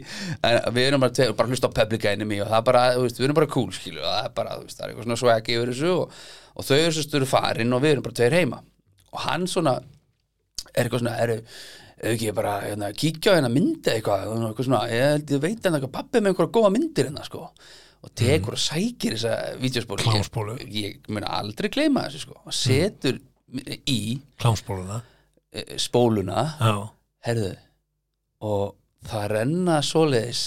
Speaker 2: en við erum bara tveir, bara hlusta á public enemy og það er bara, þú veist, við erum bara cool skilu og það er bara, þú veist, það er eitthvað svona swag yfir þessu og, og þau eru svo störu farin og við erum bara tveir heima og hann svona er eitthvað svona, eru ef ekki bara hérna, kíkja á hérna myndi eitthvað, og eitthvað svona, ég held ég veit hérna eitthvað pappi með einhverja góða myndir hérna sko og tekur og sækir þessa vídeospólu
Speaker 3: Klámspólu.
Speaker 2: ég, ég mun aldrei gleyma þessu sko og setur í
Speaker 3: Klámspóluna
Speaker 2: e, spóluna
Speaker 3: Já,
Speaker 2: herðu og það renna svoleiðis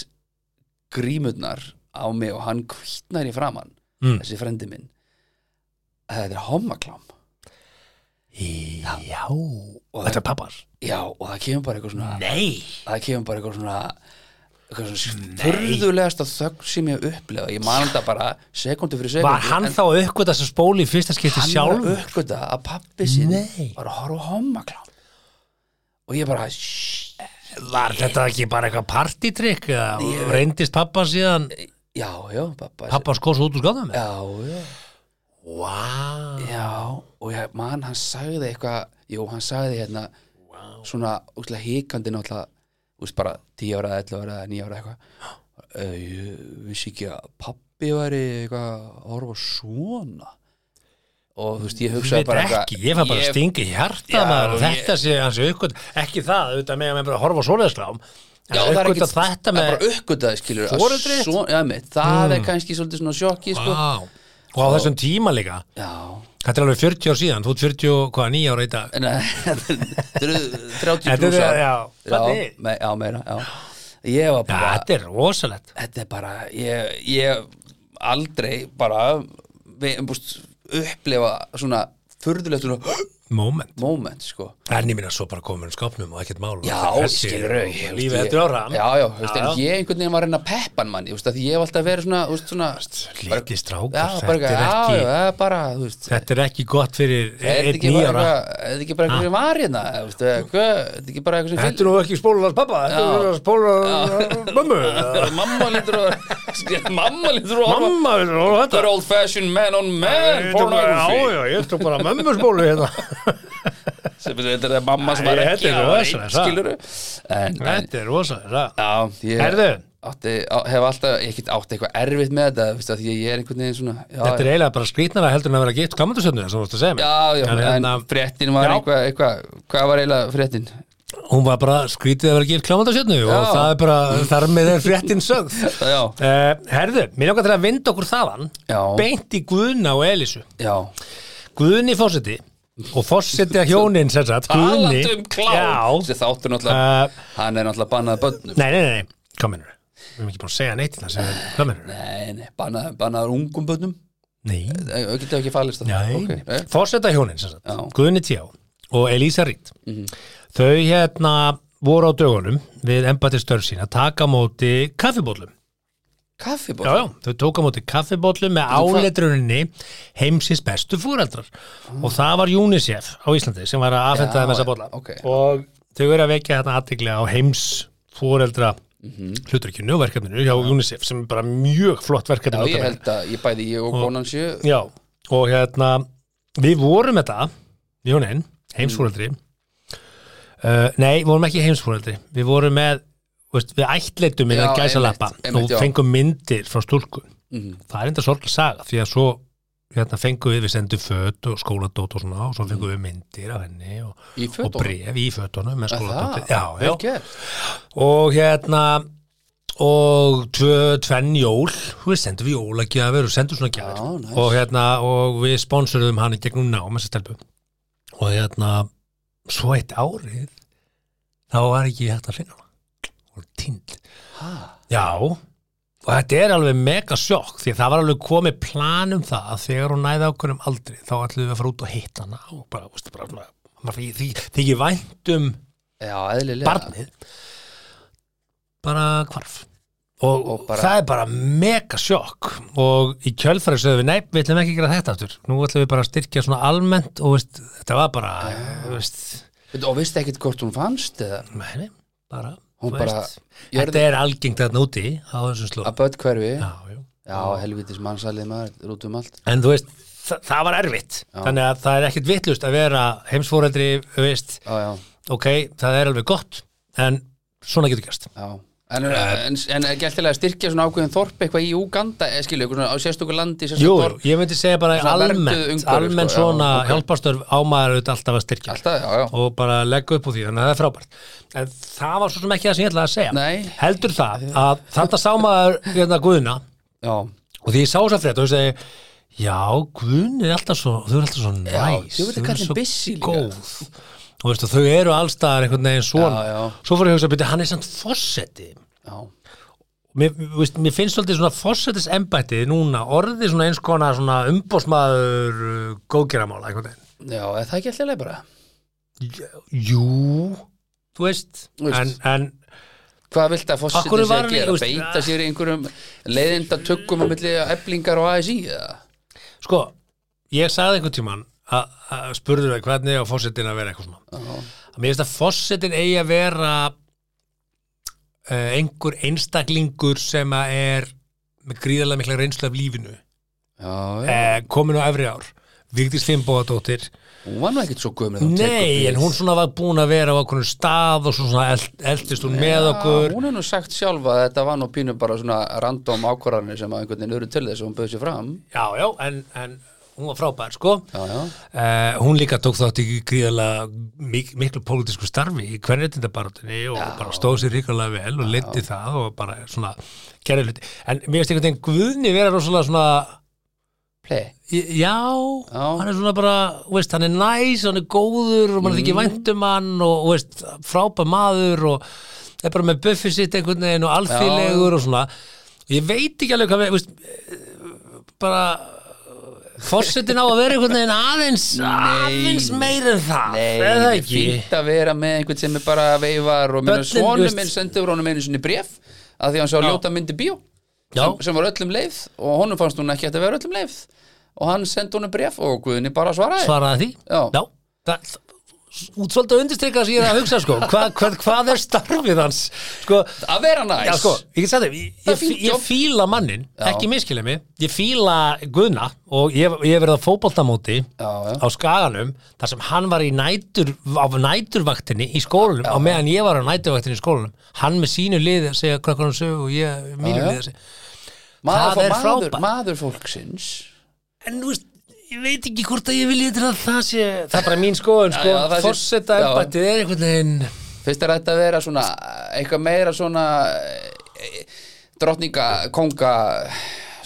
Speaker 2: grímurnar á mig og hann kvítnar í framann
Speaker 3: Mm.
Speaker 2: þessi frendi minn að þetta er homaklám
Speaker 3: já Þetta er pappas
Speaker 2: já og það kemur bara eitthvað svona
Speaker 3: Nei,
Speaker 2: það kemur bara eitthvað svona fyrðulegasta þögn sem ég hef upplegað ég man þetta bara sekundu fyrir sekundu
Speaker 3: Var hann þá aukvitað sem spóli í fyrsta skipti
Speaker 2: hann
Speaker 3: sjálf?
Speaker 2: var aukvitað að pappi sín
Speaker 3: Nei.
Speaker 2: var að horfa á hommaklám og ég bara "Shh,
Speaker 3: Var þetta ekki bara eitthvað partytrykk eða reyndist pappa síðan
Speaker 2: já, já, pappa
Speaker 3: pappa skós út úr skáðum með?
Speaker 2: já, já,
Speaker 3: Vá,
Speaker 2: já og ég man hann sagði eitthvað jú, hann sagði hérna svona útla hikandi náttúrulega úst bara 10 ára, 11 ára, 9 ára eitthvað "Eh, ég vissi ekki að pappi væri eitthvað að horfa á svona og þú veist, ég
Speaker 3: þú
Speaker 2: hugsaði
Speaker 3: veit
Speaker 2: bara
Speaker 3: ekki, ég fann bara
Speaker 2: Ég-
Speaker 3: stingi hjarta
Speaker 2: Já,
Speaker 3: maður og
Speaker 2: ég-
Speaker 3: þetta sé hans aukvitað, ekki það, auðvitað með að með bara horfa á svoleiðslám,
Speaker 2: Já, það er
Speaker 3: en
Speaker 2: ekki
Speaker 3: aukvitað þetta með,
Speaker 2: bara uppgötaði skilur að
Speaker 3: Foreldrið? Mm.
Speaker 2: svo- já, mitt, það er kannski svolítið svona sjokki sko.
Speaker 3: Vá. og á þessum tíma líka,
Speaker 2: já,
Speaker 3: þetta er alveg 40 ár síðan, þú ert 40, og hvað, 9 ára í dag,
Speaker 2: en að- [LAUGHS] þetta eru 30
Speaker 3: Þetta eru-
Speaker 2: plussar
Speaker 3: já,
Speaker 2: já,
Speaker 3: þannig.
Speaker 2: me, já, meira já. ég var
Speaker 3: Já,
Speaker 2: bara,
Speaker 3: þetta er rosalegt,
Speaker 2: þetta er bara ég, ég aldrei bara við, búst, upplefa svona furðulegt svona
Speaker 3: moment,
Speaker 2: moment sko
Speaker 3: en ég minna svo bara komur um skápnum og ekkert mál, og
Speaker 2: Já,
Speaker 3: þetta er þessi-
Speaker 2: skilur
Speaker 3: og lífið þetta er á ram,
Speaker 2: Já, já, veist, en ég einhvern veginn var að reyna að peppan mann Ég veist að því ég hef alltaf verið svona, þú veist, svona
Speaker 3: Lítið strákar,
Speaker 2: Já,
Speaker 3: þetta
Speaker 2: bara,
Speaker 3: er
Speaker 2: já,
Speaker 3: ekki-
Speaker 2: já, það er bara, þú veist
Speaker 3: þetta er ekki gott fyrir
Speaker 2: Er þetta
Speaker 3: einn
Speaker 2: ekki bara
Speaker 3: nýjára
Speaker 2: eitthvað- er þetta ekki bara eitthvað sem var hérna? eða, veistu, eða hvað, Er þetta ekki bara eitthvað sem
Speaker 3: Þetta er nú ekki spólunar pappa, þetta
Speaker 2: Já.
Speaker 3: er nú spólunar mömmu
Speaker 2: fylgir? [LAUGHS] Mamma lítur að [LAUGHS] Mamma lítur að horfa-
Speaker 3: Mamma, þetta er nú
Speaker 2: Þetta
Speaker 3: þetta
Speaker 2: er old fashioned man on man
Speaker 3: Ég tók bara- Já,
Speaker 2: pornography
Speaker 3: já, ég tók bara mömmu spólu hérna
Speaker 2: [LAUGHS] Sem betur, Þetta er það mamma sem var
Speaker 3: Æ,
Speaker 2: ekki
Speaker 3: þetta er
Speaker 2: að
Speaker 3: rosa,
Speaker 2: veit,
Speaker 3: það.
Speaker 2: skilurðu? En, en
Speaker 3: Þetta er rosalega
Speaker 2: Já, ég
Speaker 3: Herðu.
Speaker 2: átti, á, hef alltaf, ég get átti eitthvað erfitt með þetta veistu, af Því að ég er einhvern veginn svona já,
Speaker 3: Þetta er eiginlega bara skrýtnara heldur en að vera gitt kamandusöndu sem þú vorst að segja mér
Speaker 2: Já, já,
Speaker 3: en,
Speaker 2: en,
Speaker 3: hérna,
Speaker 2: fréttin var
Speaker 3: Já.
Speaker 2: eitthvað, eitthvað Hvað var eiginlega fréttin?
Speaker 3: Hún var bara skrýtið að vera gitt kamandusöndu og
Speaker 2: Já.
Speaker 3: það er bara, þar með er fréttin sögð
Speaker 2: [LAUGHS] Já,
Speaker 3: uh, Herðu, mér langar til að vinda okkur þaðan
Speaker 2: Já.
Speaker 3: Beint í Guðna og Elísu
Speaker 2: já,
Speaker 3: Guðni fósiti og fósiti að hjónin sem sagt, Guðni
Speaker 2: Talandi um klám
Speaker 3: Já,
Speaker 2: Þessi þáttur náttúrulega,
Speaker 3: Eh,
Speaker 2: hann er náttúrulega bannað bönnum
Speaker 3: Nei, nei, nei, nei, hvað mennur Við erum ekki búin að segja neitt til það sem- Hvað mennur
Speaker 2: Nei, nei, bannaður bannað ungum bönnum
Speaker 3: Nei,
Speaker 2: Það getur ekki falist að
Speaker 3: nei
Speaker 2: Ok, eh,
Speaker 3: Fórseta hjónin, sem
Speaker 2: Já. Mhm.
Speaker 3: sagt, Guðni Tjá og Elísa Rít Þau hérna voru á dögunum við embættistörf sín að taka á móti kaffibóllum
Speaker 2: Kaffiból
Speaker 3: Já, já, þau tók á móti kaffibóllum með
Speaker 2: hvað-
Speaker 3: áletruninni heimsins bestu fóreldrar og það var UNICEF á Íslandi sem var að afhenda
Speaker 2: Já,
Speaker 3: þeim þessa
Speaker 2: já,
Speaker 3: bólla
Speaker 2: ok.
Speaker 3: og þau eru að vekja þetta aðteglega á heims fóreldra
Speaker 2: Mhm.
Speaker 3: hluturkinu og verkefninu hjá UNICEF sem er bara mjög flott verkefni
Speaker 2: Já,
Speaker 3: notabene.
Speaker 2: ég held að ég bæði ég og konan séu
Speaker 3: Já, og hérna við vorum þetta Jónin,
Speaker 2: Mhm.
Speaker 3: heimsfóreldri uh, Nei, vorum ekki heimsfóreldri Við vorum með, þú veist, við ættleitum innan
Speaker 2: Já,
Speaker 3: gæsalappa
Speaker 2: einmitt, einmitt,
Speaker 3: og
Speaker 2: já.
Speaker 3: fengum myndir frá stúlku
Speaker 2: mhm,
Speaker 3: Það er enda sorglega saga því að svo hérna, fengum við, við sendum föt og skóladót og svona og svo fengum við myndir af henni og,
Speaker 2: Í
Speaker 3: og
Speaker 2: Mm. fötunum?
Speaker 3: bref í fötunum með skóladóti
Speaker 2: Það,
Speaker 3: Já, já,
Speaker 2: vel gert
Speaker 3: og hérna og tvö, tvenn jól við sendum við jólagjafir og sendum svona gjafir
Speaker 2: Já, næs.
Speaker 3: og hérna og við sponsoruðum hann í gegnum nám þessa stelpu og hérna svo eitt árið þá var ekki hægt að finna hana og tínd
Speaker 2: Ha,
Speaker 3: já og þetta er alveg mega sjokk því að það var alveg komið plan um það að þegar hún næði ákveðnum aldri þá ætlum við að fara út og hitta hana og bara, veist, bara, bara maður þykir- þykir þykir vænt um
Speaker 2: Já, eðlilega
Speaker 3: barnið bara hvarf og,
Speaker 2: Og bara-
Speaker 3: það er bara mega sjokk og í kjölfæri sögðum við nei, við ætlum ekki að gera þetta aftur nú ætlum við bara að styrkja svona almennt og veist, þetta var bara þú veist,
Speaker 2: Veitu, Og veistu ekkert hvort hún fannst eða
Speaker 3: meni, bara,
Speaker 2: Hún
Speaker 3: þú
Speaker 2: bara-
Speaker 3: veist,
Speaker 2: Jörðin-
Speaker 3: þetta er algengt þarna úti á þessum slóð
Speaker 2: Að börn hverfi
Speaker 3: já, já.
Speaker 2: Já, helvitis mannsalið maður Rútum um allt
Speaker 3: en þú veist, það, það var erfitt þannig að það er ekkert vittlust að vera heimsfóreldri, þú veist,
Speaker 2: Já, já,
Speaker 3: ok það er alveg gott, en svona getur gerst
Speaker 2: já En,
Speaker 3: Eh.
Speaker 2: en, en er gæltilega að styrkja svona ákveðin þorp eitthvað í Úganda, eh, skilu, eitthvað svona á sérstöku landi
Speaker 3: Jú,
Speaker 2: sérstöku þorp,
Speaker 3: ég myndi segja bara
Speaker 2: Svona vernduð
Speaker 3: almennt,
Speaker 2: umhverfi,
Speaker 3: almennt
Speaker 2: sko, já,
Speaker 3: svona
Speaker 2: ok.
Speaker 3: hjálpastörf á maður auðvitað alltaf að styrkja
Speaker 2: alltaf, já, já
Speaker 3: og bara leggja upp úr því, þannig að það er frábært en það var svo sem ekki það sem ég ætlaði að segja
Speaker 2: Nei.
Speaker 3: heldur það að þetta sá maður hérna guðuna
Speaker 2: Já,
Speaker 3: og því ég sá þess að frétt og ég segi já, guðun er alltaf svo þau eru alltaf svo næs,
Speaker 2: þau veit hvað þeim busy líka.
Speaker 3: góð og veistu, þau eru allstaðar einhvern veginn svona
Speaker 2: Já, já.
Speaker 3: svo fór ég að hugsa, byrja, hann er samt fósetti
Speaker 2: já,
Speaker 3: mér, veist, mér finnst svolítið svona fórsetis embættið núna orðið svona eins konar svona umbósmaður góðgeramála einhvern veginn.
Speaker 2: já, er það ekki alltaf bara
Speaker 3: Jú, þú veist,
Speaker 2: Þú veist.
Speaker 3: En, en
Speaker 2: Hvað vilt að
Speaker 3: Af hverju
Speaker 2: fósitin sé
Speaker 3: var
Speaker 2: að
Speaker 3: hann í-
Speaker 2: gera?
Speaker 3: þú veist,
Speaker 2: Beita sér í einhverjum leiðinda tökum á milli eblingar og ASI eða?
Speaker 3: Sko, ég sagði einhvern tímann að að spurður það hvernig á fósettin að vera eitthvað svona að mér finnst að fósettin eigi að vera uh, einhver einstaklingur sem að er með gríðarlega mikla reynslu af lífinu
Speaker 2: Já, já,
Speaker 3: uh, komin á efri ár Vigdís Fimboðadóttir
Speaker 2: hún var nú ekkit svo gömur
Speaker 3: Nei, en hún svona var búin að vera á okkur stað og svo svona eld, eldist hún með okkur
Speaker 2: Hún er nú sagt sjálfa að þetta var nú pínu bara svona random ákvarðanir sem að einhvern veginn eru til þess að hún bauð sér fram
Speaker 3: Já, já, en, en hún var frábær, sko
Speaker 2: Já, já,
Speaker 3: Uh, hún líka tók þátt í gríðalega mik miklu pólitísku starfi í hvernetindabarotinni og bara stóð sér ríkulega vel og leyti það og bara svona gerði hluti. En mér finnst einhvern veginn Guðni vera rosalega svona,
Speaker 2: play
Speaker 3: já,
Speaker 2: Já.
Speaker 3: hann er svona bara, þú veist, hann er næs, hann er góður og mann er ekki
Speaker 2: Mm.
Speaker 3: væntum hann og, þú veist, frábær maður og er bara með buffi sitt einhvern veginn og alþýlegur og svona. Ég veit ekki alveg hvað, við- þú veist, eh, bara... Forsetin á að vera einhvern veginn aðeins aðeins meir en það
Speaker 2: Nei,
Speaker 3: er það
Speaker 2: það er
Speaker 3: ekki
Speaker 2: fínt að vera með einhvern sem er bara veifar og minna
Speaker 3: Börnin, þú
Speaker 2: svonu
Speaker 3: veist-
Speaker 2: minn sendur honum einu sinni bref að því hann sá ljóta myndi bíó
Speaker 3: Já.
Speaker 2: sem, sem var öllum leið og honum fannst hún ekki að þetta vera öllum leið og hann sendi honum bref og Guðni bara svaraði
Speaker 3: svaraði því
Speaker 2: Já.
Speaker 3: Já. Það, út svolítið að undirstrika sem ég er að hugsa sko. Hva, hvað, hvað er starfið hans sko,
Speaker 2: að vera næs
Speaker 3: Já, sko, ég get sagt þér, ég,
Speaker 2: Það er
Speaker 3: ég,
Speaker 2: fínt
Speaker 3: ég
Speaker 2: jobb.
Speaker 3: fíla mannin,
Speaker 2: Já.
Speaker 3: ekki miskilega mig, ég fíla Guðna og ég, ég hef verið á fótboltamóti
Speaker 2: Já, já.
Speaker 3: á Skaganum, þar sem hann var í nætur, á næturvaktinni í skólanum, á meðan ég var á næturvaktinni í skólanum, hann með sínu liði að segja krökkunum sögu og ég mínu
Speaker 2: Já, já.
Speaker 3: liði að segja.
Speaker 2: maður,
Speaker 3: það er
Speaker 2: maður,
Speaker 3: frábært.
Speaker 2: maður fólksins
Speaker 3: En þú veist, ég veit ekki hvort að ég vilja til að það sé, það er bara mín skoðun,
Speaker 2: Já,
Speaker 3: sko,
Speaker 2: já, það sé-
Speaker 3: forseta
Speaker 2: já.
Speaker 3: embættið er einhvern veginn,
Speaker 2: fyrst er þetta að vera svona eitthvað meira svona eh, drottninga, konga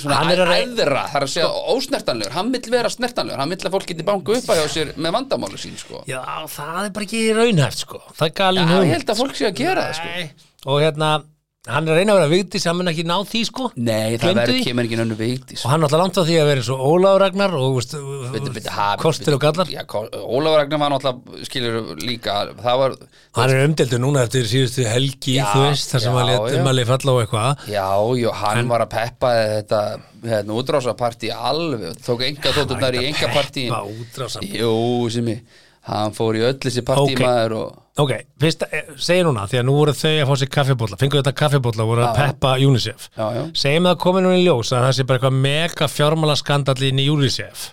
Speaker 2: svona
Speaker 3: Hann er að rey- Sko-
Speaker 2: æðra það er að segja ósnertanlegur, hann vill vera snertanlegur hann vill að fólk geti banku upp að hjá sér með vandamáli sín sko.
Speaker 3: já, það er bara ekki raunhæft, sko, það er galin
Speaker 2: Já,
Speaker 3: hugmynd.
Speaker 2: ég held að fólk sé að gera það sko.
Speaker 3: Nei. og hérna hann er að reyna að vera vigtis, hann mun ekki ná því sko
Speaker 2: Nei, það
Speaker 3: Gleymdu
Speaker 2: verður
Speaker 3: því.
Speaker 2: kemur ekki nönnu sko. veiktis
Speaker 3: og hann er alltaf langt á því að vera svo Ólaður Ragnar og veist, uh, kostir og gallar
Speaker 2: já, ko- Ólafur Ragnar var náttúrulega skilur líka það var,
Speaker 3: hann er umdeldur núna eftir síðustu helgi
Speaker 2: Já,
Speaker 3: þú veist, þar sem
Speaker 2: já,
Speaker 3: hann
Speaker 2: já.
Speaker 3: létt umhalið falla á eitthvað
Speaker 2: já, jú, hann var að peppa þetta, þetta útrásapartí alveg, tók enga þóttunar í enga partí
Speaker 3: Peppa útrásam.
Speaker 2: Jú, Simmi, hann fór í öll þessi partí
Speaker 3: Ok.
Speaker 2: maður og
Speaker 3: ok, fyrst, eh, segir núna, því að nú voru þau að fá sér kaffibólla, fengu þetta kaffibólla og voru að
Speaker 2: Já, já.
Speaker 3: peppa UNICEF
Speaker 2: Já, já.
Speaker 3: segjum það komið núna í ljós að það sé bara eitthvað mega fjármálaskandall inn í UNICEF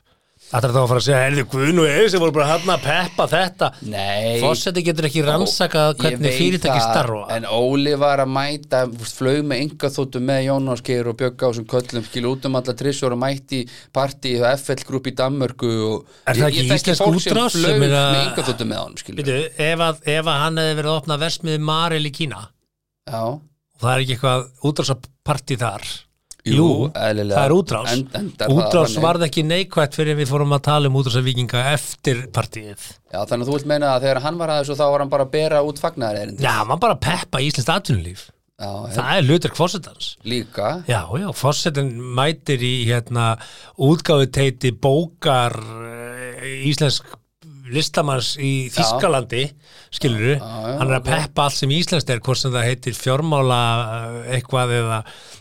Speaker 3: Það er þá að fara að segja, heyrðu, guð nú eða sem voru bara hann að peppa þetta
Speaker 2: Nei
Speaker 3: Fósetti getur ekki rannsakað
Speaker 2: Ég
Speaker 3: hvernig
Speaker 2: veit
Speaker 3: fyrirtæki
Speaker 2: það,
Speaker 3: starfa
Speaker 2: En Óli var að mæta, þú veist, flög með enga þóttu með Jónas Geir og Bjögga á sem köllum skil út um alla trissur og mætti partí og FL grúp í Danmörku og
Speaker 3: Er það
Speaker 2: Ég-
Speaker 3: ekki
Speaker 2: ég þekki
Speaker 3: íslensk
Speaker 2: fólk sem
Speaker 3: útrás sem
Speaker 2: flaug
Speaker 3: er að-
Speaker 2: með enga þóttu með honum skil
Speaker 3: Býtu, ef, að, ef að hann hefði verið að opna versmiði Maril í Kína og
Speaker 2: Já
Speaker 3: það er ekki eitthvað útrásaparti þar
Speaker 2: Jú, eðlilega.
Speaker 3: það er útrás
Speaker 2: En- endar það
Speaker 3: Útrás
Speaker 2: þannig.
Speaker 3: varð ekki neikvætt fyrir við fórum að tala um útrásavíkinga eftir partíið
Speaker 2: Já, þannig að þú vilt meina að þegar hann var að þessu þá var hann bara að bera út fagnar erindi
Speaker 3: Já, maður bara að peppa íslenskt atvinnulíf
Speaker 2: Já,
Speaker 3: Það er hlutur kvossetans
Speaker 2: líka
Speaker 3: Já, já, fórsetin mætir í hérna útgáfuteiti bókar eh, íslensk listamanns í Þískalandi skilur
Speaker 2: já,
Speaker 3: hann er að peppa allt sem íslenskt er hvort sem það heitir fjármála eh, eitthvað eða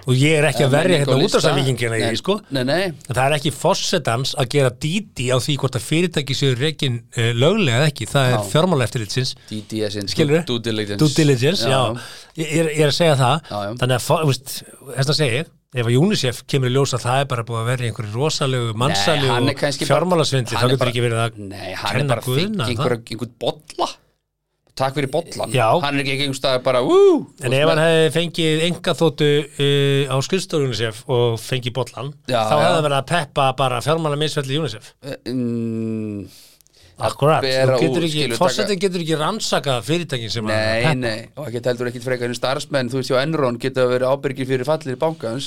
Speaker 3: og ég er ekki að verja
Speaker 2: Menning og
Speaker 3: hérna
Speaker 2: lista.
Speaker 3: útrásafíkingina
Speaker 2: Nei,
Speaker 3: í sko
Speaker 2: Nei, nei,
Speaker 3: En það er ekki fórsetans að gera díti á því hvort að fyrirtæki séu rekin uh, löglega eða ekki, það er fjármála eftirlitsins
Speaker 2: DDS-in
Speaker 3: skilur
Speaker 2: Due diligence
Speaker 3: due diligence, já, Ég, ég, er- ég er að segja það
Speaker 2: Já, já.
Speaker 3: þannig að, fó- þú veist, þess að segja ég, ef að UNICEF kemur í ljós að það er bara búið að vera í einhverju rosalegu,
Speaker 2: Nei, hann er
Speaker 3: mannsalegu
Speaker 2: kannski bara-
Speaker 3: fjármálasvindli,
Speaker 2: hann er
Speaker 3: þá getur
Speaker 2: bara-
Speaker 3: ekki verið að
Speaker 2: Nei, hann er
Speaker 3: kenna
Speaker 2: bara fink
Speaker 3: Guðna
Speaker 2: einhver, einhver bolla Takk fyrir bollan
Speaker 3: Já.
Speaker 2: Hann er ekki einhver staðar bara Wú
Speaker 3: En ef hann hefði fengið enga þóttu uh, á skrifstofu UNICEF og fengið bollan,
Speaker 2: Já,
Speaker 3: þá
Speaker 2: já.
Speaker 3: hefði hann verið að peppa bara fjármálamisvelli UNICEF.
Speaker 2: mm,
Speaker 3: Akkurat,
Speaker 2: bera
Speaker 3: þú getur
Speaker 2: úr,
Speaker 3: ekki,
Speaker 2: skilur,
Speaker 3: fórsetin getur ekki rannsakað fyrirtækin sem hann
Speaker 2: Nei, nei Og ekki heldur ekkit frekar en starfsmenn Þú veist, hjá Enron geta verið ábyrgir fyrir fallir bankans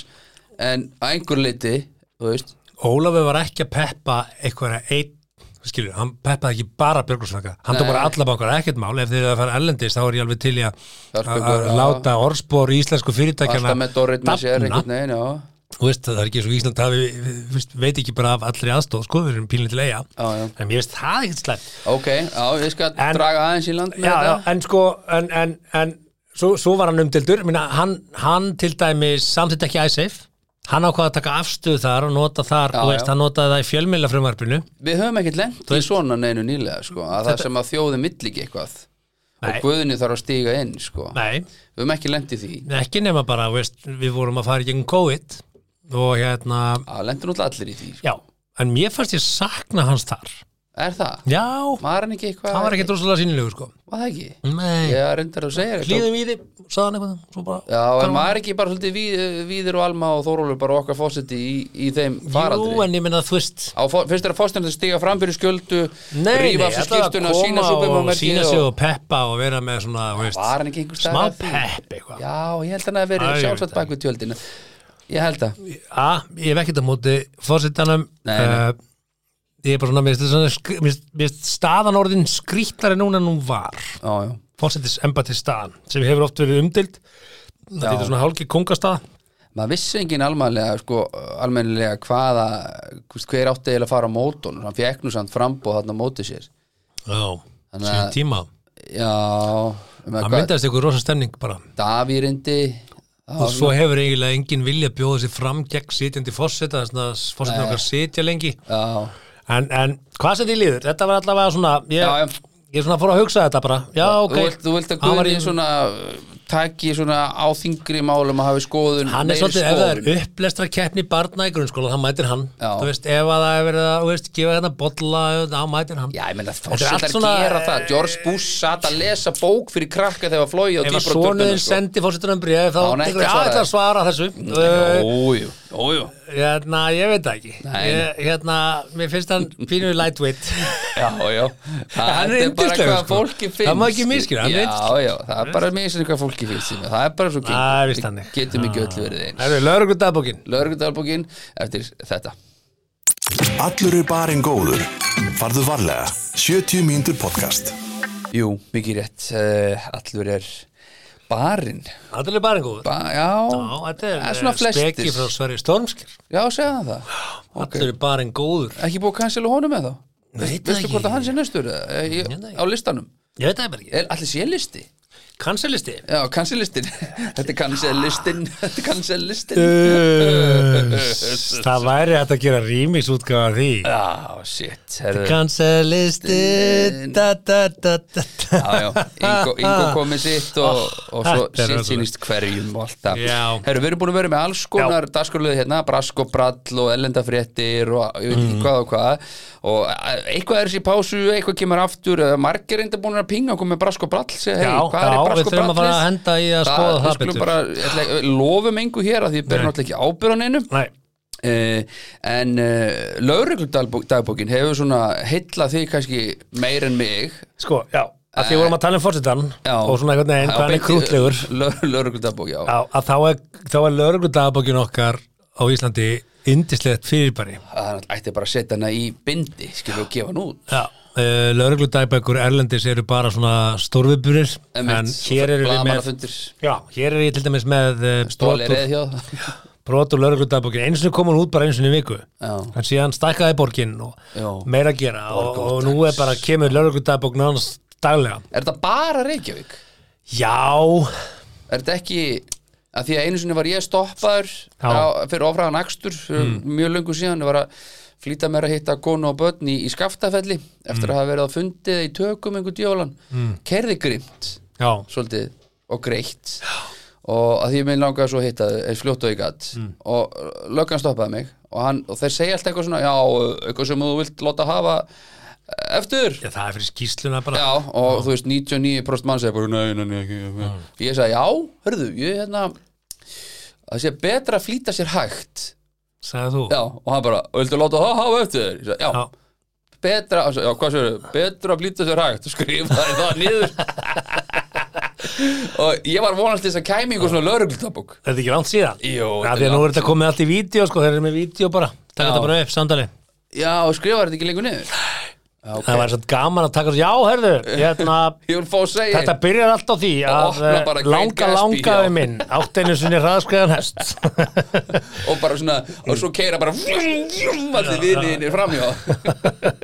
Speaker 2: En að einhver liti Þú veist
Speaker 3: Ólafur var ekki að peppa eitthvað einn, skilur, hann peppaði ekki bara Björgursvaka, hann tók
Speaker 2: Nei.
Speaker 3: bara alla bankar ekkert mál, ef þið er að fara ellendis þá er ég alveg til í að- að
Speaker 2: Hjálpbjörgur,
Speaker 3: að
Speaker 2: já.
Speaker 3: láta orðspor í íslensku fyrirtækjana
Speaker 2: Alltaf með Dorrit með sér
Speaker 3: hérna dafna.
Speaker 2: einhvern veginn, já
Speaker 3: Þú veist, það er ekki svo Ísland hafi, við- við- veit ekki bara af allri aðstóð, sko, við erum pílinni til eiga
Speaker 2: Já, já.
Speaker 3: en mér veist það ekkert slæmt
Speaker 2: Ok, já, ég skal
Speaker 3: En-
Speaker 2: draga aðeins í land með
Speaker 3: já, já,
Speaker 2: þetta
Speaker 3: en sko en, en, en svo, svo var hann umdildur Minna, hann, hann til dæmis samþýtt ekki ISAF hann ákvaði að taka afstöðu þar og nota þar,
Speaker 2: Já,
Speaker 3: þú veist,
Speaker 2: já.
Speaker 3: hann notaði það í fjölmjöla frumvarpinu
Speaker 2: Við höfum ekkert lent í svona neinu nýlega sko, að það sem að þjóðum vill ekki eitthvað
Speaker 3: Nei.
Speaker 2: og guðinni þarf að stíga inn sko.
Speaker 3: nei,
Speaker 2: Við höfum ekki lent í því
Speaker 3: ekki nema bara, þú veist, við vorum að fara í gegn COVID og hérna
Speaker 2: að lendur náttúrulega allir í því sko.
Speaker 3: já, en mér fannst ég sakna hans þar
Speaker 2: Er það?
Speaker 3: já,
Speaker 2: Var hann ekki eitthvað?
Speaker 3: það var ekki droslega sínilegur sko
Speaker 2: Var það ekki?
Speaker 3: nei,
Speaker 2: Ég reyndar að segja þetta
Speaker 3: hlýðum í þið, sagði hann eitthvað svo bara,
Speaker 2: Já, en maður er ekki bara svolítið víð, eh, Víðir og Alma og Þórólur bara okkar fósiti í, í þeim faraldri
Speaker 3: jú, en ég minna þú veist
Speaker 2: á fó- fyrst er að fórstæðan að stiga fram fyrir sköldu
Speaker 3: Nei, nei,
Speaker 2: rífa af sér
Speaker 3: þetta var
Speaker 2: skiptuna,
Speaker 3: að
Speaker 2: sína svo
Speaker 3: koma
Speaker 2: bum
Speaker 3: og sína sig og peppa og vera með svona, þú veist,
Speaker 2: var hann ekki einhver
Speaker 3: smá
Speaker 2: staðar að því?
Speaker 3: pepp eitthvað.
Speaker 2: já, ég held hann að
Speaker 3: Já,
Speaker 2: vera
Speaker 3: ég veit
Speaker 2: sjálfsagt
Speaker 3: það.
Speaker 2: bak við tjöldina ég held að
Speaker 3: A, ég hef ekkert á móti fórsetanum,
Speaker 2: Nei, nei.
Speaker 3: uh, ég er bara svona, mér finnst svona sk- mér finnst- mér finnst staðan orðin skrýtlari núna en hún var,
Speaker 2: já, já.
Speaker 3: fórsetis embati staðan, sem hefur oft verið umdild, þetta er svona hálki kongastað,
Speaker 2: maður vissi engin almennilega sko, almennilega hvaða hvist, hver átti eiginlega að fara á mótun hann fekk nú samt frambóð þarna á móti sér
Speaker 3: já,
Speaker 2: Þannig að-
Speaker 3: síðan tíma,
Speaker 2: já, um
Speaker 3: það myndaðist eitthvað rosa stemning bara.
Speaker 2: Davírindi
Speaker 3: Og svo hefur eiginlega engin vilja bjóða sér fram gegn sitjandi fórseta, þannig að fórsetin okkar sitja lengi.
Speaker 2: já,
Speaker 3: En, en hvað sem því líður, þetta var allavega svona ég,
Speaker 2: Já, já.
Speaker 3: ég er svona fór að hugsa þetta bara Já, ok,
Speaker 2: þú, vilt, þú vilt að
Speaker 3: Hann var
Speaker 2: Guðni
Speaker 3: í-
Speaker 2: svona uh, taki svona á þingri málum að hafi skoðun
Speaker 3: hann er
Speaker 2: meiri
Speaker 3: svolítið, ef það
Speaker 2: skoðun.
Speaker 3: er upplestra keppni barna í grunnskóla, þá mætir hann
Speaker 2: Já.
Speaker 3: þú veist, ef að það er verið að, þú veist, gefa hérna bolla, þá mætir hann
Speaker 2: Já, ég meina
Speaker 3: er
Speaker 2: fórsetar
Speaker 3: allt svona-
Speaker 2: gera það George Bush satt að lesa bók fyrir krakka þegar flóið á
Speaker 3: Ef að
Speaker 2: dýbra
Speaker 3: sonuðin sendi fórsetunum bréf, þá
Speaker 2: sko. Á, hann ekki að
Speaker 3: tekur
Speaker 2: svara
Speaker 3: ég að að svara þessu uh,
Speaker 2: Ójú, ójú
Speaker 3: Hérna, ég veit það ekki
Speaker 2: Nei.
Speaker 3: ég, Hérna, mér finnst hann pínu
Speaker 2: [LAUGHS]
Speaker 3: lightweight
Speaker 2: Já, já Þetta
Speaker 3: Hann er
Speaker 2: bara
Speaker 3: yndislegur,
Speaker 2: hvað
Speaker 3: sko.
Speaker 2: fólki
Speaker 3: Það
Speaker 2: finnst
Speaker 3: má ekki misskilja, hann er
Speaker 2: Já,
Speaker 3: yndislegur.
Speaker 2: já, það er bara miskinni hvað fólki finnst sína. Það er bara svo gengur
Speaker 3: Það er víst þannig.
Speaker 2: Við Getum ekki öll verið eins
Speaker 3: Það er lögreglu dagbókin
Speaker 2: Lörgundalbókin eftir þetta
Speaker 1: Allur er barinn góður. Farðu varlega. 70 mínútur podcast.
Speaker 2: Jú, mikið rétt uh, Allur er barinn
Speaker 3: Það er bara en góð
Speaker 2: ba Já,
Speaker 3: Já, þetta er,
Speaker 2: það er svona
Speaker 3: eh,
Speaker 2: flestir
Speaker 3: speki frá Sverri Stormskir
Speaker 2: Já, segja það það
Speaker 3: Allir er bara en góður
Speaker 2: Ekki búið að cancela honum eða þá?
Speaker 3: Veit það
Speaker 2: Veistu
Speaker 3: ekki.
Speaker 2: hvort að hann sé næstur eða? Eh,
Speaker 3: Ég veit
Speaker 2: í-
Speaker 3: það ekki.
Speaker 2: á listanum?
Speaker 3: Ég veit það bara ekki
Speaker 2: Er allir sé listi?
Speaker 3: Kanselisti
Speaker 2: Já, kansellistin [LAUGHS] Þetta er kansellistin [LAUGHS] Þetta er kansellistin
Speaker 3: Eh. [LAUGHS] Það væri hægt að gera rýmis útgáfa því
Speaker 2: [LAUGHS] Já, shit herðu.
Speaker 3: Kanselisti da, da, da, da,
Speaker 2: Eh.
Speaker 3: da.
Speaker 2: Já, já, Ingo, Ingo komið sitt og, og svo
Speaker 3: Ah. þetta er
Speaker 2: sitt
Speaker 3: rosalegt.
Speaker 2: sínist hverjum og allt það
Speaker 3: Já.
Speaker 2: Herru, við erum búin að vera með alls konar dagskorlega hérna, brask og brall og ellendafréttir og ég veit ekki
Speaker 3: Mm.
Speaker 2: hvað og hvað og eh, eitthvað er sér pásu, eitthvað kemur aftur eh, margir er enda búin að pinga okkur með brask og brall segja, hey,
Speaker 3: Já,
Speaker 2: hvað
Speaker 3: já,
Speaker 2: er
Speaker 3: við
Speaker 2: brask og
Speaker 3: þurfum að
Speaker 2: brall
Speaker 3: fara að henda í að skoða það
Speaker 2: við skulum
Speaker 3: betur.
Speaker 2: bara, ég ætla ekki- við lofum engu hér að því berum náttúrulega ekki ábyrð á neinum
Speaker 3: Nei,
Speaker 2: Uh, en uh, laurugludagbókin hefur svona heillað þig kannski meir en mig
Speaker 3: sko, já að því vorum að tala um fórsetan
Speaker 2: Já.
Speaker 3: og svona einhvern veginn,
Speaker 2: Já,
Speaker 3: hvað hann er
Speaker 2: beint-
Speaker 3: krútlegur
Speaker 2: Lö- Lögregludagbók, já.
Speaker 3: Já, að þá er, þá er lögregludagabókin okkar á Íslandi indislegt fyrirbæri
Speaker 2: að hann ætti bara að setja hana í bindi skilur og gefa hann út
Speaker 3: Já, uh, lögregludagbækur erlendis eru bara svona stórviburir en hér eru við með
Speaker 2: blaðamannafundir,
Speaker 3: Já, hér er ég til dæmis með eh, brot
Speaker 2: stólið
Speaker 3: úr-
Speaker 2: reið hjá [LAUGHS]
Speaker 3: brot úr laurugludagbókin einu sinni kom hún út bara einu sinni í viku
Speaker 2: Já.
Speaker 3: en síðan stækkaði borgin og
Speaker 2: Já.
Speaker 3: meira að gera og, og nú er bara kemur laurugludagbókin hans daglega
Speaker 2: er þetta bara Reykjavík?
Speaker 3: já,
Speaker 2: er þetta ekki að því að einu sinni var ég stoppaður
Speaker 3: Já. Hmm.
Speaker 2: á, fyrir ofraðan akstur mm. mjög löngu síðan, ég var að flýta mér að hitta konu og börn í, í skaftafelli
Speaker 3: Hmm.
Speaker 2: eftir að hafa verið að fundið í tökum einhver djólan, mm. kerði grimt
Speaker 3: já,
Speaker 2: svolítið og greitt og að því ég minn langaði svo að hitta eða fljótt og ég gatt og uh, löggan stoppaði mig og, hann, og þeir segja alltaf eitthvað svona já, eitthvað sem þú vilt láta hafa eftir
Speaker 3: já, það er fyrir skýsluna bara
Speaker 2: Já, og þú veist, 99% mann segir bara, nei, nei, nei, ekki, ekki. Ég sagði, já, hörðu, ég hérna það sé betra að flýta sér hægt
Speaker 3: sagði þú
Speaker 2: Já, og hann bara, viltu láta það hafa eftir þér? Ég sagði, já,
Speaker 3: Já.
Speaker 2: betra, já, hvað sér, betra að flýta sér hægt skrifaði það [LAUGHS] niður og ég var vonast til þess að kæmi einhver svona lögreglutabók
Speaker 3: þetta er ekki langt síðan
Speaker 2: Jú,
Speaker 3: Já,
Speaker 2: þetta er
Speaker 3: því að nú er
Speaker 2: langt
Speaker 3: þetta komið allt í vídeo sko, þeir eru með vídeo bara, taka
Speaker 2: Já.
Speaker 3: þetta bara upp samdali
Speaker 2: Já, og skrifaði þetta ekki lengur niður ok.
Speaker 3: það var svo gaman að taka svo, já, herðu,
Speaker 2: [LAUGHS]
Speaker 3: hérna,
Speaker 2: Ég vil fá að segja
Speaker 3: þetta byrjar allt á því að
Speaker 2: opna
Speaker 3: eh,
Speaker 2: bara Great
Speaker 3: langa,
Speaker 2: Gatsby,
Speaker 3: langa
Speaker 2: já.
Speaker 3: við minn, átt einu sinni hraðskriðan hest. [LAUGHS]
Speaker 2: og bara svona, og svo keira bara vjum, vjum, allir viðliðinir framjá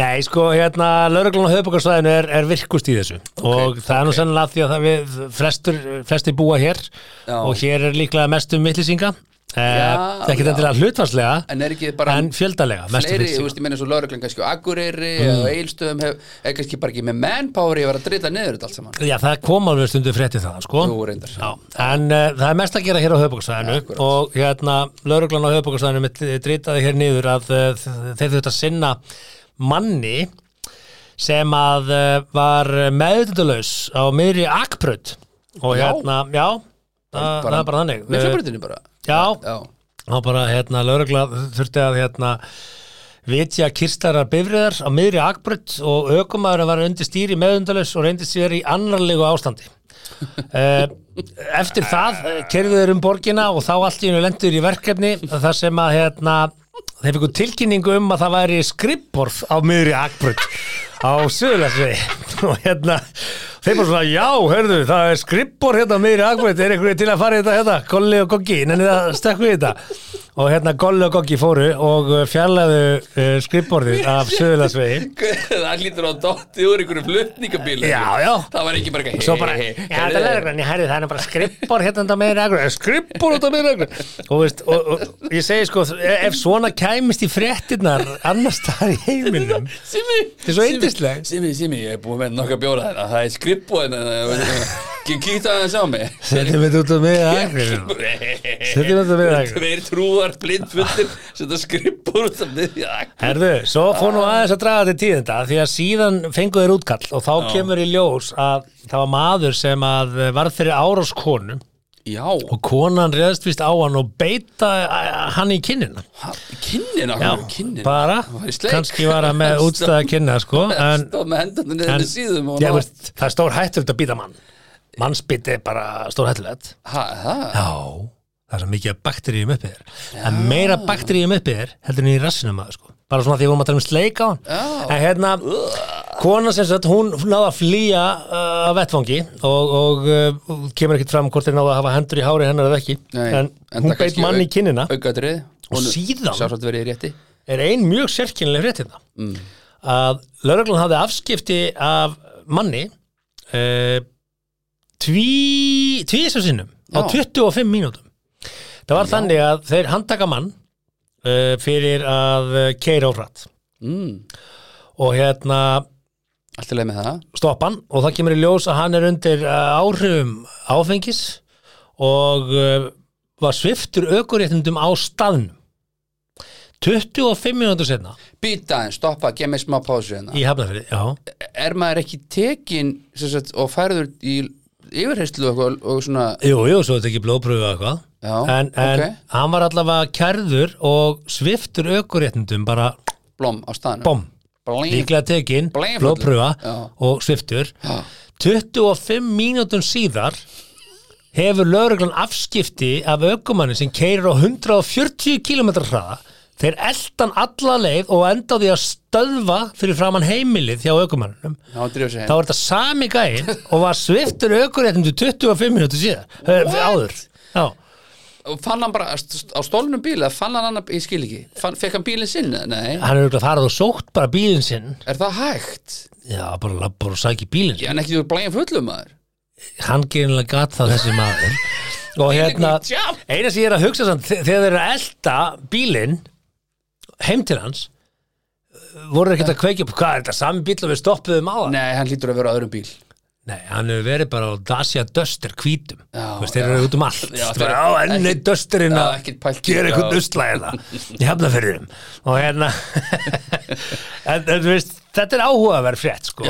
Speaker 3: Nei, sko, hérna, lauruglan á höfubokarsvæðinu er, er virkust í þessu og það er nú sennilega því að það við flestur, flestir búa hér
Speaker 2: Já.
Speaker 3: og hér er líklega mest um vittlýsinga
Speaker 2: Já,
Speaker 3: ekki
Speaker 2: já.
Speaker 3: endilega hlutvarslega
Speaker 2: en er ekki bara
Speaker 3: en fjöldalega, mest um
Speaker 2: fleiri, þú
Speaker 3: vittlýsinga
Speaker 2: veist, ég meina svo lauruglan kannski á Akureyri mm. og Eilstöðum hef, er kannski bara ekki með manpower í að vera að drita niður þetta allt saman
Speaker 3: Já, það kom alveg stundu frétti það, sko
Speaker 2: Jú, reyndar.
Speaker 3: Já, en uh, það er mest að gera hér á höfubokarsvæðinu
Speaker 2: Akkúrat.
Speaker 3: og hérna, lauruglan á höfubokarsvæðinu mitt eh, dritaði hér niður að uh, þeir þurft að sinna manni sem að uh, var meðutundalaus á miðri akprödd og
Speaker 2: Já.
Speaker 3: hérna, já, það, það er bara þannig
Speaker 2: með
Speaker 3: Eh,
Speaker 2: fjöbrutinu bara
Speaker 3: Já,
Speaker 2: já,
Speaker 3: þá bara hérna lögregla þurfti að hérna vitja kirstarar bifriðar á miðri akbrödd og aukumæður var undir stýri meðundalus og reyndi sér í annarlegu ástandi Eh, Eftir það kerfiður um borgina og þá allt í hennu lendur í verkefni þar sem að hérna þeir fikk tilkynningu um að það væri skrippborð á miðri akbrödd á Suðurlandsvegi [LAUGHS] og hérna þeir bara svona, já, hörðu, það er skrippborð hérna á miðri akbrödd, er einhverju til að fara í þetta hérna, Golli og Goggi, nennið að stökku í þetta og hérna Golli og Goggi fóru og fjarlæðu uh, skrippborðið af Suðurlandsvegi
Speaker 2: það hlýtur á dotti úr einhverju flutningabíl
Speaker 3: Já, já.
Speaker 2: það var ekki bara eitthvað
Speaker 3: Svo bara,
Speaker 2: hey,
Speaker 3: já, þetta er lögreglan, ég herði það er nú bara skrippor hérna undan meðin reglan, skrippor undan meðin reglan. Og veist, og, og ég segi sko, ef svona kæmist í fréttinnar annars staðar í heiminum,
Speaker 2: Simi,
Speaker 3: Þetta er svo yndisleg.
Speaker 2: Simi, Simi, ég er búin með nokka bjóra þetta Það er skrippu hérna, en Kíkta það að sjá mig
Speaker 3: setjum við út um á meðin reglan.
Speaker 2: Setjum
Speaker 3: Setjum þetta hérna. við reglan.
Speaker 2: Tveir trúar blindfullir Setja skrippur út af miðja akk.
Speaker 3: Herðu, svo fór nú aðeins að draga til tíðenda því að síðan fengu þeir útkall og þá kemur í ljós að það var maður sem að varð fyrir áráskonu
Speaker 2: Já,
Speaker 3: og konan reðst vist á hann og beita eh, hann í kinnina.
Speaker 2: ha- kynnin
Speaker 3: Já,
Speaker 2: akkur, kynnin
Speaker 3: bara,
Speaker 2: Það var í sleik.
Speaker 3: kannski var hann
Speaker 2: [LAUGHS]
Speaker 3: með útstæða kynna sko, en
Speaker 2: Stóð með hendunum niður
Speaker 3: En-
Speaker 2: með síðum og
Speaker 3: Já,
Speaker 2: ná-
Speaker 3: veist, það er stór hættulegt að býta mann mannsbytti er bara stór hættulegt
Speaker 2: Ha, það
Speaker 3: já, það er svo mikið af bakteríum uppi þér það er meira bakteríum uppi þér heldur en í rassinum að sko bara svona því við vorum að tala um sleik á hann
Speaker 2: Já.
Speaker 3: en hérna, kona sem sagt hún náða að flýja uh, af vettfangi og, og uh, kemur ekkert fram hvort þeir náða að hafa hendur í hári hennar eða ekki
Speaker 2: Nei,
Speaker 3: en hún
Speaker 2: enda
Speaker 3: beit
Speaker 2: kannski
Speaker 3: mann í
Speaker 2: auk-
Speaker 3: kinnina
Speaker 2: Aukatrið
Speaker 3: og síðan
Speaker 2: Sjálfsagt verið í rétti Mm.
Speaker 3: er ein mjög sérkynlega frétt hérna að lauruglan hafði afskipti af manni uh, tví tvísa sinnum á
Speaker 2: Já.
Speaker 3: 25 mínútum það var þannig að þeir handtaka mann uh, fyrir að keira á hratt
Speaker 2: mm,
Speaker 3: og hérna
Speaker 2: Allt í leið með það
Speaker 3: stoppa hann og það kemur í ljós að hann er undir eh, áhrifum áfengis og uh, var sviftur aukuréttundum á staðnum 25 mínútur setna
Speaker 2: Býta en stoppa, gef mér smá pásu hérna
Speaker 3: í hafnafyrir, já
Speaker 2: er maður ekki tekin sem sagt, og færður í yfirheyslu og, og svona
Speaker 3: Jú, jú, svo er þetta ekki blóðpröfu eða eitthvað
Speaker 2: Já,
Speaker 3: En, en
Speaker 2: ok.
Speaker 3: hann var allavega kærður og sviftur aukuréttundum bara
Speaker 2: blóm á staðnum
Speaker 3: bom,
Speaker 2: Blín.
Speaker 3: líklega tekin
Speaker 2: Blæfullur.
Speaker 3: blóðpröfa
Speaker 2: Já.
Speaker 3: og sviftur
Speaker 2: Já.
Speaker 3: 25 mínútum síðar hefur lögreglan afskipti af aukumanni sem keirir á 140 km hraða þeir eldan alla leið og enda á því að stöðva fyrir framann heimilið hjá aukumanninum
Speaker 2: Já, drífa sig
Speaker 3: þá
Speaker 2: heim
Speaker 3: var þetta sami gæinn og var sviftur aukuréttundu 25 minútu síðan eh, áður já.
Speaker 2: og fann hann bara st- st- á stólnum bíl eða fann hann hann, ég skil ekki, fann, fekk hann bílinn sinn eða? nei,
Speaker 3: hann er auðvitað farað og sótt bara bílinn sinn
Speaker 2: er það hægt?
Speaker 3: já, bara lappur og sæki bílinn
Speaker 2: Já,
Speaker 3: sinn
Speaker 2: en ekki þú er blæðin fullum maður
Speaker 3: hann gerinlega gat það þessi maður og hérna
Speaker 2: Þvílíkur jump.
Speaker 3: eina sem ég er að hugsa samt, þe- þegar þeir eru að elda bílinn heim til hans voru ekkert að kveikja upp hvað er þetta sami bíl og við stoppuðum á það
Speaker 2: Nei, hann hlýtur að vera á öðrum bíl
Speaker 3: Nei, hann hefur verið bara á Dacia Duster hvítum
Speaker 2: Já,
Speaker 3: Þú veist, þeir eru út um allt
Speaker 2: Já,
Speaker 3: já,
Speaker 2: þeir-
Speaker 3: bara, á enni
Speaker 2: ekkert-
Speaker 3: Dusterinn
Speaker 2: já,
Speaker 3: að
Speaker 2: ekkert pælt í-
Speaker 3: gera
Speaker 2: já.
Speaker 3: eitthvað usla hérna í hafnafyrðum og hérna [LAUGHS] en, en þú veist, þetta er áhugaverð frétt sko.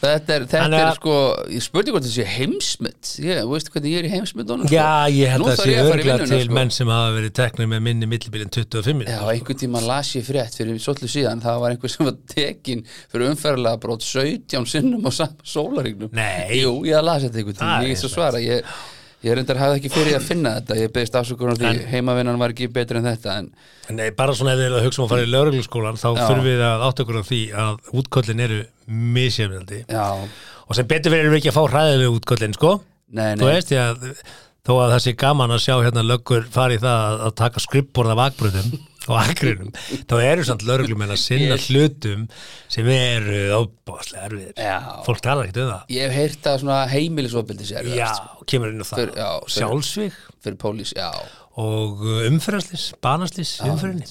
Speaker 2: Þetta er, þetta
Speaker 3: Hann er
Speaker 2: er
Speaker 3: að-
Speaker 2: sko, ég spurði hvort það sé heimsmynd Ég, þú veistu hvernig ég er í heimsmyndunum sko?
Speaker 3: Já, ég held
Speaker 2: Nú
Speaker 3: að
Speaker 2: þarf
Speaker 3: sé
Speaker 2: ég að fara í
Speaker 3: örgla
Speaker 2: vinnuna,
Speaker 3: til
Speaker 2: sko.
Speaker 3: menn sem hafa verið teknir með minni millibílinn 25 minni
Speaker 2: Já, einhvern tíma las ég frétt fyrir svolítið síðan, það var einhver sem var tekin fyrir umferðlega brót 17 sinnum á sama sólaríknum.
Speaker 3: Nei.
Speaker 2: Jú, ég las þetta einhvern
Speaker 3: Það
Speaker 2: tíma,
Speaker 3: er
Speaker 2: ég get svo
Speaker 3: rétt.
Speaker 2: svara, ég, Ég reyndar hafði ekki fyrir að finna þetta Ég beðist afsökunar á því
Speaker 3: En-
Speaker 2: heimavinnan var ekki betri en þetta en
Speaker 3: En Nei, bara svona ef þið eru að hugsa um að fara í laurugluskólan þá
Speaker 2: Já.
Speaker 3: þurfum við að átta okkur á því að útköllin eru misjöfnandi
Speaker 2: já,
Speaker 3: og sem betur verið erum við ekki að fá hræðileg útköllin sko,
Speaker 2: nei,
Speaker 3: þú
Speaker 2: nei
Speaker 3: veist ég að þó að það sé gaman að sjá hérna löggur fara í það að, að taka skrippborð af akbrutum [LAUGHS] og akrinum, þá eru samt lauruglumenn að sinna hlutum sem eru óbáslega erfiðir
Speaker 2: Já.
Speaker 3: fólk talar ekkert um það
Speaker 2: Ég hef heyrt að svona heimilisofbildi sér
Speaker 3: Já, kemur inn á það
Speaker 2: Fyrir- já, fyrir-
Speaker 3: sjálfsvík
Speaker 2: Fyrir pólís, já
Speaker 3: og uh, umferðarslis, banaslis í umferðinni.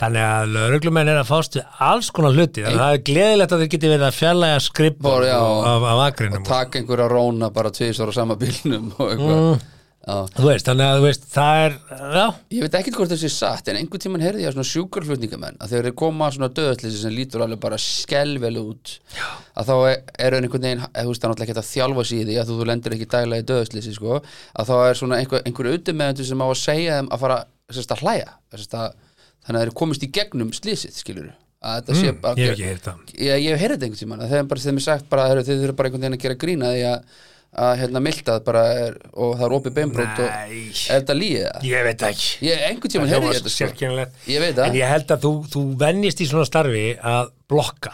Speaker 3: Þannig að lögreglumenn er að fást við alls konar hluti þannig að það er gleðilegt að þeir geti verið að fjarlæga skripp
Speaker 2: Bár, já.
Speaker 3: af, af akrinum.
Speaker 2: Takk einhverja róna bara tvisar á sama bílnum og eitthvað já.
Speaker 3: Þú veist, þannig að þú veist, það er, já,
Speaker 2: Ég veit ekki hvort þessi er satt en einhvern tímann heyrði ég að svona sjúkarflutningamenn að þegar þeir koma að svona döðallisi sem lítur alveg bara skelvel út já. að þá er hann einhvern veginn eða þú veist það er náttúrulega ekki að þjálfa sig í því að þú, þú lendir ekki daglega í döðallisi sko að þá er svona einhver, einhver auðvitaðmeðendur sem á að segja þeim að fara sérst, að hlæja sérst, að, þannig að þeir komist í gegnum slísið skilur að þetta sé bara
Speaker 3: ég hef ekki heyrt það.
Speaker 2: ég, ég hef heyrði þetta einhvern tímann að þeim bara þeim er sagt bara að þeir þurfa bara einhvern veginn að gera grína því að, að hérna mildað bara er, og það er opið beinbrót og
Speaker 3: Nei.
Speaker 2: er þetta líið það?
Speaker 3: Ég veit það ekki.
Speaker 2: Ég, einhvern tímann
Speaker 3: Það
Speaker 2: heyrði
Speaker 3: var
Speaker 2: ég þetta sko.
Speaker 3: sérkennilegt.
Speaker 2: Ég veit það.
Speaker 3: En ég held að þú, þú vennist í svona starfi að blokka.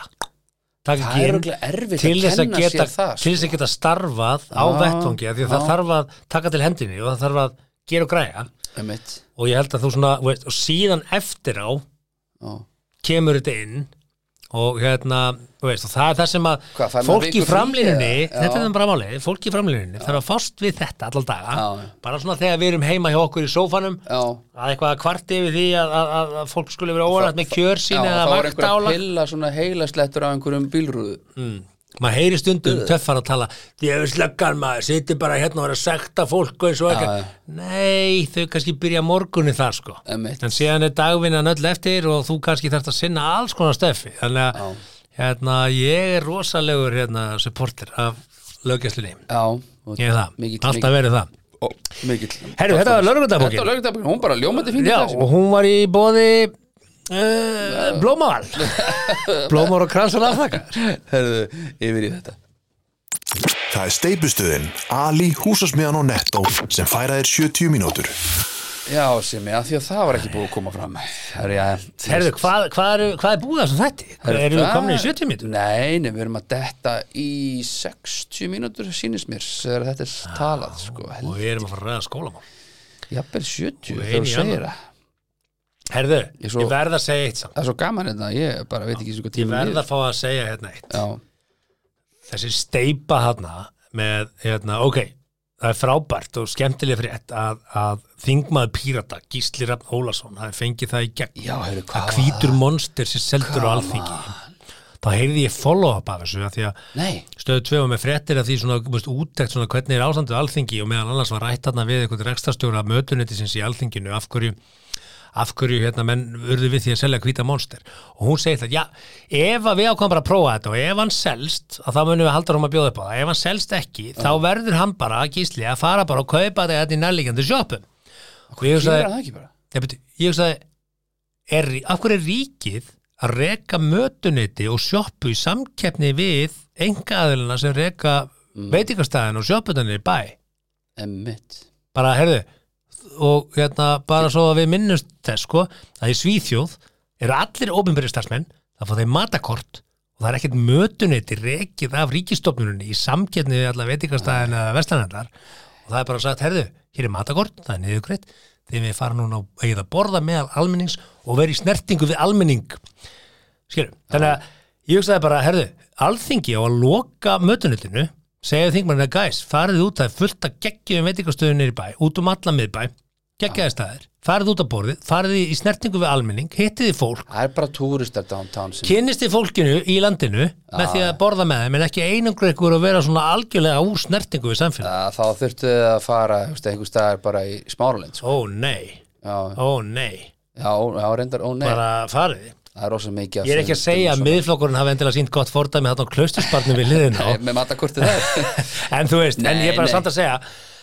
Speaker 3: Taka
Speaker 2: Það
Speaker 3: ekki
Speaker 2: er
Speaker 3: inn
Speaker 2: örugglega erfitt
Speaker 3: til
Speaker 2: að
Speaker 3: þess
Speaker 2: kenna
Speaker 3: geta,
Speaker 2: sér það, sko.
Speaker 3: Til þess að geta starfað á
Speaker 2: Já,
Speaker 3: vettvangi, af því að það
Speaker 2: já.
Speaker 3: þarf að taka til hendinni og það þarf að gera og græja.
Speaker 2: Einmitt.
Speaker 3: og ég held að þú svona þú veist, og síðan eftir á
Speaker 2: Já.
Speaker 3: kemur þetta inn og hérna, þú veist, og það er það sem að
Speaker 2: Hvað, fær maður
Speaker 3: fólk í
Speaker 2: viku frí
Speaker 3: framlínunni
Speaker 2: eða? Já.
Speaker 3: þetta er það bara málið, fólk í framlínunni þarf að fást við þetta allan daga
Speaker 2: Já, já.
Speaker 3: bara svona þegar við erum heima hjá okkur í sófanum
Speaker 2: Já.
Speaker 3: að eitthvað að kvarti yfir því að, að, að, að fólk skulle vera óanætt með kjör
Speaker 2: Já,
Speaker 3: sín eða
Speaker 2: það var einhver að
Speaker 3: vaktála
Speaker 2: pilla svona heila slettur af einhverjum bílrúðu
Speaker 3: maður heyri stundum
Speaker 2: Uh.
Speaker 3: töffar að tala því að við slöggan maður, sittir bara hérna og er að sekta fólk og eins
Speaker 2: já.
Speaker 3: og eitthvað nei, þau kannski byrja morgunni þar sko
Speaker 2: Einmitt.
Speaker 3: en síðan er dagvinnan öll eftir og þú kannski þarft að sinna alls konar stöfi þannig að hérna, ég er rosalegur hérna, supporter af löggjastlunni
Speaker 2: Já,
Speaker 3: ég er það,
Speaker 2: mikill,
Speaker 3: alltaf verið það
Speaker 2: mikill, mikill.
Speaker 3: Herru, þetta var lögregludagbókin.
Speaker 2: Þetta var lögregludagbókin, hún bara ljómandi fín í
Speaker 3: Já,
Speaker 2: þessu.
Speaker 3: og hún var í bóði uh, blómaval blómar og kransar aftakar
Speaker 2: Herðu, yfir í þetta
Speaker 1: Það er steipustöðin Ali, húsasmiðan og Netto sem færa þér 70 mínútur.
Speaker 2: Já, sem ég, af því að það var ekki búið að koma fram Herðu, já,
Speaker 3: Herru, hvað, hvað, eru- hvað er búið þessum þetta? Erum við
Speaker 2: það-
Speaker 3: komin í 70 mítur?
Speaker 2: Nei, nei, við erum að detta í 60 mínútur sýnist mér þegar þetta er talað sko,
Speaker 3: Og við erum að fara að ræða skólamál
Speaker 2: jafnvel 70
Speaker 3: Og
Speaker 2: þegar
Speaker 3: ein
Speaker 2: þú
Speaker 3: í
Speaker 2: segir
Speaker 3: annað.
Speaker 2: það
Speaker 3: Herðu,
Speaker 2: Ég
Speaker 3: ég,
Speaker 2: svo-
Speaker 3: verð að segja eitt samt
Speaker 2: Það er svo gaman þetta, ég bara veit ekki svo hvað
Speaker 3: Ég
Speaker 2: tíma
Speaker 3: verð að fá að segja hérna eitt
Speaker 2: Já,
Speaker 3: Þessi steipa hérna með, hérna, ok Það er frábært og skemmtileg frétt að, að þingmaður pírata, Gísli Rafn Ólason hafi fengið það í gegn
Speaker 2: já, heyrðu,
Speaker 3: að
Speaker 2: hvað var
Speaker 3: hvítur monster sem seldur á alþingi þá heyrði ég follow-up af þessu af því að
Speaker 2: Nei,
Speaker 3: stöðu tvegum með fréttir af því svona þú veist, úttekt svona hvernig er ástandið á alþingi og meðal annars var rætt þarna við einhvern rekstastjóra mötunetisins í alþinginu af hverju af hverju hérna menn urðu við því að selja hvíta monster og hún segir það, já ef að við ákvæm bara að prófa þetta og ef hann selst að þá munum við halda hann að bjóða upp á það ef hann selst ekki, þá verður hann bara að gísli að fara bara og kaupa þetta hérna í nærlíkjandi sjoppum og ég
Speaker 2: kýra
Speaker 3: hugsaði,
Speaker 2: það ekki bara
Speaker 3: Nei, betur, ég hugsaði, er, af hverju er ríkið að reka mötuneyti og sjoppu í samkeppni við engaðilina sem reka veitingastæðin og sjopputanir í bæ?
Speaker 2: Emmitt
Speaker 3: Bara, herðu, og hérna, bara svo að við minnumst þess, sko, að í Svíþjóð eru allir óbyrðistarsmenn, það fá þeim matakort og það er ekkert mötuneyti rekið af ríkistofnunni í samkeppni við alla veitingastæðin eða vestanendar og það er bara sagt, herðu, hér er matakort, það er niðurgreitt, þegar við fara núna að eigið að borða meðal almennings og vera í snertingu við almenning. Skilum, þannig að ég hugsaði bara, herðu, alþingi á að loka mötunutinu, segja þingmannina, guys, farið út, það er fullt að geggjum veitingastöðun niður í bæ, út um alla miðbæ, geggjaði staðir, farið út á borðið, farið í- í snertingu við almenning, hittiði fólk,
Speaker 2: Það er bara túristar downtown sem
Speaker 3: kynnist þið fólkinu í landinu með því að borða með þeim en ekki einangra ykkur að vera svona algjörlega úr snertingu við samfélag.
Speaker 2: að Þá þurftu þið að fara þú veist, einhver staðar bara í smáralind sko.
Speaker 3: Ó nei,
Speaker 2: já,
Speaker 3: ó nei.
Speaker 2: já, já, reyndar, ó nei
Speaker 3: bara farið
Speaker 2: Það er rosa mikið af
Speaker 3: ég er ekki að
Speaker 2: svona-
Speaker 3: segja að
Speaker 2: svona-
Speaker 3: miðflokkurinn hafi endilega sínt gott fordæmi þarna á klaustusbarnum við liðin á
Speaker 2: [LAUGHS] Nei, Með matakortið það
Speaker 3: en þú veist, en
Speaker 2: Nei,
Speaker 3: ég er bara
Speaker 2: nei.
Speaker 3: samt að segja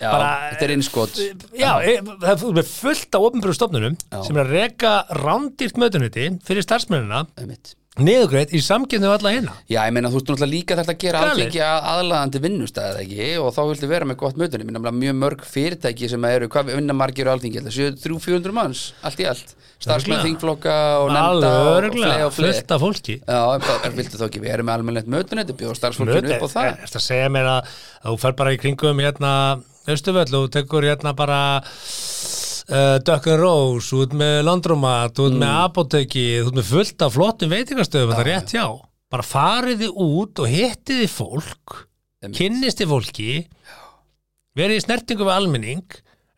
Speaker 2: Já,
Speaker 3: [LAUGHS] bara,
Speaker 2: þetta er innskot
Speaker 3: já, e- það er fullt af ofnbjörðu stofnunum sem er að reka rándýrt mötuniti fyrir starfsmennina
Speaker 2: Emmitt
Speaker 3: niðurgreitt í samkjöfni við alla hérna
Speaker 2: Já, ég meina, þú veist náttúrulega líka þarf að gera
Speaker 3: Galið.
Speaker 2: algengi að- aðlaðandi vinnustæði ekki og þá viltu vera með gott mötun ég meina nefnilega mjög mörg fyrirtæki sem eru hvað vinna margir á alþingi, þetta séu 300-400 manns allt í allt, starfsmenn
Speaker 3: Örugglega.
Speaker 2: þingflokka og nefnda
Speaker 3: alveg
Speaker 2: og fleið
Speaker 3: örglega,
Speaker 2: og fleið
Speaker 3: fullt af fólki
Speaker 2: Já, en bara, viltu þá ekki vera með almennlegt mötunætti bjóða starfsfólkinu upp á það
Speaker 3: Eftir Eh, að segja mér að að þú fer bara í kringum hérna Östuvöll og þú tekur hérna bara uh, Duck and Rose út með Landromat, út með
Speaker 2: Mm.
Speaker 3: Apoteki út með fullt af flottum veitingastöðum það er rétt já, bara fariði út og hittiði fólk
Speaker 2: Einmitt.
Speaker 3: kynnisti fólki verið í snertingu við almenning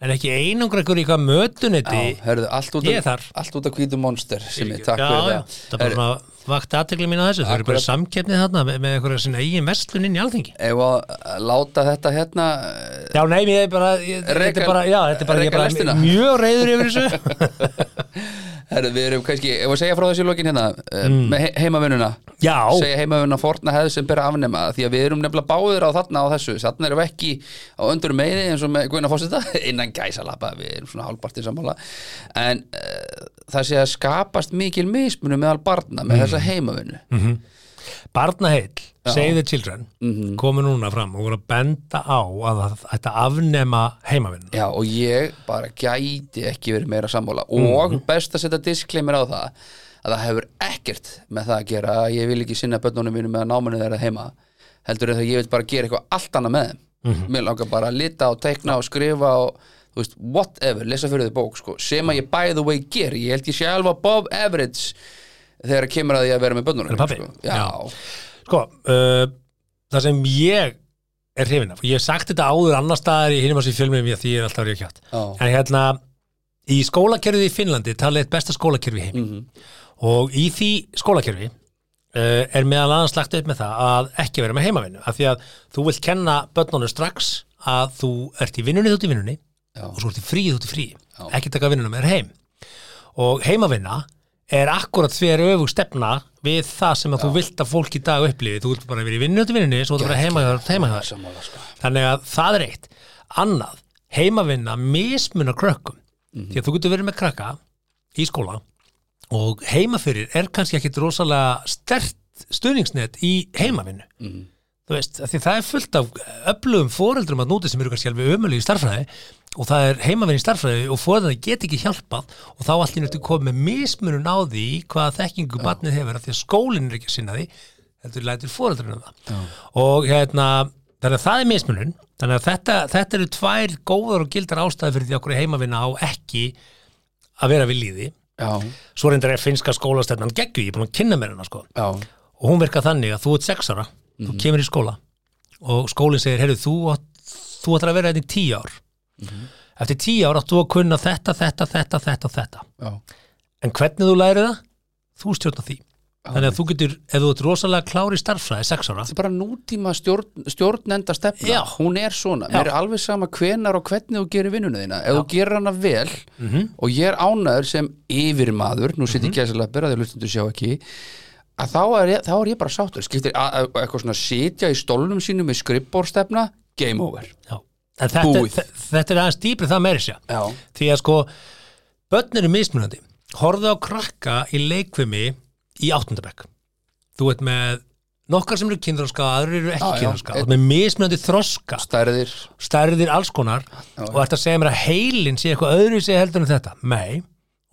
Speaker 3: en ekki einangra ykkur í hvað mötunetti
Speaker 2: Já, hörðu, allt út
Speaker 3: Ég er þar.
Speaker 2: af- allt út af hvítu monster sem ég, takk
Speaker 3: já,
Speaker 2: fyrir
Speaker 3: já,
Speaker 2: það
Speaker 3: það er bara svona vakti aðtekli mín að þessu, þau eru bara
Speaker 2: Akkurat.
Speaker 3: samkeppnið þarna með, með einhverja sinna eigin verslun inn í alþingi
Speaker 2: Ef að láta þetta hérna eh,
Speaker 3: Já, nei, ég er bara, ég, þetta
Speaker 2: Reka-
Speaker 3: er bara, já, þetta er bara, ég
Speaker 2: reka
Speaker 3: er
Speaker 2: lestina.
Speaker 3: bara mjög reyður yfir þessu.
Speaker 2: [LAUGHS] herðu, Við erum kannski, ef að segja frá þessu lokin hérna eh,
Speaker 3: Mm.
Speaker 2: með he- heimavinnuna
Speaker 3: já,
Speaker 2: segja heimavinna forna hefð sem bera afnema því að við erum nefnilega báðir á þarna á þessu þarna erum við ekki á öndur meiri eins og með Guðna Fossita [LAUGHS] innan gæsalapa við erum svona hálfpartið sammála en uh, það sé að skapast mikil mismunum meðal barna með þessa heimavinnu
Speaker 3: barnaheill, Save the Children,
Speaker 2: Mhm.
Speaker 3: komu núna fram og voru að benda á að það- þetta afnema heimavinn.
Speaker 2: Já, og ég bara gæti ekki verið meira sammála og best að setja disclaimer á það að það hefur ekkert með það að gera að ég vil ekki sinna börnunum mínum með að náminu þeirra heima heldur en það ég vil bara gera eitthvað allt annað með þeim mér langar bara að lita og teikna og skrifa og þú veist, whatever, lesa fyrir þið bók sko, sem að ég by the way geri ég held ég sé alveg above average þegar kemur að því að vera með börnunum
Speaker 3: Er pabbi?
Speaker 2: sko. Já,
Speaker 3: Já. Sko, uh, það sem ég er hrifin af, og ég hef sagt þetta áður annar staðar í hinum að sér fjölmiðum ég því ég er alltaf ríða kjátt.
Speaker 2: Já.
Speaker 3: En hérna, í skólakerfið í Finnlandi talið eitt besta skólakerfi heim. Mm
Speaker 2: Mhm.
Speaker 3: Og í því skólakerfi uh, er meðal annars lagt upp með það að ekki vera með heimavinnu. Af því að þú vilt kenna börnunum strax að þú ert í vinnunni þú ert í vinnunni
Speaker 2: Já.
Speaker 3: og svo ert í fríið þú ert í fríi. Ekki taka vinnunum með þér heim. Og heimavinna er akkurat því er öfug stefna við það sem að þú vilt að fólk í dag upplifi. Þú vilt bara vera í vinnu þú ert í vinnunni svo þú ert bara heima hjá- heima hjá þér.
Speaker 2: sammála sko
Speaker 3: Þannig að það er eitt. Annað, heimavinna mismunar krökkum. Því að þú getur verið með krakka í skóla og heimafyrir er kannski ekkit rosalega stert stuðningsnet í heimavinnu. Þú veist, af því það er fullt af öflugum foreldrum að núti sem eru kannski alveg ömulegi í starfræði og það er heimavinni í starfræði og foreldrar get ekki hjálpað og þá allir nöttu komið með mismunun á því hvaða þekkingu barnið hefur af því að skólinn er ekki að sinna því heldur lætur foreldrarna það og hérna, þannig að það er mismunun þannig að þetta, þetta eru tvær góðar og gildar ástæði fyrir því að okkur heimavinna á ekki að vera við líði
Speaker 2: Já,
Speaker 3: svo reyndar er finnska skólastefnan geggu ég er búin að kynna mér hana sko
Speaker 2: já,
Speaker 3: og hún verkar þannig að þú ert sex ára
Speaker 2: Mhm.
Speaker 3: þú kemur í skóla og skólinn segir, heyrðu, þú, átt- þú ætlar að vera þetta í tíu ár
Speaker 2: Mhm.
Speaker 3: eftir tíu ár átt þú að kunna þetta, þetta, þetta, þetta, þetta
Speaker 2: já,
Speaker 3: en hvernig þú lærir það, þú stjórnar því þannig að þú getur, ef þú ert rosalega klári starffræði sex ára
Speaker 2: þetta er bara nútíma stjórn, stjórnenda stefna
Speaker 3: Já.
Speaker 2: hún er svona, mér er alveg sama hvenar og hvernig þú gerir vinnuna þína ef þú gerir hana vel
Speaker 3: Mhm.
Speaker 2: og ég er ánæður sem yfirmaður, nú sitt ég gæsilega byrja því að hlutundu sjá ekki að þá er, ég, þá er ég bara sáttur skiptir að- að- eitthvað svona sitja í stólnum sínum með skrippbórstefna, game over
Speaker 3: Já. en þetta,
Speaker 2: Búið.
Speaker 3: þe- þetta er aðeins dýpri það meiri sér
Speaker 2: Já,
Speaker 3: því að sko, börn eru mismunandi horfðu á krakka í leikvimi í áttundabæk þú ert með nokkar sem eru kynþróska og aðrir eru ekki
Speaker 2: Já, já.
Speaker 3: kynþróska þú ert með mismunandi þroska
Speaker 2: stærðir
Speaker 3: stærðir alls konar og ert að segja mér að heilin sé eitthvað öðru sé heldur en þetta nei,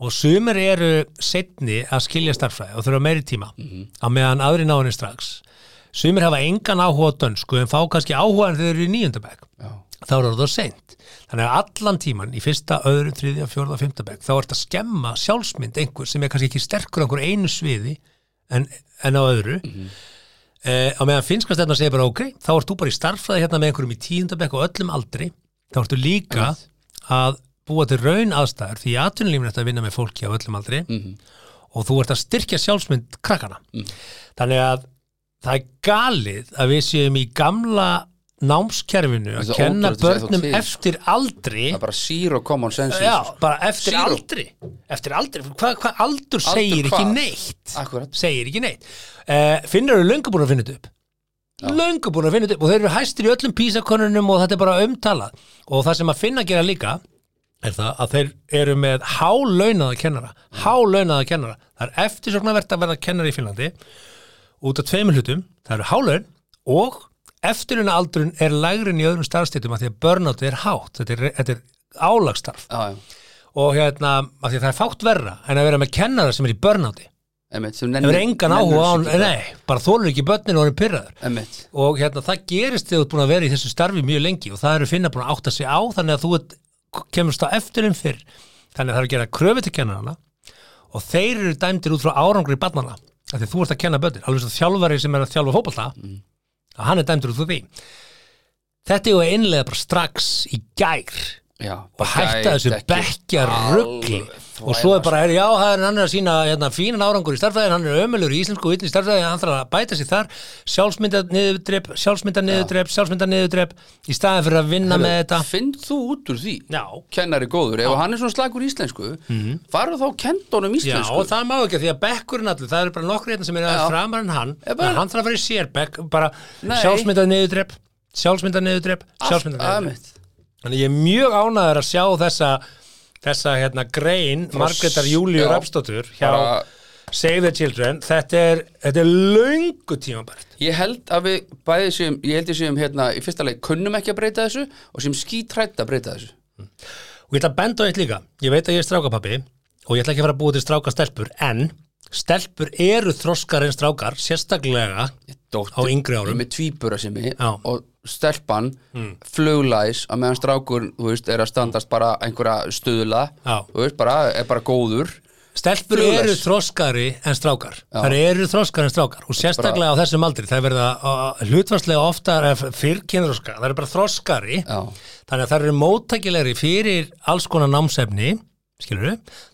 Speaker 3: og sumir eru setni að skilja starffræði og þurfa meiri tíma á meðan aðri náðinni strax sumir hafa engan áhuga á dönsku en fá kannski áhuga en þau eru í níundabæk
Speaker 2: Já,
Speaker 3: þá er það seint. Þannig að allan tíman í fyrsta, öðru, þriðja, fjórða, fimmta bekk þá ert að skemma sjálfsmynd einhver sem er kannski ekki sterkur á einhver einu sviði en, en á öðru mm Eh, á meðan finnska stefna segir bara ok þá ert þú bara í starfræði hérna með einhverjum í tíunda bekk og öllum aldri, þá ertu líka að búa til raun aðstæður því í atvinnulífinu ertu að vinna með fólki á öllum aldri
Speaker 2: Mhm.
Speaker 3: og þú ert að styrkja sjálfsmynd krakkana. Þannig að það er galið að við séum í gamla námskerfinu
Speaker 2: Þetta
Speaker 3: að
Speaker 2: er
Speaker 3: kenna
Speaker 2: ótrúlegt að segja
Speaker 3: börnum
Speaker 2: þú til.
Speaker 3: eftir aldri
Speaker 2: það er bara zero common sense í
Speaker 3: Já,
Speaker 2: þessu.
Speaker 3: bara eftir
Speaker 2: Zero.
Speaker 3: aldri eftir aldri, hvað hva aldur segir
Speaker 2: hvað?
Speaker 3: ekki neitt
Speaker 2: Akkurat,
Speaker 3: segir ekki neitt uh, Finnur eru löngu búin að finna þetta upp löngu búin að finna þetta upp og þeir eru hæstir í öllum písakonunum og þetta er bara umtalað og það sem að finna gera líka er það að þeir eru með hálaunaða kennara hálaunaða kennara það er eftirsóknarvert að verða kennari í Finnlandi út af tveimur hlutum, það eru hálaun og eftirluna aldrun er lægrin í öðrum starfstýttum að því að burnout er hátt, þetta er, þetta er álagstarf
Speaker 2: já, já,
Speaker 3: og hérna, að því að það er fátt verra en að vera með kennara sem er í burnouti
Speaker 2: emitt
Speaker 3: það er engan áhuga á, nei, bara þólur ekki börnin og hann er pyrraður
Speaker 2: emitt,
Speaker 3: og hérna, það gerist þegar þú ert búin að vera í þessu starfi mjög lengi og það eru finna búin að átta sig á þannig að þú ert, kemurst á eftir um fyrr þannig að það er að gera kröfi til kennarana og þeir eru dæmdir út frá árangri barnana af því að þú ert að kenna börnin alveg svo þjálfari sem er að þjálfa fótbolta að hann er dæmdur út frá því þetta er að innlega bara strax í gær
Speaker 2: já
Speaker 3: og hætta þessu bekkja ruggli og svo er bara, er, já, það er hann er að sína hérna, fínan árangur í starfræðin, hann er ömulur í íslensku og yllu í starfræðin, hann þarf að bæta sig þar sjálfsmynda niðurdrepp, sjálfsmynda niðurdrepp sjálfsmynda niðurdrepp, í staðin fyrir að vinna Hérna með þetta
Speaker 2: finn þú út úr því
Speaker 3: Já. Mhm.
Speaker 2: kennari góður, ef hann er svona slagur íslensku mm. farðu þá kendónum
Speaker 3: Já,
Speaker 2: íslensku
Speaker 3: og það má ekki, því að bekkurinn allur, það eru bara nokkur hérna sem eru
Speaker 2: Já.
Speaker 3: að framar en hann
Speaker 2: Ég bara-
Speaker 3: en hann þarf að fara í sér bekk, bara
Speaker 2: Nei.
Speaker 3: sjálfsmynda niðurdrepp sjálfsmynda niðurdrepp, sjálfsmynda niðurdrepp
Speaker 2: emitt,
Speaker 3: Þannig ég er mjög ánæður að sjá þessa þessa hérna grein Margreðar Júlíu
Speaker 2: já.
Speaker 3: Rapsdóttur hjá
Speaker 2: Bara-
Speaker 3: Save the Children þetta er, þetta er löngu tímabært
Speaker 2: Ég held að við bæði sem, ég held ég sem hérna, í fyrsta leik kunnum ekki að breyta þessu og sem skítrætt að breyta þessu.
Speaker 3: og ég ætla að benda á eitt líka, ég veit að ég er strákapappi og ég ætla ekki að fara að búa til stráka stelpur en stelpur eru þroskar en strákar, sérstaklega
Speaker 2: Dóttir,
Speaker 3: Á yngri árum.
Speaker 2: Ég er með tvíbura sem ég
Speaker 3: Já. Mm.
Speaker 2: og stelpan fluglæs að meðan strákur, þú veist, er að standast bara einhverja stuðla,
Speaker 3: Já.
Speaker 2: þú veist, bara, er bara góður.
Speaker 3: Stelpur
Speaker 2: Fluglæs.
Speaker 3: eru þroskari en strákar þær eru þroskari en strákar og sérstaklega á þessum aldri, það er verið að hlutvarslega oftar eh, fyrr kynþroska það eru bara þroskari
Speaker 2: Já,
Speaker 3: þannig að það eru móttækilegri fyrir alls konar námsefni skilur